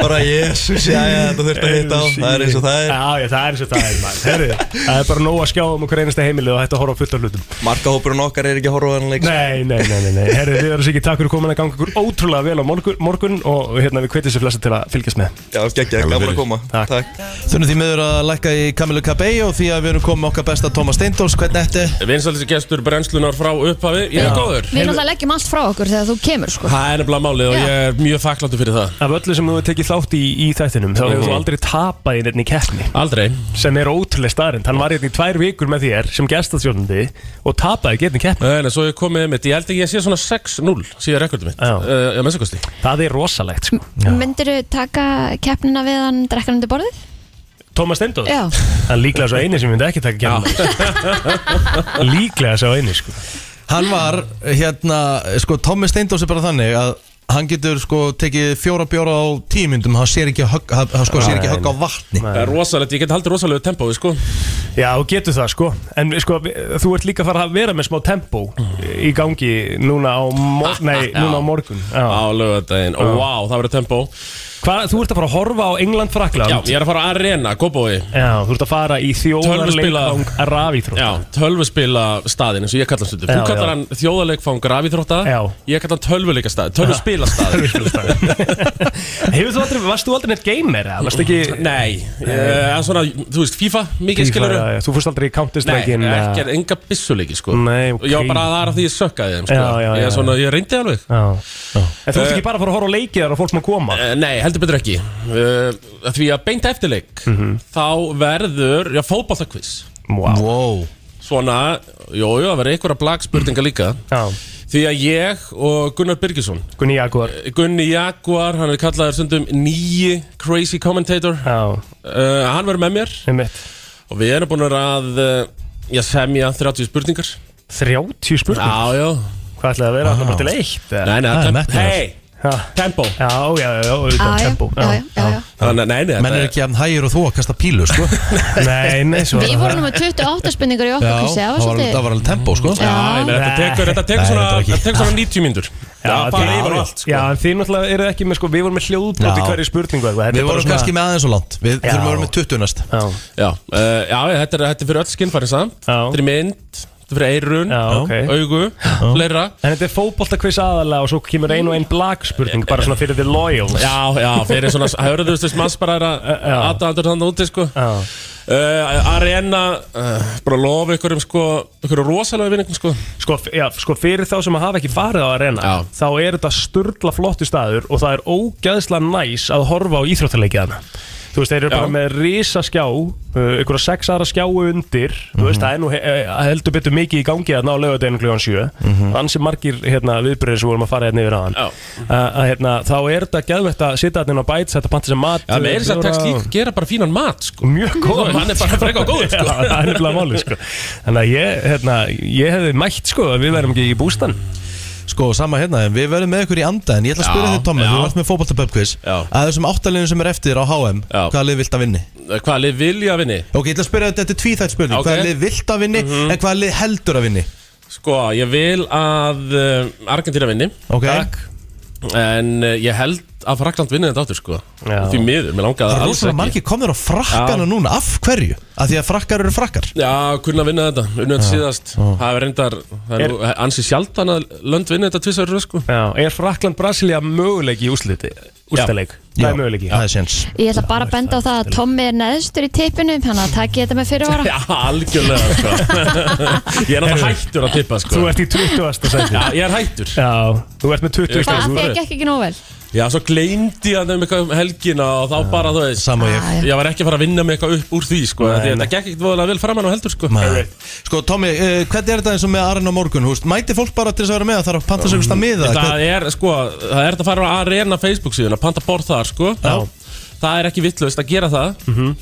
S14: Bara, jésus, já, já, þetta þurfti að hitta á Það er eins og það er
S4: Já, já, það er eins og það er maður Herru, það er bara nóg að skjá um okkur einasta heimilið og hægt að horfa á fullt af hlutum
S14: Markahópurinn okkar er ekki að horfa á hann leik
S4: Nei, nei, nei, nei, nei. Herru, við erum sikið takk fyrir komin að ganga ykkur ótrúlega vel á morgun, morgun og hérna við hvetjum sér flesta til að fylgjast með
S14: Já, geggja, gaman að koma Takk,
S2: Þunum því miður að lækka í Kamilu Cabello því að við erum komið með okkar besta Thomas Steindors, hvernig ætti?
S17: Vinsaldi gestur brennslunar frá upphafi Ég er góður
S3: Við náttúrulega leggjum allt frá okkur þegar þú kemur sko
S17: Það er nefnilega málið og
S3: Já.
S17: ég er mjög þakkláttur fyrir það
S4: Af öllu sem þú hefur tekið þátt í, í þættinum þá hefur þú aldrei tapað í nefni keppni
S17: Aldrei
S4: Sem er ótrúlega starrend, hann var hérna í tvær vikur með þér sem gestaðsjónandi og tapaði getni keppni
S17: Nei, nei, svo ég komið mitt, ég held ekki að sé svona 6-0 síðan rekordum mitt, uh, að mennsakosti
S4: Það er rosalegt, sko
S3: Myndirðu taka keppnina við hann drekkan undir borðið?
S4: Tómas Steindóð?
S3: Já.
S4: Það er líklega svo eini sem myndi ekki taka keppni Líklega svo eini, sko
S2: Hann var, hérna, sko, Tommi Steindors er bara þannig að hann getur sko tekið fjóra bjóra á tímyndum, hann sér ekki að högg, hann, hann, sko, sér ekki að högg á vatni
S17: Það er rosalegt, ég get haldið rosalegu tempói, sko
S4: Já, þú getur það sko En sko, þú ert líka að fara að vera með smá tempo Í gangi núna á, mor
S17: [laughs]
S4: nei, núna á morgun
S17: Á lögadaginn, og wow, það verður tempó
S4: Hvað, þú ert að fara að horfa á England Frakland
S17: Já, ég er að fara á Arena, Kópói
S4: Já, þú ert að fara í þjóðarleikvang rafíþrótta
S17: Já, tölvuspila staðin eins og ég kallar hann stundum
S4: Já,
S17: Þú kallar
S4: já.
S17: hann þjóðarleikfang rafíþrótta
S4: Já.
S17: Ég kallar hann tölvuleika staðin, tölvuspila
S4: [laughs] Hefur þú aldrei, varst þú aldrei neitt gamer? eða? Varst ekki
S17: Nei, eh, en svona, þú veist, FIFA, mikið skilur
S4: já, já, Þú fórst aldrei í
S17: Nei,
S4: Counter-Strike
S17: ekki, enga bissuleiki sko
S4: Nei, ok.
S17: Já, bara það er að því ég sökkaði þeim sko.
S4: Já, já,
S17: ég,
S4: já,
S17: er svona, ég reyndi alveg Eh.
S4: já, já. En þú ert ekki bara að fara að horfa á leiki þar og fólk sem að koma
S17: Nei, heldur betur ekki uh, Því að beint eftirleik
S4: Mhm.
S17: Þá verður, já, fótballtakviss
S4: Wow.
S2: wow
S17: Svona, jú, jú, það verður einhverja blagspurninga líka
S4: Já
S17: Því að ég og Gunnar Birgisson
S4: Gunni Jaguar
S17: Gunni Jaguar, hann er kallaður stundum nýji crazy commentator Eh,
S4: Já
S17: Hann verður með mér
S4: Einmitt.
S17: Og við erum búin að, uh, já, semja 30 spurningar
S4: 30 spurningar?
S17: Já, já
S4: Hvað ætlaði að vera alltaf bara til eitt?
S17: Nei, nei,
S4: Það er
S17: temp-
S4: metnaður.
S17: hey,
S4: Ha.
S17: Tempo
S4: Já,
S3: Ah,
S4: já, já, auðvitað,
S17: Já, já,
S4: tempo
S17: já,
S4: já.
S17: Það Þannig að- nei, nei,
S2: Menn
S17: þetta-
S2: er ekki að hægir og þú að kasta pílu sko.
S17: [laughs] Nei, nei, svo
S3: Við vorum með 28 spurningar í
S2: Já,
S3: okkar kvissi,
S2: það var alveg- það var alveg tempo sko
S3: Já.
S17: Nei, menn, þetta tekur, þetta tekur
S2: Nei,
S17: svona,
S2: þetta var ekki.
S17: þetta tekur svona 90 mínútur Já,
S2: þið-
S17: bara yfir og allt sko. Já, en þið náttúrulega eru ekki með sko, við vorum með hljóðbrot í
S2: Já.
S17: hverju spurningu eitthvað. Þetta er
S2: Við
S17: bara
S2: vorum
S17: svona-
S2: kannski með aðeins og langt Við
S17: Já.
S2: þurfum að vera með 20 næst
S17: Já,
S2: Já,
S17: uh, já þetta, er, þetta er fyrir öll skinnfæri samt Þetta er mynd, þetta er fyrir eirun,
S2: ok.
S17: augu, fleira En þetta er fótboltakviss aðalega og svo kemur ein og ein blagspurning bara svona fyrir the loyals Já, já, fyrir svona, hörðu þú veist, manns bara er að aðdandur þannig úti sko uh, Arena, uh, bara lofa ykkur um sko, ykkur rosalega vinningum sko sko, f- já, sko fyrir þá sem hafa ekki farið á Arena já. þá er þetta sturla flottu staður og það er ógæðslega næs að horfa á íþróttaleikjana Þú veist, þeir eru bara með risaskjá, uh, ykkur sex aðra skjáu undir, þú veist, það er nú he- eh, heldur betur mikið í gangi að ná lögadeginu kljóðan sjö,
S2: Mhm.
S17: ansi margir hérna, viðbröðir sem vorum að fara hérna yfir aðan, að hérna, þá er þetta geðvægt að sitta hérna á bæts, þetta panta sem mat. eh,
S2: Já, meira þess að tekst líka
S17: gera bara fínan mat, sko. Mjög góð.
S2: Hann er bara frekar
S4: [laughs]
S2: góður, sko.
S17: Já, það er nefnilega málið, sko. Þannig að ég, hérna, ég hefði mætt, sko, að við verðum ekki í bústan.
S2: Sko, sama hérna, en við verðum með ykkur í anda En ég ætla að spyrja
S17: Já,
S2: þig, Tommi,
S17: já.
S2: þú ert með fótboltaböpkvís Að þessum áttaleginu sem er eftir á HM
S17: Já.
S2: Hvaða lið vilt að vinni?
S17: Hvaða lið vilja að vinni?
S2: Ok, ég ætla að spyrja þetta, þetta er tvíþætt spurning
S17: Ok. Mhm.
S2: Hvaða lið vilt að vinni, en hvaða lið heldur að vinni?
S17: Sko, ég vil að uh, Argentina vinni
S2: Ok.
S17: Takk. En uh, ég held að Frakland vinni þetta áttur sko
S2: Já.
S17: Því miður, mér langaði
S2: Það er
S17: alls
S2: rosalega margir komnir á frakkana núna Af hverju? Af því að frakkar eru frakkar
S17: Já, kunna vinna þetta, unna þetta síðast Það er reyndar, það er, er ansi sjaldan að lönd vinna þetta tvisar sko Já, er Frakland Brasilia möguleik í úsliti? Ústaleik, það er möguleik
S2: Það er séns
S3: Ég ætla bara að benda á það að Tommi er neðstur í tippinu þannig að takk ég þetta með fyrirvara
S17: [laughs] Já, algjörlega sko Ég er náttúrulega hættur að tippa sko
S4: Þú ert í 20. sæti.
S17: Já, ég er hættur Já, þú ert með
S3: Það þekk ekki ekki nóg vel
S17: Já, svo gleymdi ég að þeim eitthvað um helgina og þá bara, þú veist Sama
S3: ég.
S17: Ég var ekki að fara að vinna með eitthvað upp úr því, sko Því að þetta gekk ekkert voðalega vel framann á heldur, sko
S2: Nei. Sko, Tommi, uh, hvernig er þetta eins og með Arena á morgun? Húst? Mæti fólk bara til þess að vera með það þarf að panta sig fyrst að miða
S17: Það er, sko, það er þetta að fara á Arena Facebook síðuna, panta borð þar, sko Já Mhm. Það er ekki vittlust að gera það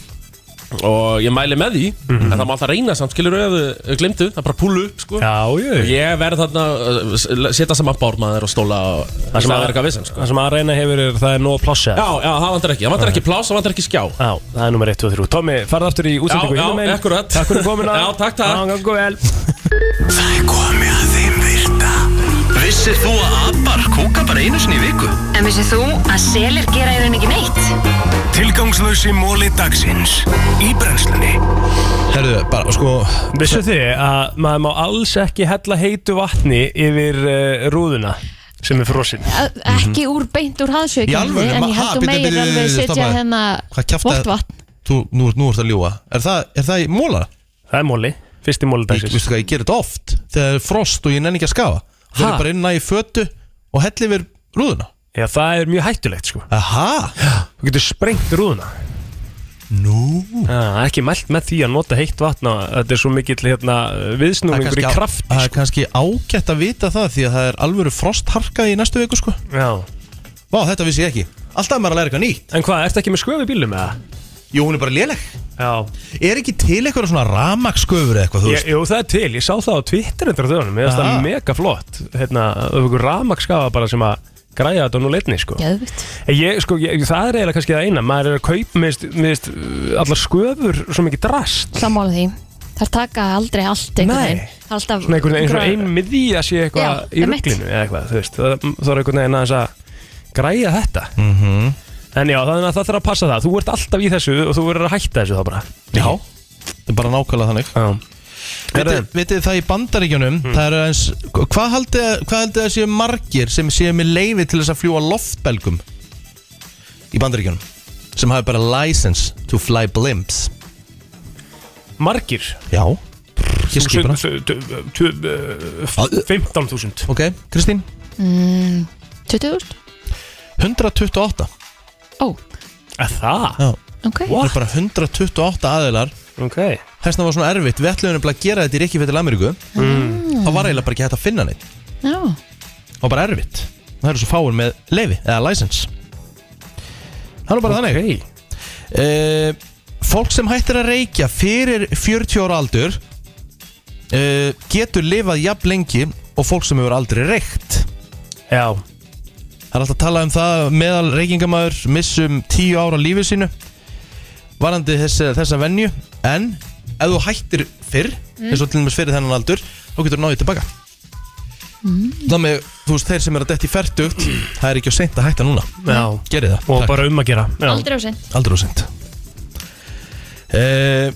S17: Og ég mæli með því En það má alltaf reyna samt, skilur auðvitað Glimtu, það er bara púlu upp, sko Já, ég Ég verð þarna, uh, s- setja saman bármaður og stóla og
S4: Það sem
S17: það
S4: að-
S17: er eitthvað vissan, sko
S4: Það sem að reyna hefur er það er nóg plássa
S17: Já, já, það vantar ekki, það vantar ekki pláss, það vantar ekki skjá
S4: Já, það er nummer 1, 2, 3 Tommi, farð aftur í útsendingu
S17: Já, já,
S4: hinum megin.
S17: akkurat.
S4: Takk fyrir komin
S17: [laughs] Já, takk, takk.
S4: Já, gangu vel
S1: Það er komið að þeim virta Vissir þú að abar kúka bara einu sinni í viku?
S11: En vissið þú að selir gera í raun ekki neitt?
S1: Tilgangslösi móli dagsins Í brennslunni
S2: Herðu, bara, sko
S4: Vissu þið að maður má alls ekki hella heitu vatni yfir uh, rúðuna sem er frosin
S3: Að- Ekki úr beint úr
S2: Mhm. Í
S3: haðsjökinni
S2: alvöru?
S3: en ég
S2: Ha,
S3: held þú
S2: bíddu,
S3: meir
S2: bíddu,
S3: alveg
S2: bíddu,
S3: setja
S2: stoppaðu.
S3: hérna
S2: Hvað kjafta-
S3: vort vatn
S2: Þú, nú, nú ert að ljúa Er það, er það í móla?
S4: Það er móli, fyrst í móli
S2: dagsins Vistu hvað, ég gerir þetta oft Þegar það er frost og ég nenni ekki að skafa Það
S4: Ha?
S2: er bara inn að í fötu og helli yfir rúðuna
S4: Já, það er mjög hættulegt sko
S2: Aha
S4: Þú getur sprengt rúðuna
S2: Nú
S4: Já, ekki mælt með því að nota heitt vatna Þetta er svo mikill hérna, viðsnúmingur í sko.
S2: á-
S4: kraft
S2: það er kannski ágætt að vita það Því að það er alvöru frostharka í næstu viku sko
S4: Já
S2: Vá, þetta vissi ég ekki Alltaf er maður að læra eitthvað nýtt
S4: En hvað, ertu ekki með sköfu bílum eða?
S2: Jú, hún er bara léleg
S4: Já
S2: Er ekki til eitthvað svona ramaksköfur eitthvað, þú
S4: Ég,
S2: veist? Ah.
S4: jú, það er til, ég sá það á Twitter undir þjóðunum, mér finnst það
S2: Aha.
S4: mega flott hérna, auðvitað ramakskafa bara sem að græja þetta á nú leitni, sko
S3: Geðvikt
S4: En Ég, sko, ég, það er eiginlega kannski það eina maður er að kaupa, mér finnst- mér finnst uh, allar sköfur svo mikið drast
S3: Sammála því Það taka aldrei allt einhvern veginn Það er alltaf
S4: svona einhvern veginn, eins og ein miði að sé
S3: Já,
S4: eitthvað í
S3: einmitt.
S4: rugglinu eða eitthvað, þú veist, það það er einhvern veginn aðeins að græja þetta
S2: Mhm.
S4: -hmm. En já, þannig að það þarf að passa það, þú ert alltaf í þessu og þú verður að hætta þessu þá bara
S2: Já, það er bara nákvæmlega þannig Vitið vitið það í bandaríkjunum Það eru eins Hvað haldið að- hvað haldið að séu margir sem séu með leifi til þess að fljúa loftbelgum Í bandaríkjunum Sem hafi bara license to fly blimps
S4: Margir?
S2: Já Ég skipur það
S4: 15.000
S2: Ok, Kristín
S3: mm, 20.000?
S2: 128
S3: Ó,
S4: Er það?
S2: Já
S3: ok
S2: Það eru bara 128 aðilar
S4: Ok
S2: Þessna var svona erfitt Við ætlum nefnilega að gera þetta í Rikki fyrir Ameríku
S3: Mm.
S2: Það var eiginlega bara ekki hægt að finna neitt
S3: Já
S2: Það var bara erfitt Það eru svo fáir með leifi eða license Það er bara
S4: okay.
S2: þannig uh, Fólk sem hættir að reykja fyrir 40 ára aldur uh, getur lifað jafn lengi og fólk sem hefur aldrei reykt
S4: Já
S2: Það Það er alltaf að tala um það að meðal reykingamæður missum tíu ára lífið sínu varandi þessa, þessa venju en ef þú hættir fyrr
S1: Mm.
S2: eins og til dæmis fyrir þennan aldur þá getur þú náðið tilbaka
S3: Mm.
S2: Það með, þú veist, þeir sem eru að detti færtugt það er ekki á seint að hætta núna
S4: Já.
S2: Gerið það
S4: Og bara um að gera
S3: Aldrei of seint.
S2: Aldrei á seint Eh,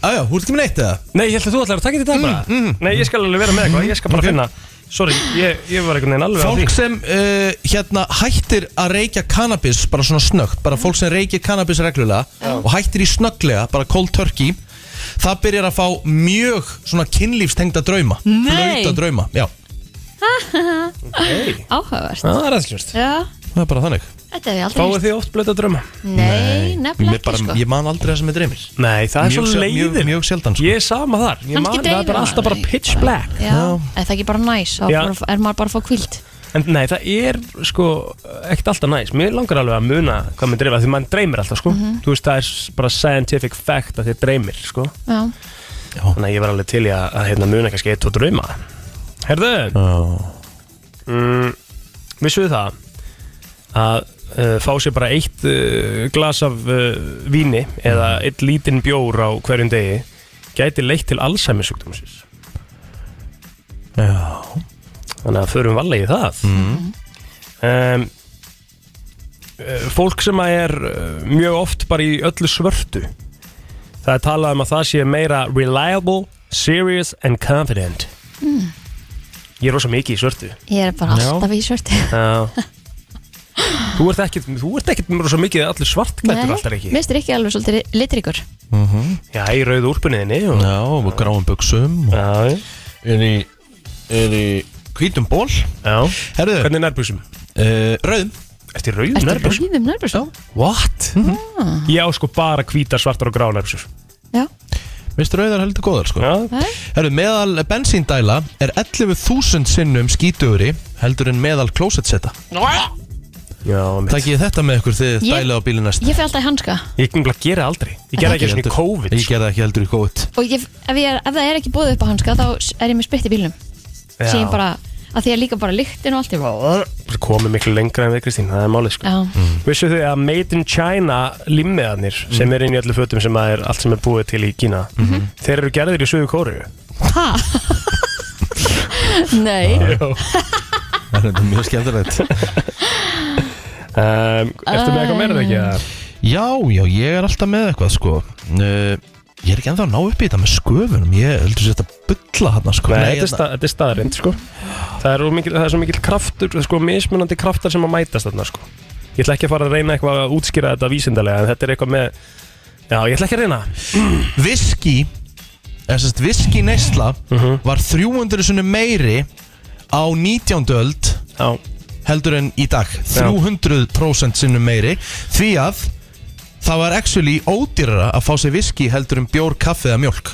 S2: Æja, hú ert ekki með neitt eða? Mm,
S4: Nei, ég held að þú ætlar að taka þetta í dag bara Nei, ég skal alveg vera með eitthvað, ég skal bara
S2: Ok.
S4: finna Sorry, ég, ég var einhvern veginn alveg á því
S2: Fólk sem uh, hérna hættir að reykja kannabis bara svona snöggt, bara fólk sem reykir kannabis reglulega og hættir í snögglega bara cold turkey, það byrjar að fá mjög svona kynlífstengda drauma
S3: Nei.
S2: blauta drauma, já
S3: [laughs]
S2: Já,
S3: Áhugavert
S2: það er aðskilvert.
S3: Já,
S2: það er bara þannig
S3: þetta hef ég aldrei heyrt.
S2: þið oft blauta drauma?
S3: Nei, nefnilega
S2: bara,
S3: ekki sko
S2: Ég man aldrei það sem ég dreymir
S4: Nei, það er
S2: Mjög
S4: svo
S2: sjal-
S4: leiðin
S2: mjög- sjaldan
S4: sko. Ég er sama þar Ég
S3: Kannski
S4: man- Það er
S3: dreymir
S4: bara alltaf bara pitch black
S3: Já, er það ekki bara næs þá
S4: Já.
S3: bara- er maður bara að fá kvíld
S4: En nei, það er sko ekkert alltaf næst Mér langar alveg að muna hvað mér dreymir Því maður dreymir alltaf sko
S3: Mhm.
S4: Þú veist, það er s- bara scientific fact að þið dreymir sko
S3: Já,
S4: Þannig að ég var alveg til í að, að hérna, muna kannski eitt og drauma Herðu mm, Vissuðu það að uh, fá sér bara eitt uh, glas af uh, víni eða eitt lítinn bjór á hverjum degi gæti leitt til Alzheimer sjúkdómsins
S2: Já
S4: Þannig að förum valið í það
S2: Mhm.
S4: um, eh, Fólk sem að er eh, mjög oft bara í öllu svörtu Það er talað um að það sé meira reliable, serious and confident
S3: mm.
S4: Ég er rosa mikið í svörtu
S3: ég er bara
S4: Já.
S3: alltaf í svörtu [laughs]
S4: Já Þú ert ekkert, þú ert ekkert rosa mikið allir svartklættur alltaf ekki
S3: mistur ekki alveg svolítið litrikur
S4: Já, í rauðu úrpunniðinni og...
S2: Mhm. Já, og gráum buksum og...
S4: Já,
S2: Er í, er í hvítum ból
S4: Já
S2: Herðu
S4: Hvernig nærbuksum?
S2: Uh, rauðum
S4: Ertu í rauðum
S3: Ertu
S4: nærbuksum?
S3: rauðum nærbuksum?
S4: What?
S3: Mm
S4: Ég á sko bara hvítar, svartar og grá nærbuksur
S3: Já.
S2: Mist rauðar heldur góðar sko
S4: Já.
S2: Herru, meðal bensíndæla er 11.000 sinnum um skítugri heldur en meðal klósetsetta
S4: Já, mitt
S2: Takk ég þetta með ykkur þegar
S3: Ég-
S2: þið dæla á bílinn næst
S3: Ég fer alltaf í hanska
S4: Ég kan bara gera aldrei Ég gerði ekki svona í COVID
S2: Ég gerði ekki heldur í COVID
S3: og ég, ef, ég er, ef það er ekki búið upp á hanska þá er ég með spritt í bílnum
S4: Já.
S3: sem ég bara, að því að líka bara lyktin og allt er bara
S4: Bara komið miklu lengra en við Kristín, það er málið sko
S3: Já.
S2: Mhm.
S4: Vissu þau að Made in China limmiðarnir sem er inn í öllu fötum sem að er allt sem er búið til í Kína
S2: Mhm.
S4: Þeir eru gerðir í sögu kóru
S3: Hæ? [laughs] Nei [laughs]
S2: Það er [laughs]
S4: [laughs]
S2: mjög skemmtilegt
S4: um,
S3: ertu með eitthvað meira, eða ekki, eða?
S2: Já, já, ég er alltaf með eitthvað sko uh, Ég er ekki ennþá að ná upp í þetta með sköfunum Ég heldur sér þetta bulla hann sko
S4: Nei, þetta er sta- þetta er staðarind sko Það er, of mikil, það er svo mikil kraftur, sko mismunandi kraftar sem að mætast þarna sko Ég ætla ekki að fara að reyna eitthvað að útskýra þetta vísindalega en þetta er eitthvað með Já, ég ætla ekki að reyna
S2: Viski Þessast viski neysla
S4: Mhm.
S2: Var 300 sunni meiri Á 19. öld
S4: Já.
S2: Heldur en í dag 300% sinnum meiri Því að það var actually ódýrara Að fá sér viski heldur en bjór, kaffi eða mjólk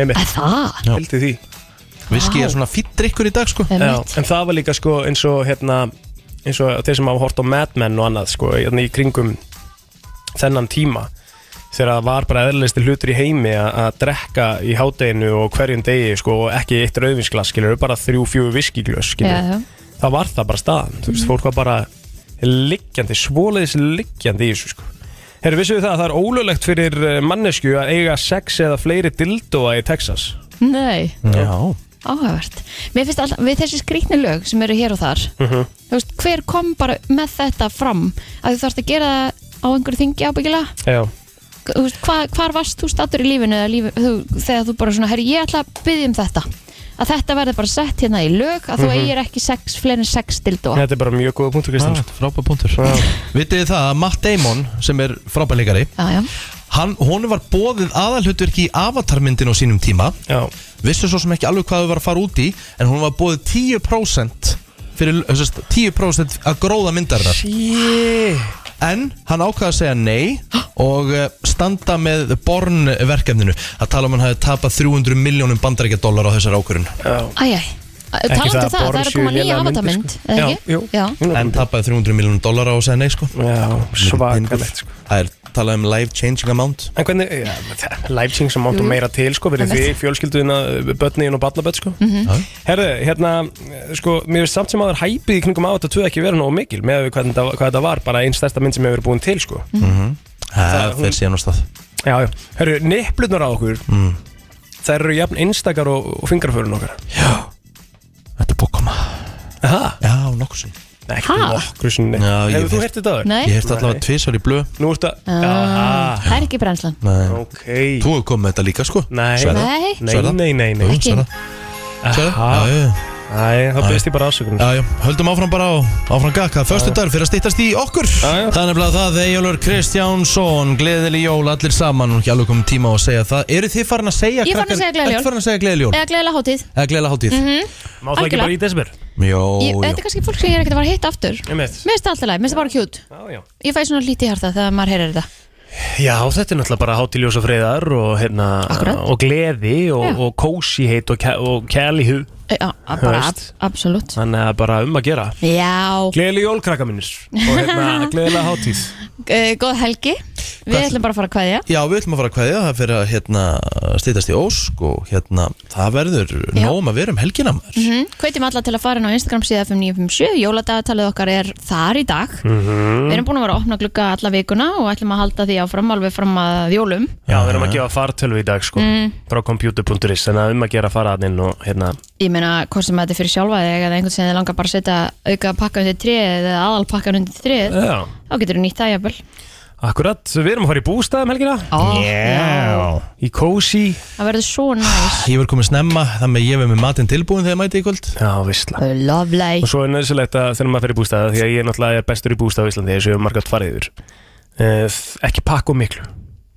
S4: Einmitt.
S3: Er það?
S2: Já.
S4: Held í því
S2: Viski er svona fýtt drikkur í dag sko
S4: Já, en það var líka sko eins og hérna eins og þeir sem hafa hort á Mad Men og annað sko hérna í kringum þennan tíma þegar það var bara eðlilegsti hlutur í heimi að að drekka í hádeginu og hverjum degi sko og ekki eitt rauðvinsglas skilur bara þrjú, fjú viskiglös skilur
S3: Já, já.
S4: það var það bara staðan þú
S2: Mhm.
S4: veist, fólk var bara liggjandi, svoleiðis liggjandi í þessu sko Herru, vissuðu það að það er ólulegt fyrir eh, mannesku að eiga sex eða fleiri dildóa í Texas?
S3: Nei,
S2: Já.
S3: áhugavert Mér finnst alltaf, við þessi skrýtni lög sem eru hér og þar
S4: Mhm.
S3: þú veist, hver kom bara með þetta fram að þú þarfst að gera það á einhverju þingi ábyggilega
S4: Já.
S3: Þú veist, hva, hvar varst þú stattur í lífinu, eða lífi, þú, þegar þú bara svona, herri, ég ætla að byggja um þetta að þetta verði bara sett hérna í lög að þú
S4: Mhm.
S3: eigir ekki sex, fleiri en sex dildóa
S4: Þetta er bara mjög góða punktur, Kristján.
S2: Frábæð punktur Vitið þið það að Matt Damon sem er frábæleikari
S3: Já, já
S2: Hann, honum var bóðið aðalhutverki í avatarmyndin á sínum tíma
S4: Já.
S2: Vissu svo sem ekki alveg hvað þau var að fara út í En hún var bóðið 10% fyrir, þessast, 10% að gróða myndarinnar
S4: Shit.
S2: En hann ákvaði að segja nei og eh, standa með Born verkefninu að tala um hann hafi tapað 300 miljónum bandaríkja dólar á þessar ákvörun
S3: Æjæ, talandu um það, það er að koma nýja avatarmynd eða ekki?
S2: En tapaði 300 miljónum dólar á að segja nei sko
S4: Já, svakalegt sko
S2: Það er talað um life changing amount
S4: En hvernig, ja, life change sem áttu
S2: Jú.
S4: meira til sko, fyrir
S2: Það er
S4: því
S2: rétt.
S4: fjölskylduðina, börnin og barnaböld sko.
S2: Mhm. Já.
S4: Herðu, hérna, sko, mér finnst samt sem aður hæpið í kringum á þetta tvö ekki vera nógu mikil með hvað þetta, hvað þetta var, bara einn stærsta mynd sem hefur verið búin til sko.
S3: Mhm.
S2: Mhm. Það
S4: hún-
S2: fer síðan á stað
S4: Já, já, herru, nipplunar á okkur,
S2: mm.
S4: þær eru jafn einstakar og, og fingraförun okkar. Já, þetta er búið að koma. Aha.
S2: Já, nokkur sinn.
S4: Ekki
S3: Ha?
S4: nokkur sinn. Hefur þú heyrt þetta aður?
S3: Nei.
S2: Ég hérti allavega tvisar í blöð
S4: Nú ertu að
S3: Ah, Það er ekki brennslan
S2: Nei
S4: okay.
S2: Þú hefur komið með þetta líka sko
S4: Nei
S2: Sverða.
S3: Nei. Nei,
S2: Sverða.
S4: nei, nei, nei.
S2: Jú,
S3: Ekki.
S2: Sverða. Sverða.
S4: Aha.
S2: Já, já.
S4: Æ, þá byrðist ég bara afsökunum.
S2: Já, já, höldum áfram bara á, áfram gakka Föstu dagur fyrir að styttast í okkur Það er nefnilega það, Eyjólfur Kristjánsson Gleðileg jól, allir saman Og hjálfum komum tíma á að segja það Eru þið farin að segja
S3: Ég er farin að segja gleðileg jól.
S2: Ertu farin að segja gleðileg jól?
S3: Eða gleðilega hátíð
S2: Eða gleðilega hátíð?
S3: Mhm.
S4: Má það ekki
S3: Algjörlega.
S4: bara í desember?
S2: Jó,
S3: Ég- Þetta er kannski fólk sem ég er ekkert að fara að hitta aftur
S4: Ég
S3: Mér finnst það alltaf leið, mér finnst það bara kjút
S4: Já, já
S3: Ég fæ svona lítið hjarta þegar maður heyrir þetta
S4: Já, þetta er náttúrulega bara hátiljós og friðar og, hérna, og gleði og, og kósi heitt og, kæ- og kælihu
S3: E, Já, bara ab absolutt
S4: Þannig að bara um að gera
S3: Já,
S4: Gleðileg jól, krakka minnir Og
S3: [laughs]
S4: hérna, gleðilega hátíð
S3: e, góð helgi Við
S2: Hvað-
S3: ætlum bara að fara að kveðja
S2: Já, við ætlum að fara að kveðja Það fyrir að hérna, styttast í ósk Og hérna, það verður
S3: Já.
S2: nóg um að vera um helgina maður.
S3: mm Hvetjum alla til að fara inn á Instagram síða 5957 Jóladagatalið okkar er þar í dag
S4: Mhm.
S3: Við
S4: Mm.
S3: erum búin að vera að opna glugga alla vikuna og ætlum að halda því áfram alveg fram að jólum
S4: Já, við erum að gefa fartölu í dag sko
S3: Mm.
S4: Frá computer.is Þannig að um að gera faraðinn og hérna
S3: Ég meina, hvort sem þetta er fyrir sjálfa þig eða einhvern sem þið langar bara að setja auka pakka undir tréð eða aðal pakkan undir tréð
S4: Já.
S3: þá getur þú nýtt það jafnvel
S4: Akkurat, við erum að fara í
S2: um
S4: bústæðum helgina
S3: Ó,
S4: Já Í kósi
S3: Það verður svo næs
S2: Ég verð komið snemma Þannig að ég verð með matinn tilbúin þegar ég mæti í kvöld
S4: Já, vissla
S3: Lovely
S4: Og svo er nöðsilegt að þegar maður fer í bústæða Því að ég náttúrulega er bestur í bústæða á Íslandi Þessu hefur margat farið yfir uh, Ekki pakk og miklu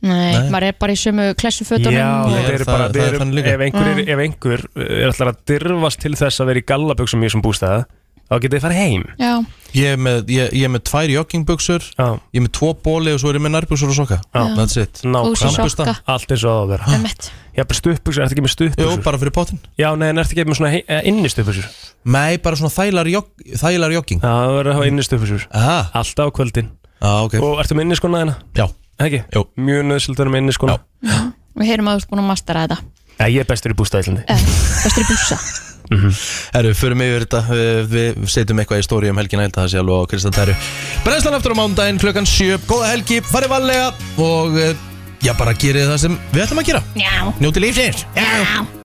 S3: Nei,
S4: Nei.
S3: maður er bara í sömu klessufötunum
S4: Já,
S3: og-
S4: þetta er bara
S2: það-
S4: við
S2: það er
S4: erum,
S2: þannig líka.
S4: ef, einhver er,
S3: Mm.
S4: ef einhver er alltaf að dirfast til þess að vera í gallaböksum í þessum bústæða Þá getið þið farið heim
S3: Já,
S2: Ég er með, ég, ég er með tvær joggingbuksur Ég er með tvo bóli og svo er ég með nærbuksur og soka
S4: Já.
S2: That's it
S4: Nákvæmlega.
S3: Og svo sokka.
S2: Sambusta.
S4: Allt eins og það á að vera
S3: Emmett.
S4: Já, bara stuðbuksur, ertu ekki með stuðbuksur?
S2: Jú, bara fyrir pottin
S4: Já, nei, en ertu ekki með svona eh, innistuðbuksur?
S2: Nei, bara svona þælar, jog, þælar jogging
S4: Já, það verður að hafa innistuðbuksur Alltaf á kvöldin
S2: Já, ok
S4: Og ertu með inniskona þeina?
S2: Já
S4: Ekki? Jú Mjög nöðsild að vera með inniskona Já
S3: við heyrum að þú ert búin að mastera þetta
S4: Ég er bestur í bústæðilandi
S3: Bestur í búsa
S2: Herru, förum yfir þetta Við, við setjum eitthvað í stóri um helgina Þetta sé alveg á Kristatæru Brennslan aftur á mándaginn klukkan 7 Góða helgi, farið varlega Og eh, já, bara gerið það sem við ætlum að gera
S3: Já
S2: Njóti lífsins
S3: Já